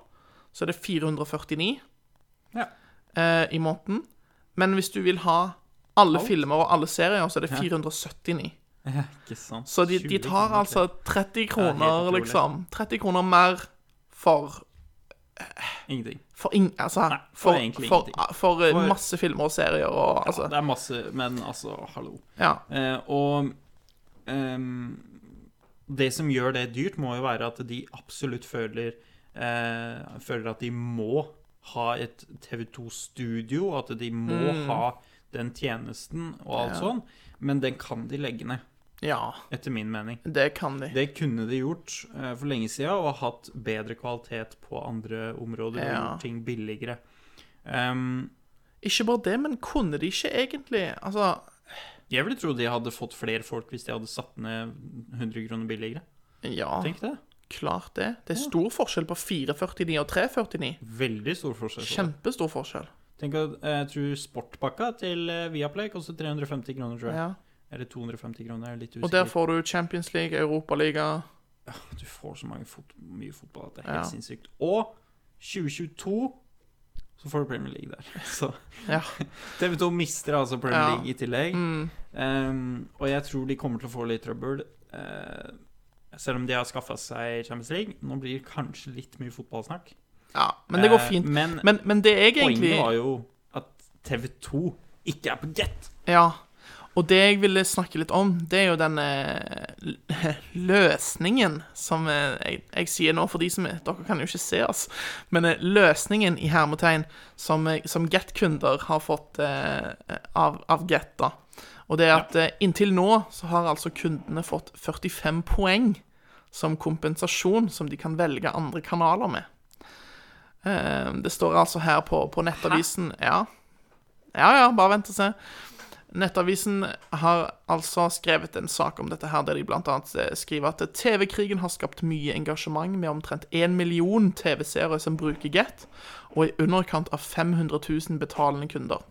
så er det 449
Ja.
eh, i måneden. Men hvis du vil ha alle
Alt?
filmer og alle serier, så er det 479.
slett. Ja, ikke sant.
Så de,
20
de tar
kroner
altså 30
helt
kroner,
utrolig.
liksom. 30 kroner mer for
til. Ingenting.
For, ing, altså,
Nei, for
for,
egentlig
for,
ingenting.
for, eh,
For-
masse filmer og serier og altså
Det er masse, men altså, hallo.
Ja.
Eh, og ehm, det som gjør det dyrt, må jo være at de absolutt føler eh, Føler at de må ha et TV2-studio, at de må
Mm.
ha den tjenesten og alt sånn. Men den kan de legge ned,
ja.
etter min mening.
Det kan de.
Det kunne de gjort eh, for lenge siden og hatt bedre kvalitet på andre områder og
Ja.
gjort ting billigere. Ehm,
Ikke bare det, men kunne de ikke egentlig Altså
jeg ville tro de hadde fått flere folk hvis de hadde satt ned 100 kroner billigere.
Ja,
Tenk det.
klart det. Det er stor forskjell på 449 og 349.
Veldig stor forskjell. på det.
Kjempestor forskjell.
Tenk at eh, Jeg tror sportpakka til eh, Viaplay koster 350 kroner, tror jeg.
Ja.
Eller 250 kroner. Jeg er litt usikker.
Og der får du Champions League, Europaliga
Du får så mange fot mye fotball at det er
Ja.
helt sinnssykt. Og 2022 så får du Premier League der. Så
Ja.
TV2 mister altså Premier
Ja. Mm.
League i tillegg. Um, og jeg tror de kommer til å få litt trøbbel. eh, selv om de har skaffa seg Champions League. Nå blir det kanskje litt mye fotballsnakk.
Ja, men det går
Eh,
fint.
men-
Men, men det jeg egentlig
Poenget var jo at TV2 ikke er på Get.
Ja. Og det jeg ville snakke litt om, det er jo den eh, løsningen som eh, jeg, jeg sier nå for de som Dere kan jo ikke se oss, men eh, løsningen i hermetegn som, eh, som Get-kunder har fått eh, av, av Get, da. Og det er at eh, inntil nå så har altså kundene fått 45 poeng som kompensasjon som de kan velge andre kanaler med. Eh, det står altså her på, på nettavisen Ja. ja, ja, bare vent og se. Nettavisen har altså skrevet en sak om dette her, der de blant annet eh, skriver at TV-krigen har skapt mye engasjement med omtrent 1 million TV-seere som bruker Get, og i underkant av 500 000 betalende kunder.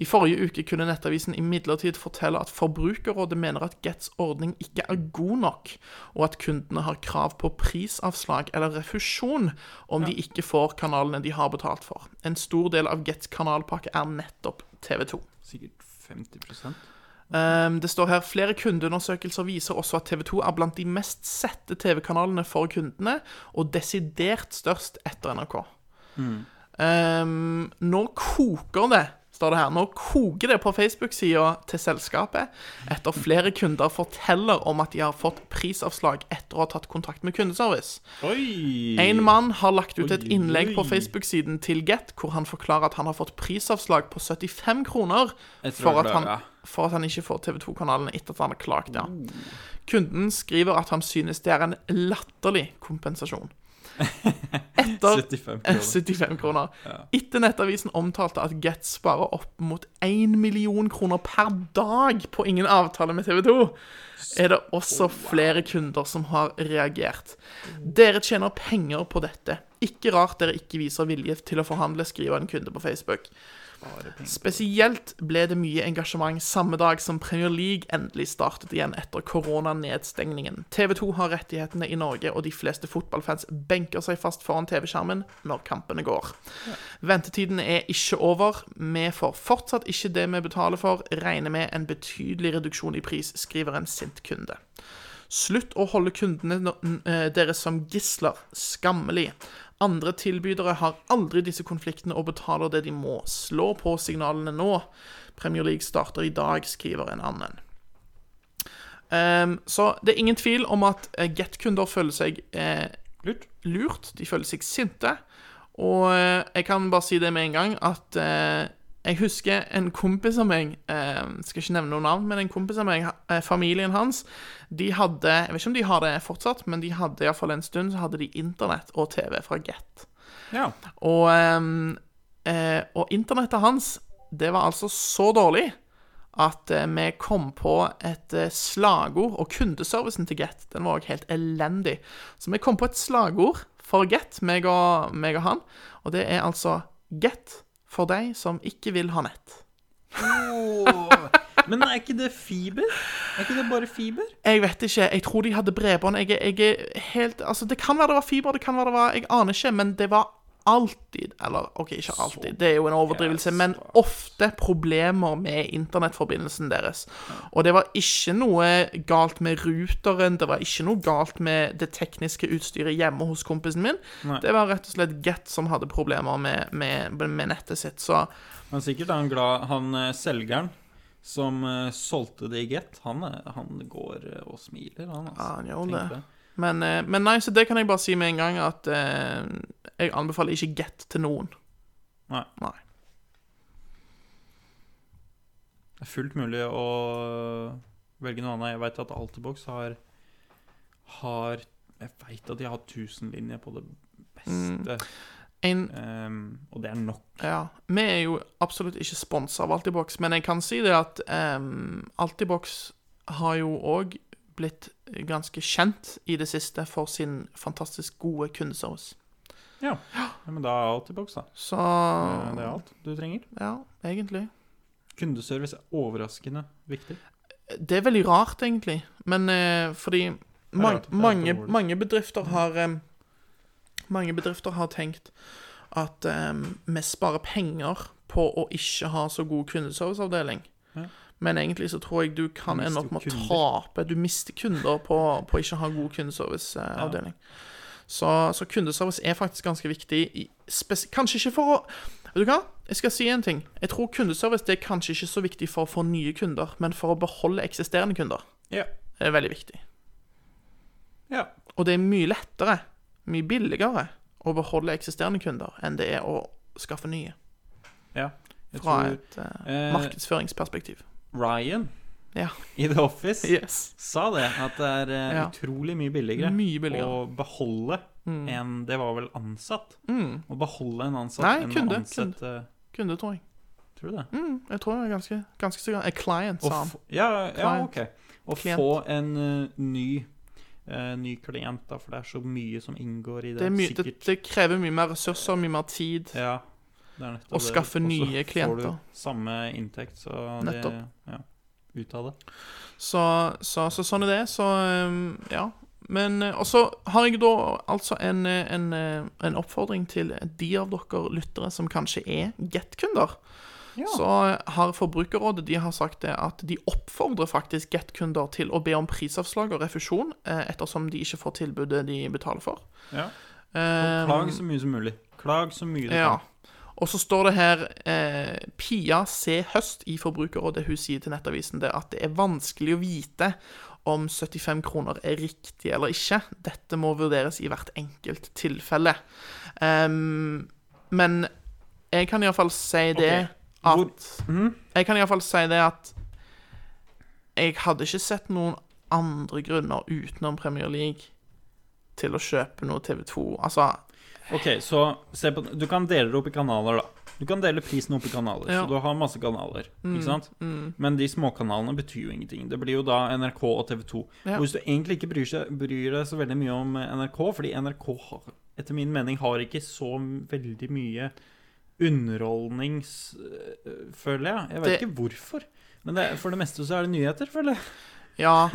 I forrige uke kunne Nettavisen imidlertid fortelle at Forbrukerrådet mener at Gets ordning ikke er god nok, og at kundene har krav på prisavslag eller refusjon om de ikke får kanalene de har betalt for. En stor del av Gets kanalpakke er nettopp TV 2.
Sikkert 50
Ehm, det står her flere kundeundersøkelser viser også at TV 2 er blant de mest sette TV-kanalene for kundene, og desidert størst etter NRK. Ehm, nå koker det, står det her. Nå koker det på Facebook-sida til selskapet etter flere kunder forteller om at de har fått prisavslag etter å ha tatt kontakt med kundeservice.
Oi!
En mann har lagt ut et
Oi,
innlegg på
oi.
Facebook-siden til Get, hvor han forklarer at han har fått prisavslag på 75 kroner
Etter å
for
ha
at, han,
klaget.
for at han ikke får TV 2-kanalen etter at han har klagd. Ja. Kunden skriver at han synes det er en latterlig kompensasjon. Etter
75
Eh,
kroner.
75 kroner. Etter Nettavisen omtalte at Get sparer opp mot 1 million kroner per dag på ingen avtale med TV 2, er det også flere kunder som har reagert. Dere tjener penger på dette. Ikke rart dere ikke viser vilje til å forhandle, skriver en kunde på Facebook. Spesielt ble det mye engasjement samme dag som Premier League endelig startet igjen etter koronanedstengningen. TV 2 har rettighetene i Norge, og de fleste fotballfans benker seg fast foran TV-skjermen når kampene går. Ventetiden er ikke over. Vi får fortsatt ikke det vi betaler for. Regner med en betydelig reduksjon i pris, skriver en sint kunde. Slutt å holde kundene no- eh, deres som gisler. Skammelig. Andre tilbydere har aldri disse konfliktene og betaler det de må. Slå på signalene nå. Premier League starter i dag, skriver en annen. Ehm, så det er ingen tvil om at eh, Get-kunder føler seg eh, lurt. De føler seg sinte. Og eh, jeg kan bare si det med en gang at eh, jeg husker en kompis av meg eh, Skal ikke nevne noe navn, men en kompis av meg, eh, familien hans, de hadde Jeg vet ikke om de har det fortsatt, men de hadde iallfall en stund så hadde de internett og TV fra Get.
Ja.
Og, ehm, eh, og internettet hans, det var altså så dårlig at eh, vi kom på et eh, slagord, og kundeservicen til Get, den var også helt elendig. Så vi kom på et slagord for Get, meg og, meg og han, og det er altså Get for deg som ikke vil ha nett.
Men er ikke det fiber? Er ikke det bare fiber?
Jeg vet ikke. Jeg tror de hadde bredbånd. Jeg, er- jeg er helt Altså, det kan være det var fiber, det kan være det var Jeg aner ikke, men det var alltid Eller OK, ikke alltid, det er jo en overdrivelse, men ofte problemer med internettforbindelsen deres. Og det var ikke noe galt med ruteren, det var ikke noe galt med det tekniske utstyret hjemme hos kompisen min. Det var rett og slett Get som hadde problemer med, med, med nettet sitt, så
Han er sikkert han glad Han eh, selgeren som eh, solgte det i Get, han, eh, han går eh, og smiler, han, altså.
Ja, han gjør
Tenk
det. Men, eh, men nei, så det kan jeg bare si med en gang at eh, jeg anbefaler ikke get til noen.
Nei.
Nei.
Det er fullt mulig å velge noe annet. Jeg veit at Altibox har har Jeg veit at de har 1000 linjer på det beste,
En,
ehm, og det er nok.
ja, vi er jo absolutt ikke sponsa av Altibox, men jeg kan si det at em, Altibox har jo òg blitt ganske kjent i det siste for sin fantastisk gode kundeservice.
Ja. ja men da er Altibox, da.
Så Ah.
Eh, Det er alt du trenger.
Ja, egentlig.
Kundeservice er overraskende viktig.
Det er veldig rart, egentlig. Men eh, fordi man,
rart at det er
mange,
dårlig.
mange bedrifter har eh, Mange bedrifter har tenkt at eh, vi sparer penger på å ikke ha så god kundeserviceavdeling.
Ja.
Men egentlig så tror jeg du kan
Du
ende
mister
opp med
jo
å
kunder.
tape. Du mister kunder på, på ikke å ha god kundeserviceavdeling. Så, så kundeservice er faktisk ganske viktig. i- spes- Kanskje ikke for å Vet du hva? Jeg skal si en ting. Jeg tror kundeservice det er kanskje ikke så viktig for å få nye kunder, men for å beholde eksisterende kunder.
Ja.
Det er veldig viktig.
ja.
Og det er mye lettere, mye billigere, å beholde eksisterende kunder enn det er å skaffe nye.
ja. Jeg
Fra
tror
et eh,
eh,
markedsføringsperspektiv.
Ryan
Ja.
i The Office
Yes.
sa det. At det er eh,
Ja.
utrolig mye billigere,
Mye billigere. Mm.
å beholde en Det var vel ansatt? Å beholde en ansatt
Nei,
enn
kunde,
å ansette
Kunde, tror jeg.
Tror du det?
Mm, jeg tror jeg er ganske, ganske sikker. A client,
Å
sa han.
få- ja, ja,
Client.
OK. Å
Klient.
få en eh, ny eh, ny klient, da, for det er så mye som inngår i det.
Det, er mye, det,
sikkert.
det krever mye mer ressurser, mye mer tid.
ja, det er nettopp
Å
det.
skaffe
Og så
nye klienter.
Får du samme inntekt, så
Nettopp.
det ja, Ut av det.
Så, så, så sånn er det. Så um, ja. Men, eh, og så har jeg da altså en, eh, en, eh, en oppfordring til de av dere lyttere som kanskje er Get-kunder. Så eh, har Forbrukerrådet de har sagt det at de oppfordrer faktisk Get-kunder til å be om prisavslag og refusjon eh, ettersom de ikke får tilbudet de betaler for.
Ja.
Eh,
Klag så mye som mulig. Klag så mye du
ja.
kan.
Og så står det her eh, Pia C. Høst i Forbrukerrådet hun sier til Nettavisen det at det er vanskelig å vite om 75 kroner er riktig eller ikke. Dette må vurderes i hvert enkelt tilfelle. Ehm, men jeg kan iallfall si det
Hvor-
at Jeg kan iallfall si det at jeg hadde ikke sett noen andre grunner utenom Premier League til å kjøpe noe TV2. Altså
Ok, så se på, Du kan dele det opp i kanaler, da. Du kan dele prisen opp i kanaler,
Ja. Mm,
så du har masse kanaler. ikke sant? Men de småkanalene betyr jo ingenting. Det blir jo da NRK og TV 2.
Ja.
Og hvis du egentlig ikke bryr, seg, bryr deg så veldig mye om eh, NRK, fordi NRK har, etter min mening har ikke så veldig mye underholdnings... øh, Føler jeg. Jeg vet
Det-
ikke hvorfor. Men det, for det meste så er det nyheter, føler jeg.
Ja.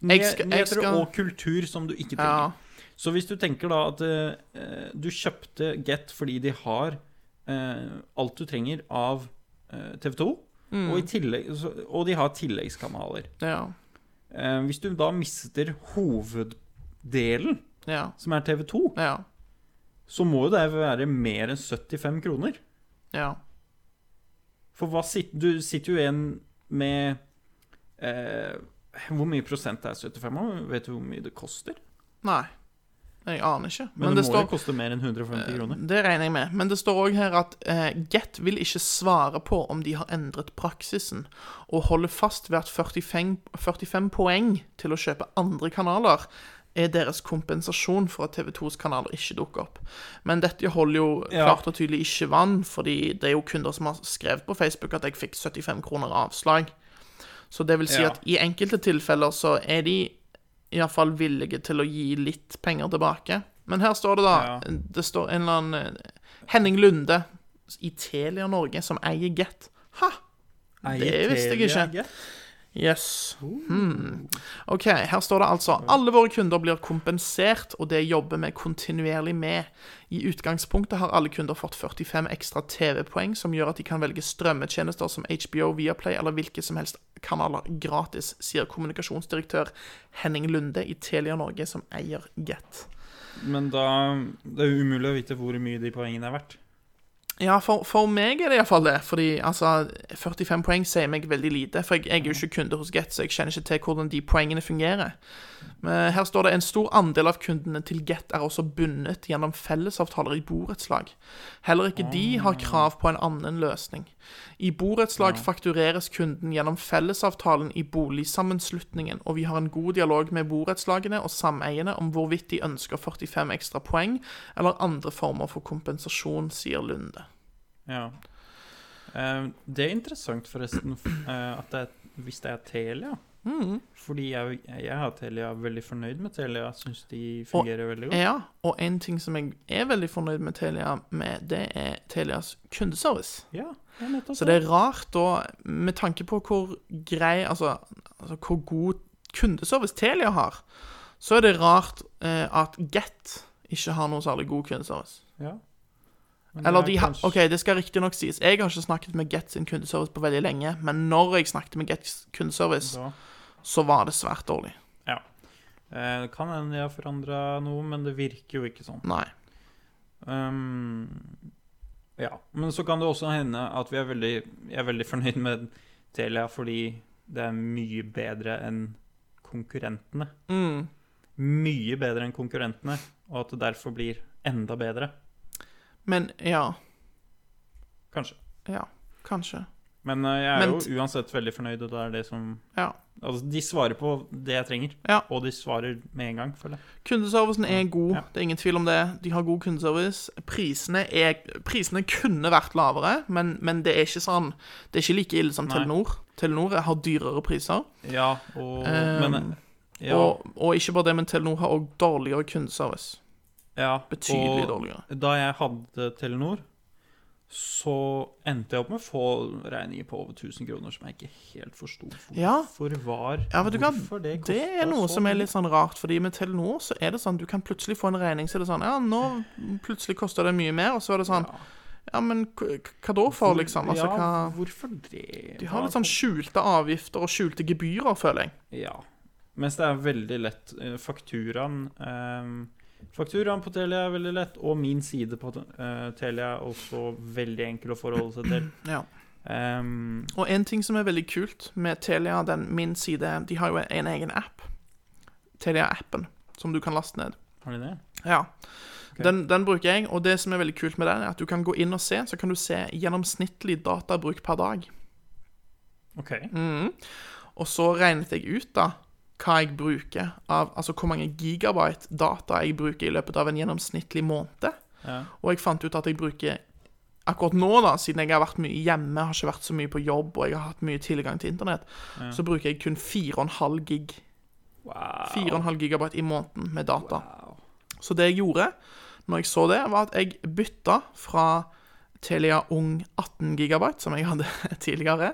Nye,
Jeg skal- jeg
nyheter
skal-
og kultur som du ikke trenger.
ja.
Så hvis du tenker da at eh, du kjøpte Get fordi de har eh, alt du trenger av eh, TV 2,
Mm.
og, i tillegg, så, og de har tilleggskanaler.
Ja.
Eh, hvis du da mister hoveddelen,
Ja.
som er TV 2,
Ja.
så må jo det være mer enn 75 kroner.
Ja.
For hva sit, du sitter jo igjen med eh, Hvor mye prosent er 75 av? Vet du hvor mye det koster?
Nei. Jeg aner ikke.
Men, det, må
står,
jo koste mer enn 150 kroner.
Det regner jeg med. Men det står òg her at eh, Get vil ikke svare på om de har endret praksisen, og holder fast ved at 45, 45 poeng til å kjøpe andre kanaler er deres kompensasjon for at TV2s kanaler ikke dukker opp. Men dette holder jo
Ja.
klart og tydelig ikke vann, fordi det er jo kunder som har skrevet på Facebook at jeg fikk 75 kroner avslag. Så det vil si
Ja.
at i enkelte tilfeller så er de iallfall villige til å gi litt penger tilbake. Men her står det, da. Det står en eller annen eh, Henning Lunde i Telia Norge, som eier Get. Ha! Eh, Det visste jeg ikke. Yes. Hmm. OK, her står det altså alle våre kunder blir kompensert, og det jobber vi kontinuerlig med. I utgangspunktet har alle kunder fått 45 ekstra TV-poeng, som gjør at de kan velge strømmetjenester som HBO, Viaplay eller hvilke som helst kanaler gratis, sier kommunikasjonsdirektør Henning Lunde i Telia Norge, som eier Get.
Men da Det er umulig å vite hvor mye de poengene er verdt.
Ja, for, for meg er det iallfall det. Fordi altså, 45 poeng sier meg veldig lite. For jeg, jeg er jo ikke kunde hos Get, så jeg kjenner ikke til hvordan de poengene fungerer. Men her står det en stor andel av kundene til Get er også bundet gjennom fellesavtaler i borettslag. Heller ikke de har krav på en annen løsning. I borettslag faktureres kunden gjennom fellesavtalen i boligsammenslutningen, og vi har en god dialog med borettslagene og sameiene om hvorvidt de ønsker 45 ekstra poeng eller andre former for kompensasjon, sier Lunde.
Ja. Eh, Det er interessant, forresten, f- eh, at det er, hvis det er Telia.
Mm.
Fordi jeg, jeg har Telia er veldig fornøyd med Telia. Syns de fungerer veldig godt.
Ja, og en ting som jeg er veldig fornøyd med Telia med, det er Telias kundeservice.
Ja, det er nettopp
Så det er rart da, med tanke på hvor grei, altså, altså hvor god kundeservice Telia har, så er det rart eh, at Get ikke har noe særlig god kundeservice.
Ja. Men det
Eller
er
de har,
kanskje-
ok, det skal riktig nok sies, jeg har ikke snakket med Get sin kundeservice på veldig lenge, men når jeg snakket med Gets kundeservice,
Da.
så var det svært dårlig.
Ja. Eh, det kan hende de har forandra noe, men det virker jo ikke sånn.
Nei.
Ehm, ja. Men så kan det også hende at vi er veldig, jeg er veldig fornøyd med Telia fordi det er mye bedre enn konkurrentene.
Mm.
Mye bedre enn konkurrentene, og at det derfor blir enda bedre.
Men ja,
Kanskje.
ja, kanskje.
Men eh, jeg er
Men-
jo uansett veldig fornøyd, og det er det som
Ja.
Altså, de svarer på det jeg trenger,
Ja.
og de svarer med en gang, føler jeg.
Kundeservicen er god,
Ja.
det er ingen tvil om det. De har god kundeservice. Prisene, er, prisene kunne vært lavere, men, men det er ikke sånn Det er ikke like ille som
Nei.
Telenor. Telenor har dyrere priser.
Ja, og Men eh,
Ehm,
ja,
Og, og ikke bare det, men Telenor har òg dårligere kundeservice.
ja,
Betydelig
og-
dårligere.
Da jeg hadde Telenor, så endte jeg opp med å få regninger på over 1000 kroner som jeg ikke helt forsto
Ja.
hvorfor var.
Ja, vet du hva?
hvorfor
Det,
kostet
er noe
så
som er
mye.
litt sånn rart, fordi med Telenor så er det sånn du kan plutselig få en regning, så er det sånn Ja, nå plutselig koster det mye mer, og så er det sånn Ja, men k- k- hva da for, liksom? Altså,
ja,
hva
hvorfor det?
De har
var-
litt sånn skjulte avgifter og skjulte gebyrer, føler jeg.
Ja. Mens det er veldig lett. eh, Fakturaen eh, Fakturaen på Telia er veldig lett, og min side på eh, Telia er også veldig enkel å forholde seg til.
Ja.
Ehm,
Og en ting som er veldig kult med Telia, den min side, de har jo en egen app. Telia-appen, som du kan laste ned.
har de det?
Ja. Den, den bruker jeg, og det som er veldig kult med den, er at du kan gå inn og se, så kan du se gjennomsnittlig databruk per dag.
OK.
Mm. Og så regnet jeg ut da hva jeg bruker av Altså hvor mange gigabyte data jeg bruker i løpet av en gjennomsnittlig måned.
Ja.
Og jeg fant ut at jeg bruker Akkurat nå, da, siden jeg har vært mye hjemme, har ikke vært så mye på jobb og jeg har hatt mye tilgang til internett, så bruker jeg kun 4,5 gig. 4,5 gigabyte i måneden med data. Så det jeg gjorde når jeg så det, var at jeg bytta fra Telia Ung 18 gigabyte, som jeg hadde tidligere,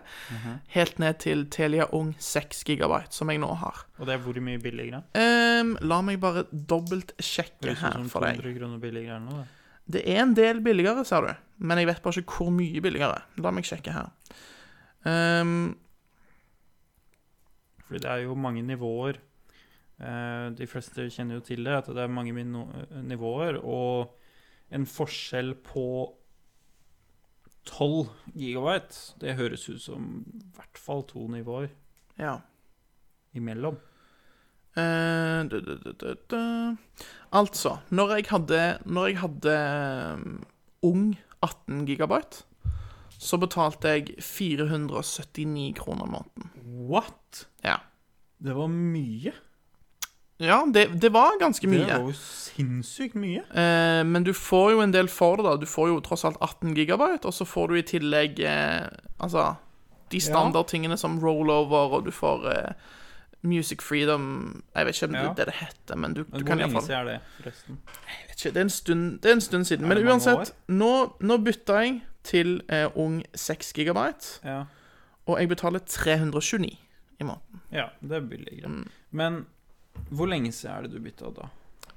helt ned til Telia Ung 6 gigabyte, som jeg nå har.
Og det er hvor mye billigere?
Ehm, la meg bare dobbeltsjekke
Høres ut
her
som
for deg.
200 sånn kroner billigere eller noe. det.
Det er en del billigere, ser du. Men jeg vet bare ikke hvor mye billigere. La meg sjekke her. Ehm,
Fordi det er jo mange nivåer. Eh, De fleste kjenner jo til det, at det er mange mino- nivåer. Og en forskjell på 12 gigabyte, det høres ut som i hvert fall to nivåer
ja.
imellom.
Eh, du, du, du, du, du. Altså, når jeg hadde, når jeg hadde ehm, ung 18 gigabyte, så betalte jeg 479 kroner måneden.
What?!
Ja.
Det var mye.
Ja, det, det var ganske
Det
mye.
var jo sinnssykt mye.
Eh, men du får jo en del for det, da. Du får jo tross alt 18 gigabyte, og så får du i tillegg eh, altså de standardtingene som rollover, og du får eh, Music Freedom Jeg vet ikke om
Ja.
det er det det heter, men du, du kan
Men hvor lenge
iallfall
siden er det, forresten?
Ikke, det, er en stund, det er en stund siden.
Er det
Men
mange
uansett, nå, nå bytta jeg til eh, ung 6 gigabyte,
Ja.
og jeg betaler 329 i måneden.
ja, det er billigere.
Mm.
Men hvor lenge siden er det du bytta da?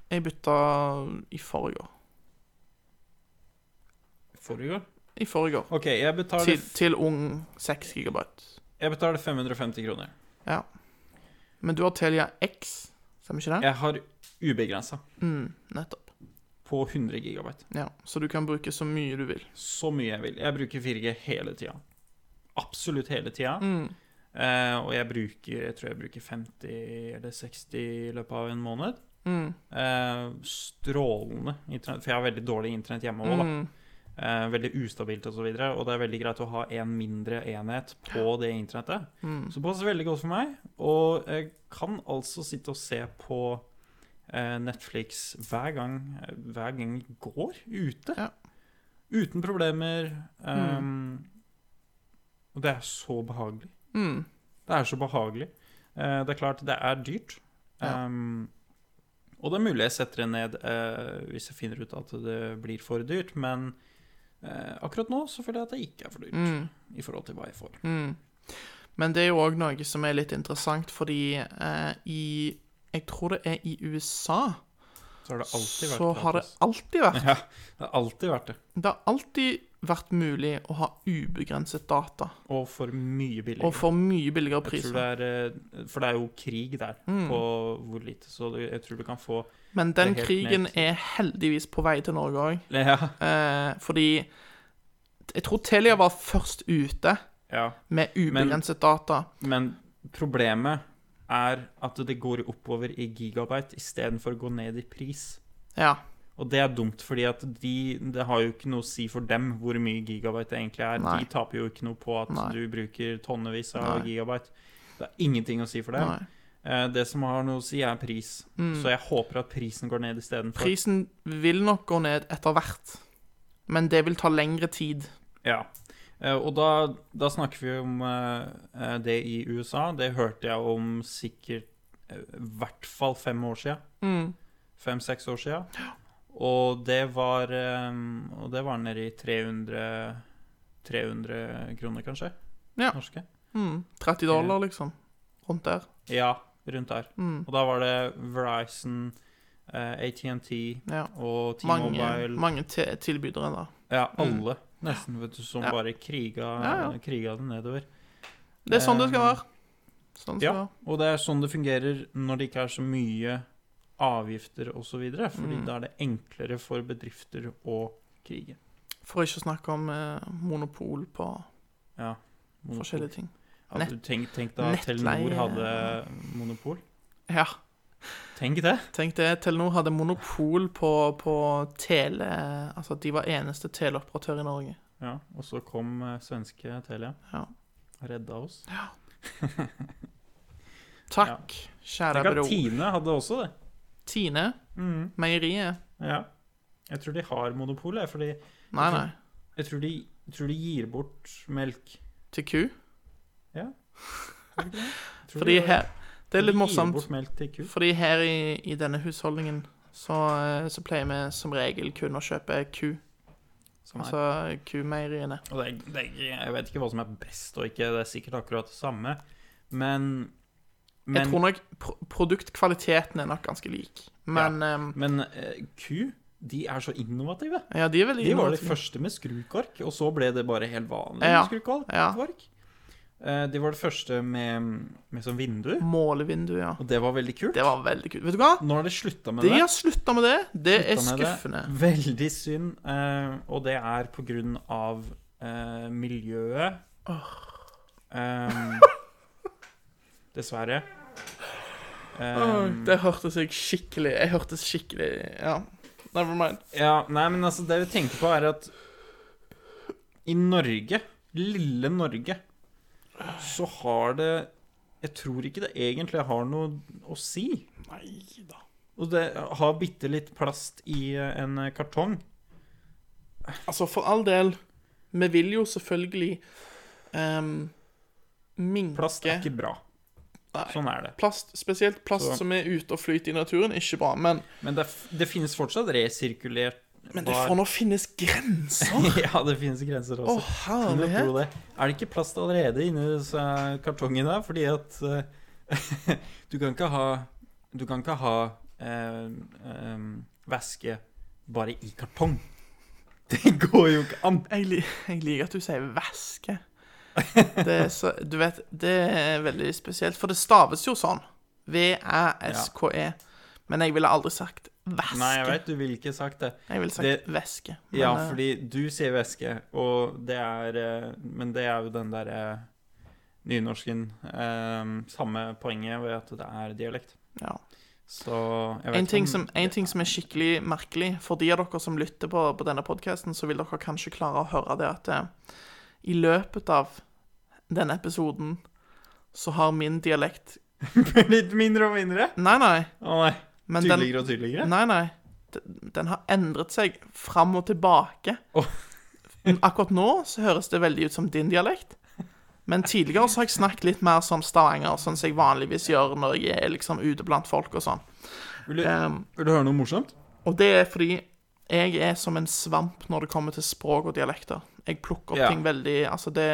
Jeg bytta i forrige år.
Forrige år?
I forrige år.
OK, jeg betaler,
Til, til ung 6 gigabyte.
jeg betaler 550 kroner.
Ja. Men du har Telia X, stemmer ikke det? Mm,
Jeg har ubegrensa
Nettopp.
på 100 gigabyte.
Ja, Så du kan bruke så mye du vil.
Så mye jeg vil. Jeg bruker 4G hele tida. Absolutt hele tida. Eh, og jeg bruker Jeg tror jeg bruker 50 eller 60 i løpet av en måned.
Mm,
Eh, strålende internett, for jeg har veldig dårlig internett hjemme òg, da.
Mm.
Eh, veldig ustabilt og så videre. Og det er veldig greit å ha en mindre enhet på det internettet.
mm,
Så det passer veldig godt for meg. Og jeg kan altså sitte og se på eh, Netflix hver gang, eh, hver gang jeg går ute.
Ja. Mm.
Uten problemer. ehm, Og det er så behagelig.
mm,
Det er så behagelig. Eh, det er klart, det er dyrt.
Ja.
Ehm, og det er mulig jeg setter det ned eh, hvis jeg finner ut at det blir for dyrt, men eh, akkurat nå så føler jeg at det ikke er for dyrt
Mm.
i forhold til hva jeg får.
Men det er jo òg noe som er litt interessant, fordi eh, i Jeg tror det er i USA
Så har det alltid vært
så har det
gratis.
alltid vært
Ja, det har alltid vært det.
Det har alltid vært mulig å ha ubegrenset data,
Og for mye billigere.
og for mye billigere
jeg
priser.
tror det er, eh, for det er jo krig der,
Mm.
på hvor lite. Så du- jeg tror du kan få
Men den
det er helt
krigen
ned.
er heldigvis på vei til Norge òg,
Ja.
eh, fordi Jeg tror Telia var først ute
ja.
med ubegrenset data.
Men problemet er at det går oppover i gigabyte istedenfor å gå ned i pris.
Ja.
Og det er dumt, fordi at de, det har jo ikke noe å si for dem hvor mye gigabyte det egentlig er.
Nei.
De taper jo ikke noe på at
Nei.
du bruker tonnevis av gigabyte. Det er ingenting å si for dem.
Nei. Mm.
Eh, Det som har noe å si, er pris. Så jeg håper at prisen går ned istedenfor.
Prisen vil nok gå ned etter hvert, men det vil ta lengre tid.
Ja. Eh, Og da, da snakker vi om eh, eh, det i USA. Det hørte jeg om sikkert eh, i hvert fall fem år siden. Fem-seks år siden. Og det var eh, Og det var nede i 300 300 kroner, kanskje?
Ja.
Norske?
30 Mm. dollar, liksom. Rundt der. Mm.
Ja, rundt der. Og da var det Verizon, eh, ATNT
Ja.
og
Mange,
T-Mobile.
mange te- tilbydere der.
Ja, alle, nesten, vet du, som
Ja.
bare kriga,
Ja, ja.
kriga det nedover.
Det er sånn det skal
Eh,
være. Sånn det skal
Ja,
være.
og det er sånn det fungerer når det ikke er så mye avgifter osv. Fordi
Mm.
da er det enklere for bedrifter å krige.
For ikke å snakke om eh, monopol på
Ja. monopol.
forskjellige ting.
Ja, du tenk, tenk da
Nettleie-
Telenor hadde monopol.
Ja,
Tenk det!
tenk det. Telenor hadde monopol på, på tele... Altså, de var eneste teleoperatør i Norge.
Ja, Og så kom eh, svenske Telia
Ja.
og redda oss.
Takk, kjære
Tenk at
bror.
Tine hadde også det. Mm,
Tine, meieriet.
Ja. Jeg tror de har monopol, jeg, fordi
Nei, nei.
jeg tror de, jeg tror de gir bort melk.
Til ku.
Ja. Tror du ikke det? Tror
Fordi
de-
her Det er litt
De gir
morsomt.
bort melk til ku.
Fordi her i, i denne husholdningen så, eh, så pleier vi som regel kun å kjøpe ku.
Som er
Altså kumeieriene.
Og det er, det er, ikke- jeg vet ikke hva som er best og ikke, det er sikkert akkurat det samme, men
Jeg tror
Men,
nok pro produktkvaliteten er nok ganske lik. Men ja,
men eh, ku, de er så innovative.
ja de er veldig
De var de
innovative.
første med skrukork, og så ble det bare helt vanlig
Ja,
med skrukork.
ja.
Eh, De var det første med, med sånn vindu,
Målevindu, ja.
og det var veldig kult.
Mm. Det var veldig kult. Vet du hva?
Nå har de slutta med
De
det.
har slutta med det. Det er
slutta med det.
skuffende.
Veldig synd. eh, og det er på grunn av eh, miljøet. Em, dessverre. Eh, Em,
Det hørtes jeg skikkelig Jeg hørtes skikkelig Ja, never mind.
ja, nei, men altså, det vi tenker på, er at i Norge, lille Norge, så har det Jeg tror ikke det egentlig har noe å si.
Nei da.
Og det har bitte litt plast i eh, en kartong.
Altså, for all del, vi vil jo selvfølgelig ehm, minke
Plast er ikke bra.
Nei.
Sånn er det.
plast, spesielt plast
Så-
som er ute og flyter i naturen, ikke bra. Men,
Men det, f- det finnes fortsatt resirkulert
men det får nå finnes grenser!
Ja, det finnes grenser
Å,
også. Kunne
herlighet!
tro det. Er det ikke plast allerede inni disse kartongene? Fordi at eh, du kan ikke ha Du kan ikke ha eh, eh, væske bare i kartong. Det går jo ikke an.
Jeg, li jeg liker at du sier væske. Det er så, du vet, det er veldig spesielt, for det staves jo sånn. V-æ-s-k-e. E. Men jeg ville aldri sagt væske.
Nei, jeg veit du ville ikke sagt det.
Jeg ville sagt
Det-
væske. Men,
Ja,
eh,
fordi du sier væske, og det er eh, Men det er jo den derre nynorsken. eh, samme poenget ved at det er dialekt.
ja.
Så jeg vet
En ting,
om-
som, en ting som er skikkelig merkelig for de av dere som lytter på, på denne podkasten, så vil dere kanskje klare å høre det at eh, i løpet av denne episoden så har min dialekt
Litt mindre og mindre?
Nei, nei.
Å nei.
Men den,
Tydeligere og tydeligere?
nei, nei d- den har endret seg fram og tilbake.
Åh.
Men Akkurat nå så høres det veldig ut som din dialekt. Men tidligere så har jeg snakket litt mer sånn Stavanger, sånn som jeg vanligvis gjør når jeg er liksom ute blant folk og sånn.
Vil, du,
Um,
vil du høre noe morsomt?
Og det er fordi jeg er som en svamp når det kommer til språk og dialekter. Jeg plukker opp
Ja. Mm.
ting veldig Altså, det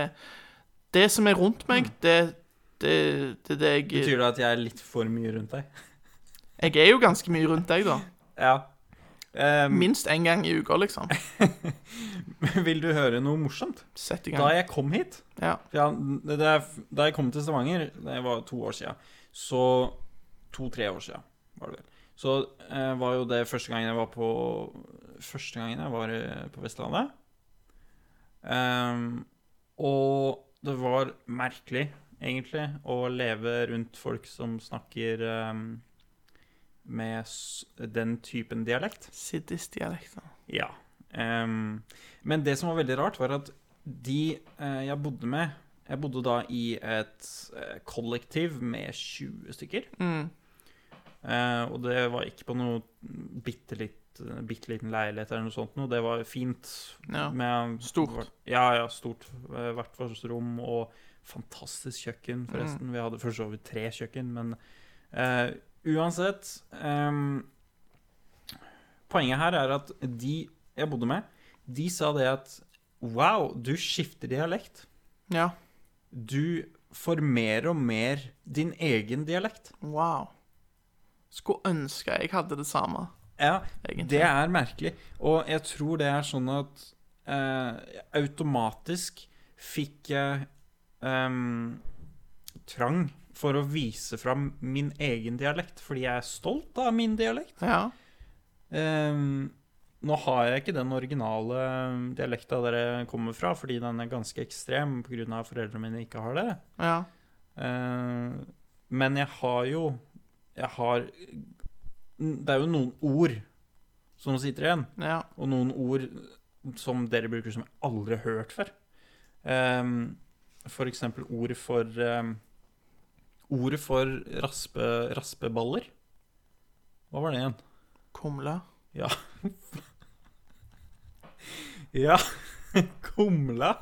Det som er rundt meg, det det, det, er det jeg
Betyr det at jeg er litt for mye rundt deg?
Jeg er jo ganske mye rundt deg, da.
Ja. Ehm,
Minst én gang i uka, liksom.
vil du høre noe morsomt?
Sett i
Da
gang.
jeg kom hit
Ja.
for jeg, det, det, er- Da jeg kom til Stavanger, det var to år siden Så to-tre år siden var det vel Så eh, var jo det første gangen jeg var på Første gangen jeg var eh, på Vestlandet Ehm, Og det var merkelig, egentlig Å leve rundt folk som snakker ehm, Med s- den typen dialekt
Siddis-dialekter.
ja. Ehm, men det som var veldig rart, var at de eh, jeg bodde med Jeg bodde da i et eh, kollektiv med 20 stykker.
Mm.
Eh, og det var ikke på noe bitte, litt, eh, bitte liten leilighet eller noe sånt noe. Det var fint.
Ja.
Med,
Stort.
Ja, ja, stort. Eh, Hvert vårt rom og fantastisk kjøkken,
Mm.
forresten. Vi hadde for så vidt tre kjøkken, men eh, uansett ehm, Poenget her er at de jeg bodde med, de sa det at Wow, du skifter dialekt.
Ja.
Du får mer og mer din egen dialekt.
Wow. Skulle ønske jeg hadde det samme.
Ja,
Egentlig.
det er merkelig. Og jeg tror det er sånn at eh, automatisk fikk jeg ehm, trang for å vise fram min egen dialekt, fordi jeg er stolt av min dialekt.
Ja.
Ehm, nå har jeg ikke den originale ehm, dialekta dere kommer fra, fordi den er ganske ekstrem pga. at foreldrene mine ikke har det.
Ja.
Eh, men jeg har jo Jeg har Det er jo noen ord som sitter igjen,
Ja.
og noen ord som dere bruker som jeg aldri har hørt før. Ehm, for eksempel ord for ehm, Ordet for raspe, raspeballer. Hva var det igjen?
Kumle.
Ja. ja. Kumla.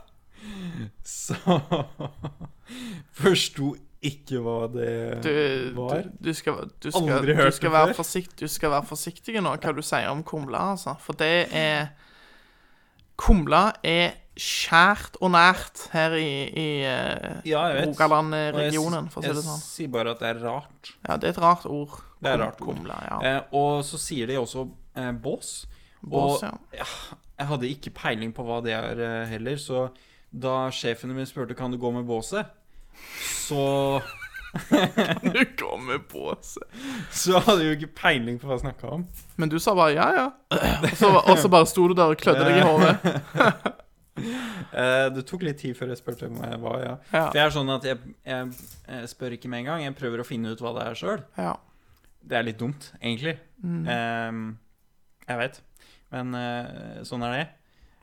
Så Forsto ikke hva det
Du,
var.
du, du skal, du skal,
Aldri hørt
du skal,
det
være
før.
forsikt, du skal være forsiktig nå hva du sier om kumla, altså. For det er Kumla er skjært og nært her i, i eh,
Ja, jeg vet.
Rogaland-regionen, for å si det sånn.
Jeg sier bare at det er rart.
Ja, det er et rart ord.
Det er
Kum-
rart ord.
Kumla, ja.
Eh, og så sier de også eh, bås.
Bås,
og
ja.
ja, jeg hadde ikke peiling på hva det er eh, heller, så da sjefen min spurte kan du gå med båset, så,
Du kommer på seg.
så hadde jeg jo ikke peiling på hva jeg snakka om.
Men du sa bare ja, ja. Og så, og så bare sto du der og klødde deg i hodet.
Eh, det tok litt tid før jeg spurte om jeg var, ja.
Ja.
For jeg er sånn at jeg, jeg, jeg spør ikke med en gang. Jeg prøver å finne ut hva det er sjøl.
Ja.
Det er litt dumt, egentlig.
Mm.
Eh, jeg veit. Men eh, sånn er det.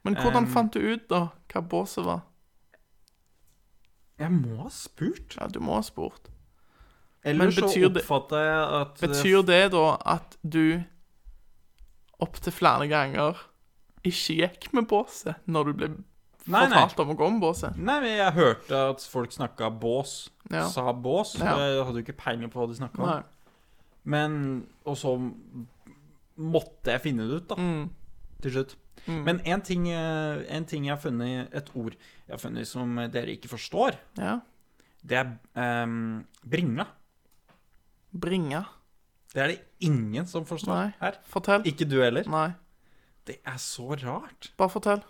Men hvordan
Um,
fant du ut, da, hva båset var?
Jeg må ha spurt.
Ja, du må ha spurt.
Eller
Men
så
betyr det-
oppfatter jeg at eh,
Betyr det da at du opptil flere ganger ikke gikk med båset når du ble
Nei, nei.
fortalt om å gå med båset?
Nei, men jeg hørte at folk snakka bås.
Ja.
Sa bås.
Ja.
Jeg hadde jo ikke peiling på hva de snakka om.
Nei.
Men Og så måtte jeg finne det ut, da.
Mm.
Til slutt. Men en ting, eh, en ting jeg har funnet Et ord jeg har funnet som dere ikke forstår,
Ja.
det er ehm, bringa.
Bringe.
Det er det ingen som forstår
Nei.
her.
Fortell.
Ikke du heller.
Nei.
Det er så rart.
Bare fortell.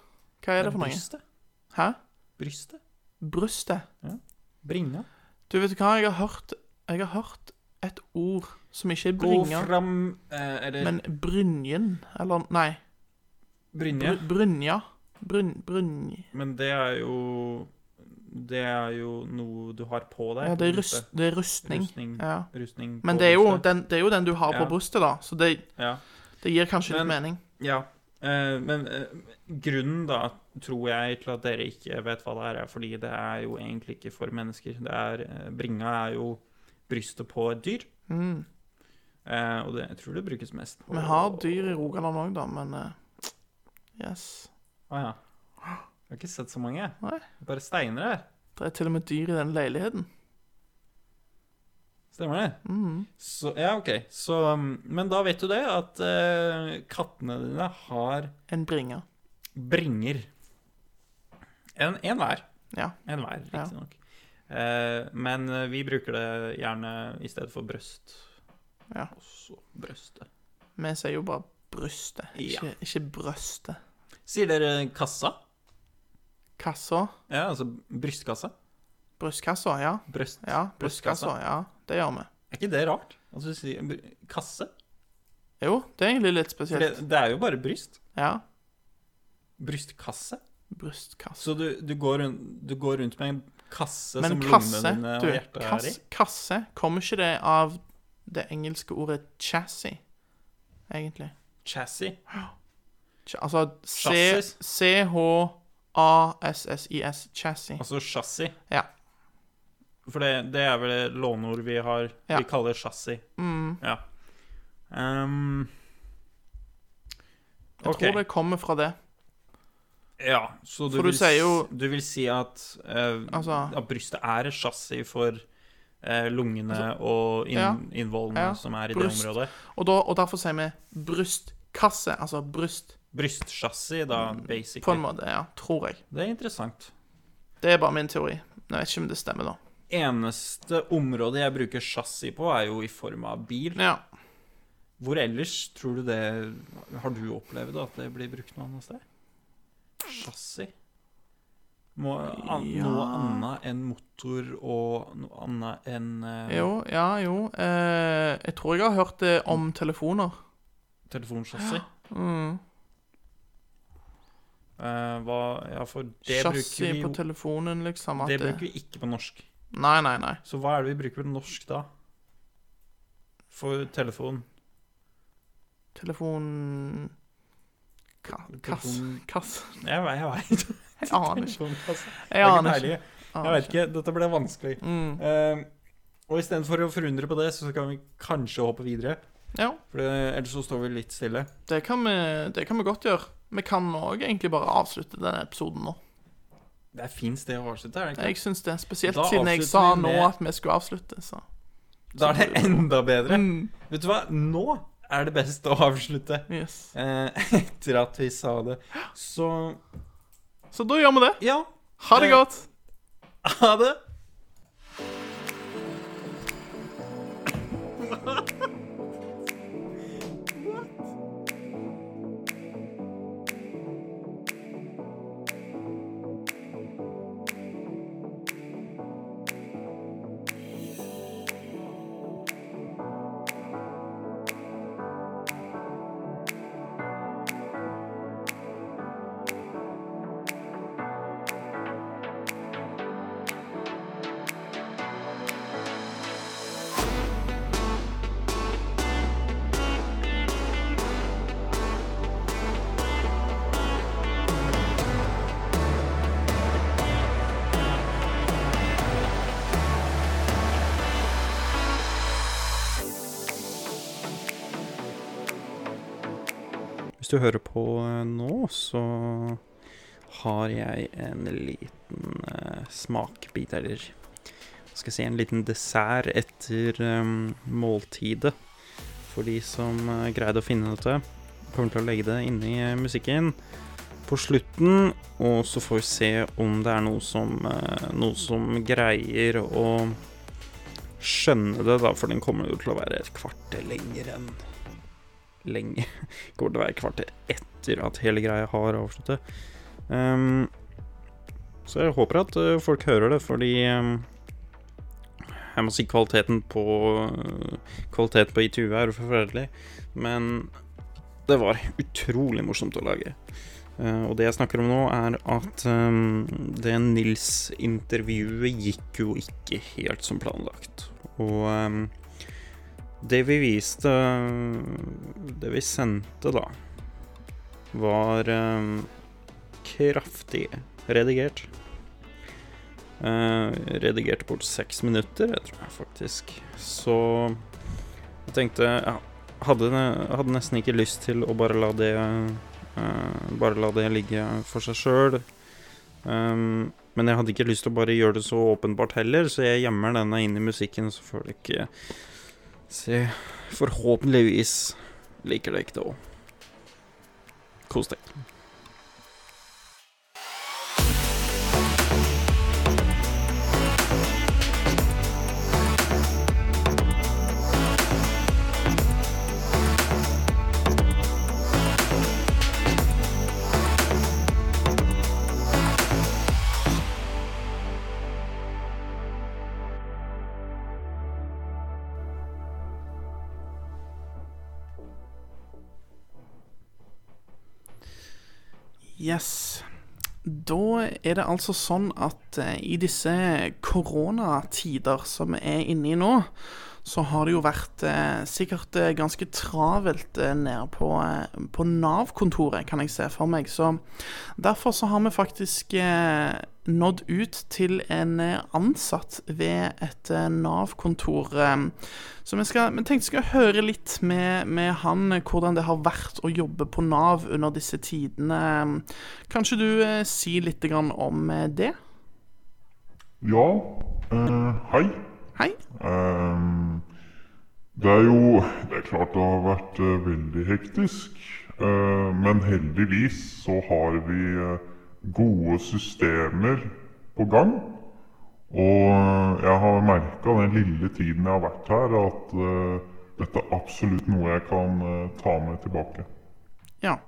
Hva er det for noe?
Brystet.
Hæ?
Brystet.
Brystet.
Bringa.
Du vet du hva, jeg har hørt Jeg har hørt et ord som ikke er
Gå
bringe,
fram eh, Eller
men brynjen. Eller nei.
brynje.
Br brynja. Bryn... Brynj...
Men det er jo Det er jo noe du har på deg.
Ja, det er,
på
rust,
brystet.
det er rustning.
Rustning.
Ja.
Rustning
Men
på
det er, jo
brystet.
den, det er jo den du har på
Ja.
brystet, da, så det,
Ja.
det gir kanskje litt
Men-
mening.
ja. Eh, men eh, grunnen, da, tror jeg, til at dere ikke vet hva det er, er fordi det er jo egentlig ikke for mennesker. Det er, eh, bringa er jo brystet på et dyr. Eh, og det, jeg tror det brukes mest på
Mm. Vi har dyr i Rogaland òg, da, men eh, Yes.
Å ja. Jeg har ikke sett så mange. jeg.
Nei.
Bare steiner her.
Det er til og med dyr i den leiligheten.
Stemmer det?
Mm.
Så, ja, OK. Så, um, men da vet du det, at eh, kattene dine har
En bringe.
bringer. En, en hver.
Ja.
En hver,
Ja.
riktignok. Eh, men eh, vi bruker det gjerne i stedet for brøst.
Ja.
Også brøstet.
Vi sier jo bare brystet, ikke, ikke brøstet.
Sier dere kassa?
Kassa.
Ja, altså brystkassa?
Brystkassa, ja.
Brøst.
Ja, brystkassa. Ja, det gjør vi.
Er ikke det rart? Altså, du sier br- kasse?
Jo, det er egentlig litt
For det,
spesielt.
det er jo bare bryst.
Ja.
Brystkasse.
Brystkasse.
Så du, du, går, rundt, du går rundt med en kasse
Men
som
kasse,
lungene dine
du,
og hjertet er i?
kasse, kasse Kommer ikke det av det engelske ordet chassis, egentlig?
Chassis.
Ch- Altså
Chassis.
C- C-H-A-S-S-I-S, chassis.
Altså chassis.
Ja.
For det, det er vel det låneord vi har.
Ja. Mm.
Vi kaller chassis. Ja. Ehm,
Jeg
ok.
tror det kommer fra det.
Ja, så du,
For du
vil, s-
sier jo-
du vil si at, eh,
Altså-
at brystet er et chassis for eh, lungene og inn,
Altså- ja.
innvollene
Ja.
som er i
Bryst.
det området?
Og, da, og derfor sier vi brystkasse, altså bryst,
Brystchassis, da, basically.
Mm. på en måte. Ja, tror jeg.
Det er interessant.
Det er bare min teori. Jeg vet ikke om det stemmer, da.
eneste området jeg bruker chassis på, er jo i form av bil.
Ja.
Hvor ellers tror du det Har du opplevd at det blir brukt noe annet sted? Chassis? Må, an, Noe annet enn motor og noe annet enn eh,
Jo, ja, jo. Eh, jeg tror jeg har hørt det om telefoner.
telefonchassis?
Mm.
Eh, hva Ja, for det bruker
Chassis
vi
på
jo
telefonen, liksom. At
Det bruker vi ikke på norsk.
Nei, nei, nei.
Så hva er det vi bruker på norsk da? For telefon?
Telefon... Ka kass...
Telefon-
Kass...
Jeg, jeg veit.
Jeg aner ikke.
Jeg
Jeg aner ikke. Mm.
har ikke peiling. Jeg vet ikke. Dette ble vanskelig. Eh, og istedenfor å forundre på det, så kan vi kanskje hoppe videre.
Ja.
For det, ellers så står vi litt stille.
Det kan, vi, det kan vi godt gjøre. Vi kan òg egentlig bare avslutte denne episoden nå.
Det er fint sted å avslutte, er det
Jeg
ikke?
syns det, Spesielt
Da
siden jeg
avslutter
sa
vi
nå
med-
at vi skulle avslutte. Så. Mm,
Da er det enda bedre. Vet du hva? Nå er det best å avslutte.
Yes.
Eh, etter at vi sa det. Så
så da gjør vi det.
ja,
Ha det
Ja.
godt.
ha det. du hører på eh, nå, så har jeg en liten eh, smakbit, eller hva skal jeg si, en liten dessert etter eh, måltidet. For de som eh, greide å finne dette, kommer til å legge det inni eh, musikken på slutten, og så får vi se om det er noe som, eh, noe som greier å skjønne det, da, for den kommer jo til å være et kvarter lenger enn lenge Kommer til å være et kvarter etter at hele greia har avsluttet. Ehm, så jeg håper at eh, folk hører det, fordi ehm, Jeg må si kvaliteten på Kvaliteten på ITU er forferdelig, men det var utrolig morsomt å lage. Eh, og det jeg snakker om nå, er at ehm, det Nils-intervjuet gikk jo ikke helt som planlagt. Og ehm, det vi viste Det vi sendte, da, var eh, kraftig redigert. Eh, redigerte bort seks minutter, jeg tror jeg faktisk. Så jeg tenkte ja, hadde, hadde nesten ikke lyst til å bare la det eh, Bare la det ligge for seg sjøl. men jeg hadde ikke lyst til å bare gjøre det så åpenbart heller, så jeg gjemmer denne inn i musikken, så eh, får du ikke Se, forhåpentligvis liker dere det òg. Kos deg.
Yes. Da er det altså sånn at eh, i disse koronatider som vi er inne i nå, så har det jo vært eh, sikkert eh, ganske travelt eh, nede på, eh, på Nav-kontoret, kan jeg se for meg. Så derfor så har vi faktisk eh, nådd ut til en eh, ansatt ved et eh, Nav-kontor. Eh, så vi, skal, vi tenkte skal høre litt med, med han eh, hvordan det har vært å jobbe på Nav under disse tidene. Kanskje du eh, si litt grann om eh, det?
Ja, eh, hei.
Hei.
Ehm, det er jo Det er klart det har vært eh, veldig hektisk. eh, men heldigvis så har vi eh, gode systemer på gang. Og eh, jeg har merka den lille tiden jeg har vært her, at eh, dette er absolutt noe jeg kan eh, ta med tilbake.
Ja.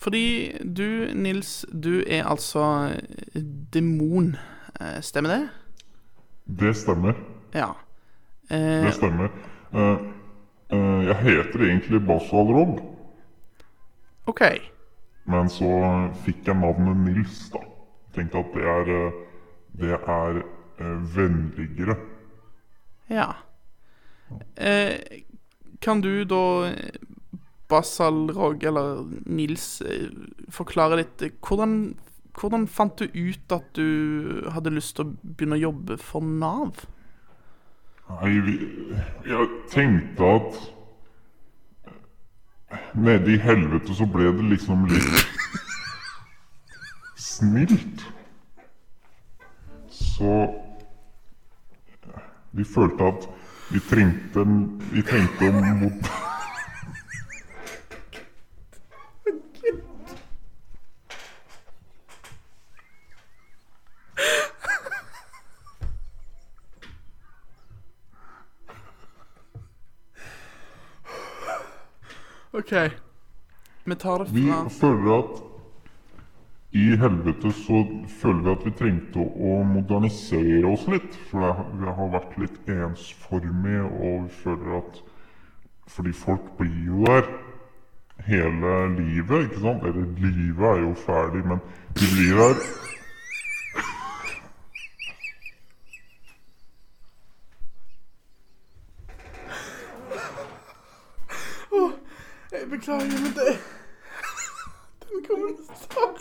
Fordi du, Nils, du er altså eh, demon. Eh, Stemmer det?
Det stemmer.
Ja. Eh,
Det stemmer. Eh, eh, jeg heter egentlig Basal Rob,
OK.
Men så fikk jeg navnet Nils, da. Tenkte at det er eh, Det er eh, vennligere.
Ja. Eh, kan du da, eh, Basal Rog, eller Nils, eh, forklare litt eh, hvordan, hvordan fant du ut at du hadde lyst til å begynne å jobbe for Nav?
Nei, vi Jeg tenkte at eh, Nede i helvete så ble det liksom litt snilt. Så eh, Vi følte at vi trengte en- Vi trengte en mot...
OK. Vi tar det
Vi
fra
føler at i helvete så føler vi at vi trengte å modernisere oss litt. For det, vi har vært litt ensformige, og vi føler at Fordi folk blir jo der hele livet, ikke sant? Eller livet er jo ferdig, men de blir der
Jeg beklager, men det Den kommentaren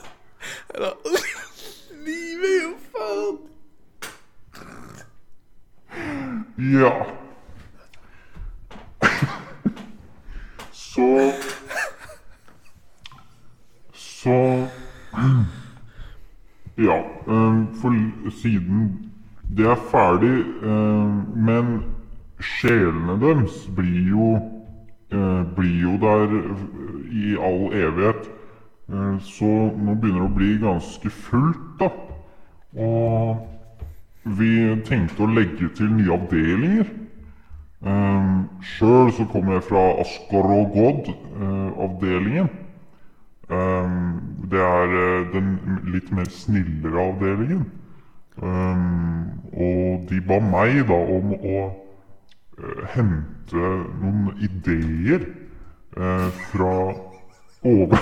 Eller Livet er jo ferdig.
Ja. Så Ja, ehm, for siden det er ferdig, ehm, men sjelene deres blir jo, eh, blir jo der i all evighet. Eh, så nå begynner det å bli ganske fullt, da. Og vi tenkte å legge til nye avdelinger. Um, Sjøl så kommer jeg fra Askorogod-avdelingen. Ehm, det er eh, den litt mer snillere avdelingen. Ehm, og de ba meg da om å eh, hente noen ideer eh, fra over...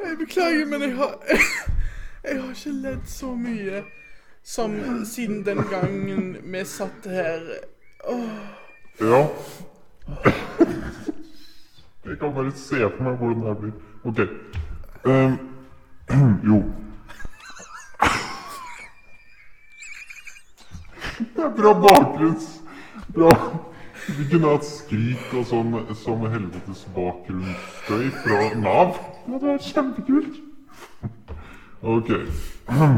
Jeg beklager, men jeg har Jeg har ikke ledd så mye som siden den gangen vi satt her.
Ja. Jeg kan bare se for meg hvordan det her blir. Ok. Ehm, jo. Det er bra bakgrunns... Bra. Vi kunne hatt skrik og sånn som helvetes bakgrunnsstøy fra Nav. Ja, det er kjempekult. Ok.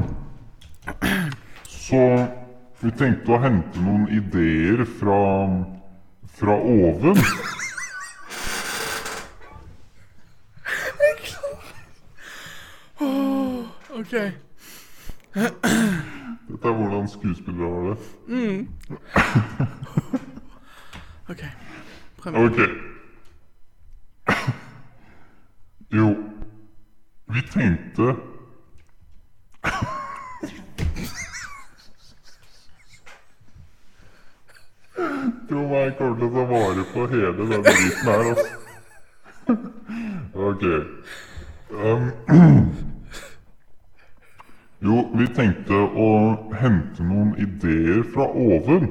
Så vi tenkte å hente noen ideer fra, fra oven.
OK.
Dette er hvordan skuespillere har det.
ok.
Ok. Jo, vi tenkte Tro meg, jeg kommer til å ta vare på hele denne driten her, altså. Ok. Ehm, jo, vi tenkte å hente noen ideer fra oven.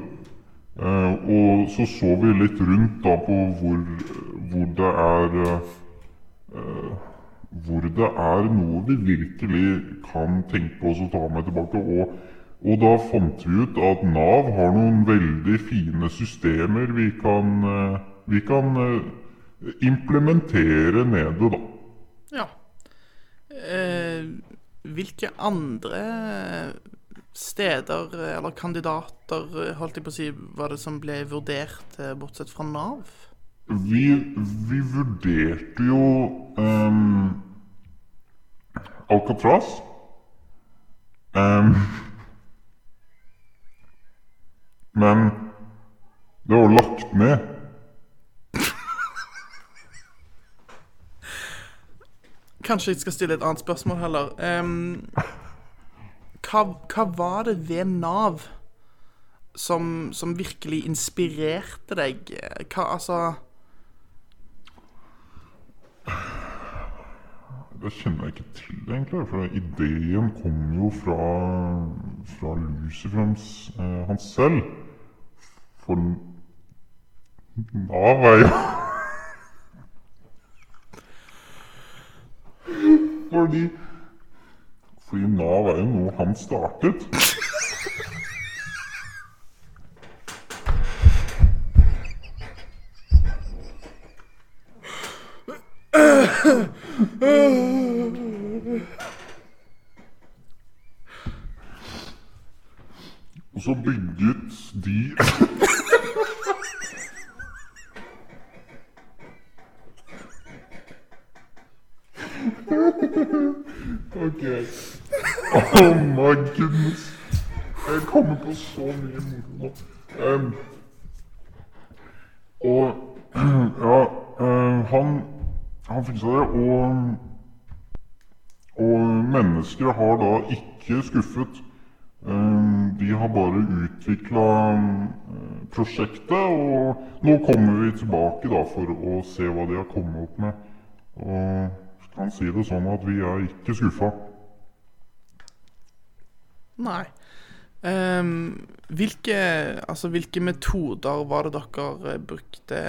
Eh, og så så vi litt rundt da på hvor, hvor det er eh, eh, Hvor det er noe vi virkelig kan tenke oss å ta med tilbake. Og, og da fant vi ut at Nav har noen veldig fine systemer vi kan, eh, vi kan eh, implementere nede, da.
Ja. Eh, hvilke andre steder eh, eller kandidater eh, holdt jeg på å si, var det som ble vurdert, eh, bortsett fra Nav?
Vi, vi vurderte jo ehm, Alcatraz. Ehm, men det var jo lagt ned.
Kanskje jeg skal stille et annet spørsmål heller. Ehm, hva, hva var det ved Nav som, som virkelig inspirerte deg? Hva, altså
Det kjenner jeg ikke til, egentlig. For ideen kom jo fra, fra Lucifers eh, han selv. For Nav er jo Fordi Fordi Nav er jo noe han startet. Og så bygget de Ok. Oh my goodness. Jeg kommer på så mye moro nå. Em, og ja, eh, han, han fiksa det, og, og mennesker har da ikke skuffet. Eh, De har bare utvikla prosjektet, og nå kommer vi tilbake da for å se hva de har kommet opp med. Og jeg kan si det sånn at vi er ikke skuffa.
Nei. Ehm, hvilke, altså, hvilke metoder var det dere eh, brukte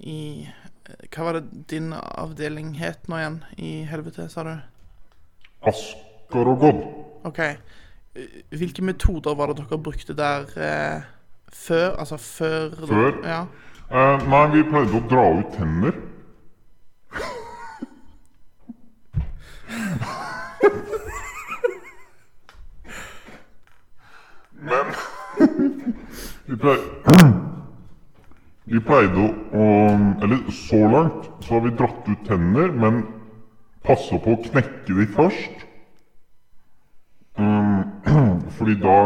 i eh, Hva var det din avdeling het nå igjen i helvete, sa du?
Ask Gorogon.
OK. Eh, Hvilke metoder var det dere brukte der eh, før? Altså før
Før?
Ja.
Eh, nei, vi pleide å dra ut tenner. Men vi pleide, vi pleide å um, Eller så langt så har vi dratt ut tenner, men passa på å knekke de først. Um, fordi da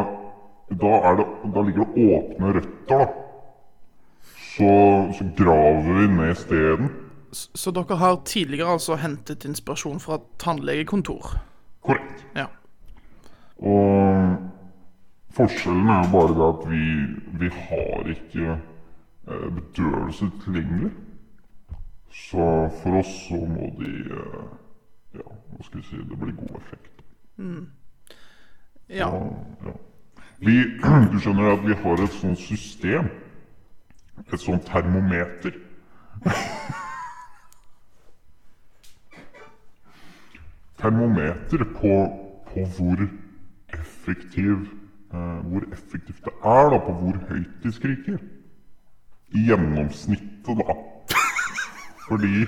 da, er det, da ligger det åpne røtter, da så, så graver vi ned stedet.
S- Så dere har tidligere altså hentet inspirasjon fra tannlegekontor?
Korrekt.
Ja.
Og forskjellen er jo bare det at vi, vi har ikke eh, bedøvelse tilgjengelig. Så for oss så må de eh, Ja, hva skal vi si Det blir god effekt.
Ja.
Ja. Vi, du skjønner at vi har et sånt system. Et sånt termometer. termometer på, på hvor effektiv eh, hvor effektivt det er, da, på hvor høyt de skriker. I gjennomsnittet, da. Fordi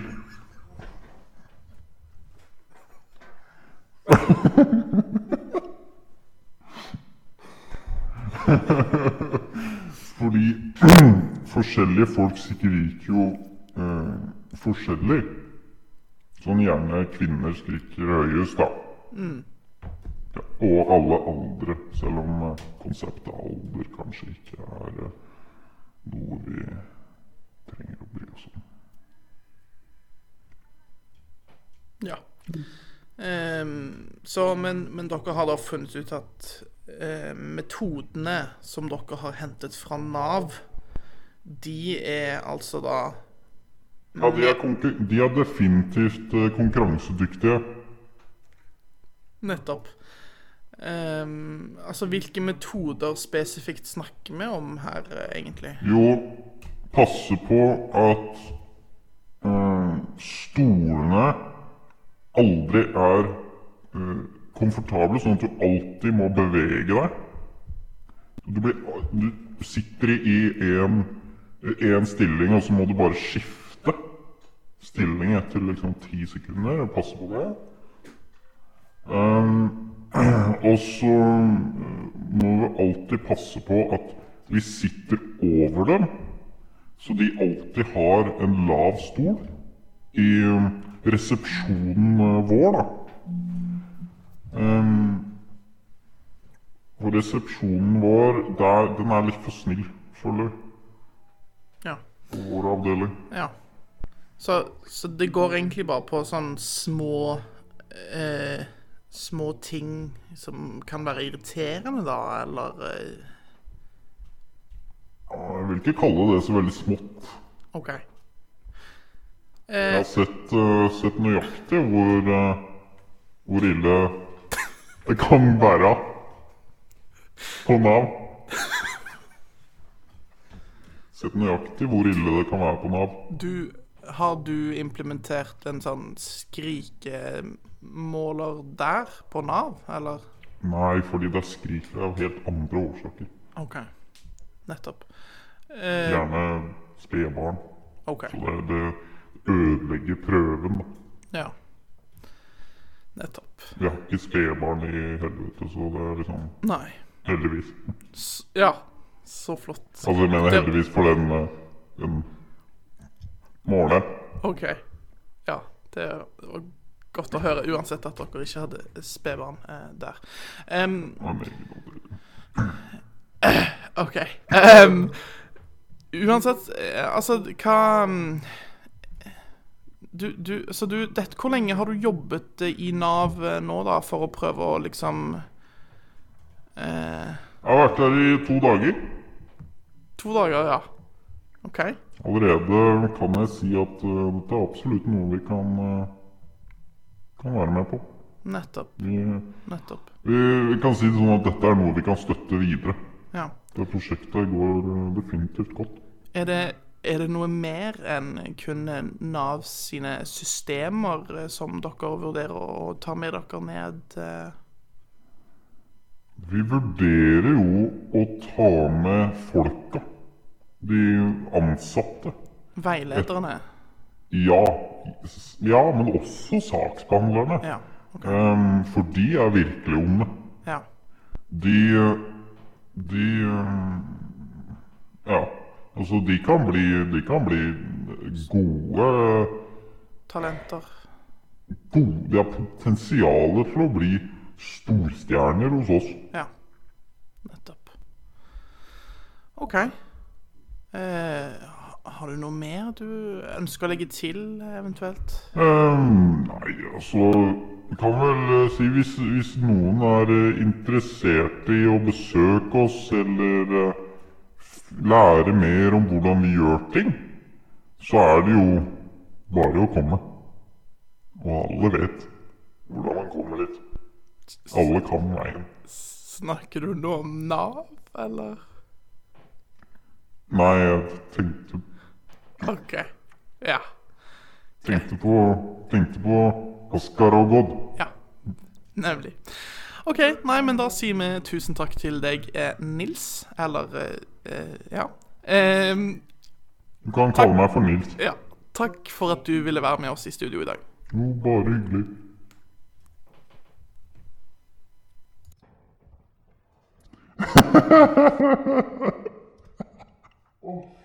Fordi forskjellige folk skriker jo eh, forskjellig. Sånn gjerne kvinner skriker høyest, da. Ja, og alle aldre, selv om eh, konseptet alder kanskje ikke er eh, noe vi trenger å bry oss om.
ja. Ehm, så, men, men dere har da funnet ut at eh, metodene som dere har hentet fra Nav, de er altså da
Ja, de er, konkur de er definitivt eh, konkurransedyktige.
Nettopp. Ehm, altså, hvilke metoder spesifikt snakker vi om her, eh, egentlig?
Jo, passe på at eh, stolene aldri er eh, komfortable, sånn at du alltid må bevege deg. Du, blir, du sitter i en, en stilling, og så må du bare skifte stilling etter liksom ti sekunder. Passe på det. Um, og så eh, må vi alltid passe på at vi sitter over dem, så de alltid har en lav stol i eh, resepsjonen eh, vår, da. Um, og resepsjonen vår, der, den er litt for snill, føler jeg,
Ja.
på vår avdeling.
Ja. Så, så det går egentlig bare på sånn små eh, Små ting som kan være irriterende, da, eller eh,
Ja, Jeg vil ikke kalle det så veldig smått.
OK.
Jeg har sett, eh, sett nøyaktig hvor, eh, hvor ille det kan være på Nav. Sett nøyaktig hvor ille det kan være på Nav.
Du Har du implementert en sånn skrikemåler der, på Nav, eller?
Nei, fordi det skriker av helt andre årsaker.
OK. Nettopp. Eh,
Gjerne spedbarn.
OK.
Så det, det ødelegger prøven. da.
Ja. Nettopp.
Vi har ikke spedbarn i helvete, så det er liksom
Nei.
Heldigvis.
S ja. Så flott.
Altså, jeg mener heldigvis for den, eh, den måleren.
OK. Ja, det var godt å høre, uansett at dere ikke hadde spedbarn eh, der. Em,
Han er egen alder.
OK. Em, Ehm, uansett, eh, altså, hva mm, du, du, så du, dette, Hvor lenge har du jobbet eh, i Nav eh, nå, da, for å prøve å liksom eh,
Jeg har vært her i to dager.
To dager, ja. OK.
Allerede kan jeg si at eh, dette er absolutt noe vi kan, eh, kan være med på.
Nettopp.
Vi,
Nettopp.
vi, vi kan si det sånn at dette er noe vi kan støtte videre.
Ja.
Det prosjektet går eh, definitivt godt.
Er det, er det noe mer enn kun Nav sine systemer eh, som dere vurderer å ta med dere ned eh,
Vi vurderer jo å ta med folka. De ansatte.
Veilederne.
Ja, s- ja men også saksbehandlerne.
Ja.
Ehm, for de er virkelig onde.
ja.
De eh, De eh, Ja. Altså, de kan bli, de kan bli gode
Talenter.
gode, De har potensial til å bli storstjerner hos oss.
Ja. Nettopp. OK. Eh, har du noe mer du ønsker å legge til, eventuelt?
Ehm, nei, altså Kan vel eh, si hvis, hvis noen er eh, interessert i å besøke oss eller eh, f- lære mer om hvordan vi gjør ting, så er det jo bare å komme. Og alle vet hvordan man kommer dit. Alle kan veien.
Snakker du nå om Nav, eller?
Nei, jeg tenkte,
OK. Ja.
tenkte på Tenkte på Oskar og Odd.
Ja. Nemlig. OK, nei, men da sier vi tusen takk til deg, eh, Nils. Eller eh, eh, ja. Eh,
Du kan kalle meg for Nils.
ja. Takk for at du ville være med oss i studio i dag.
Jo, bare hyggelig.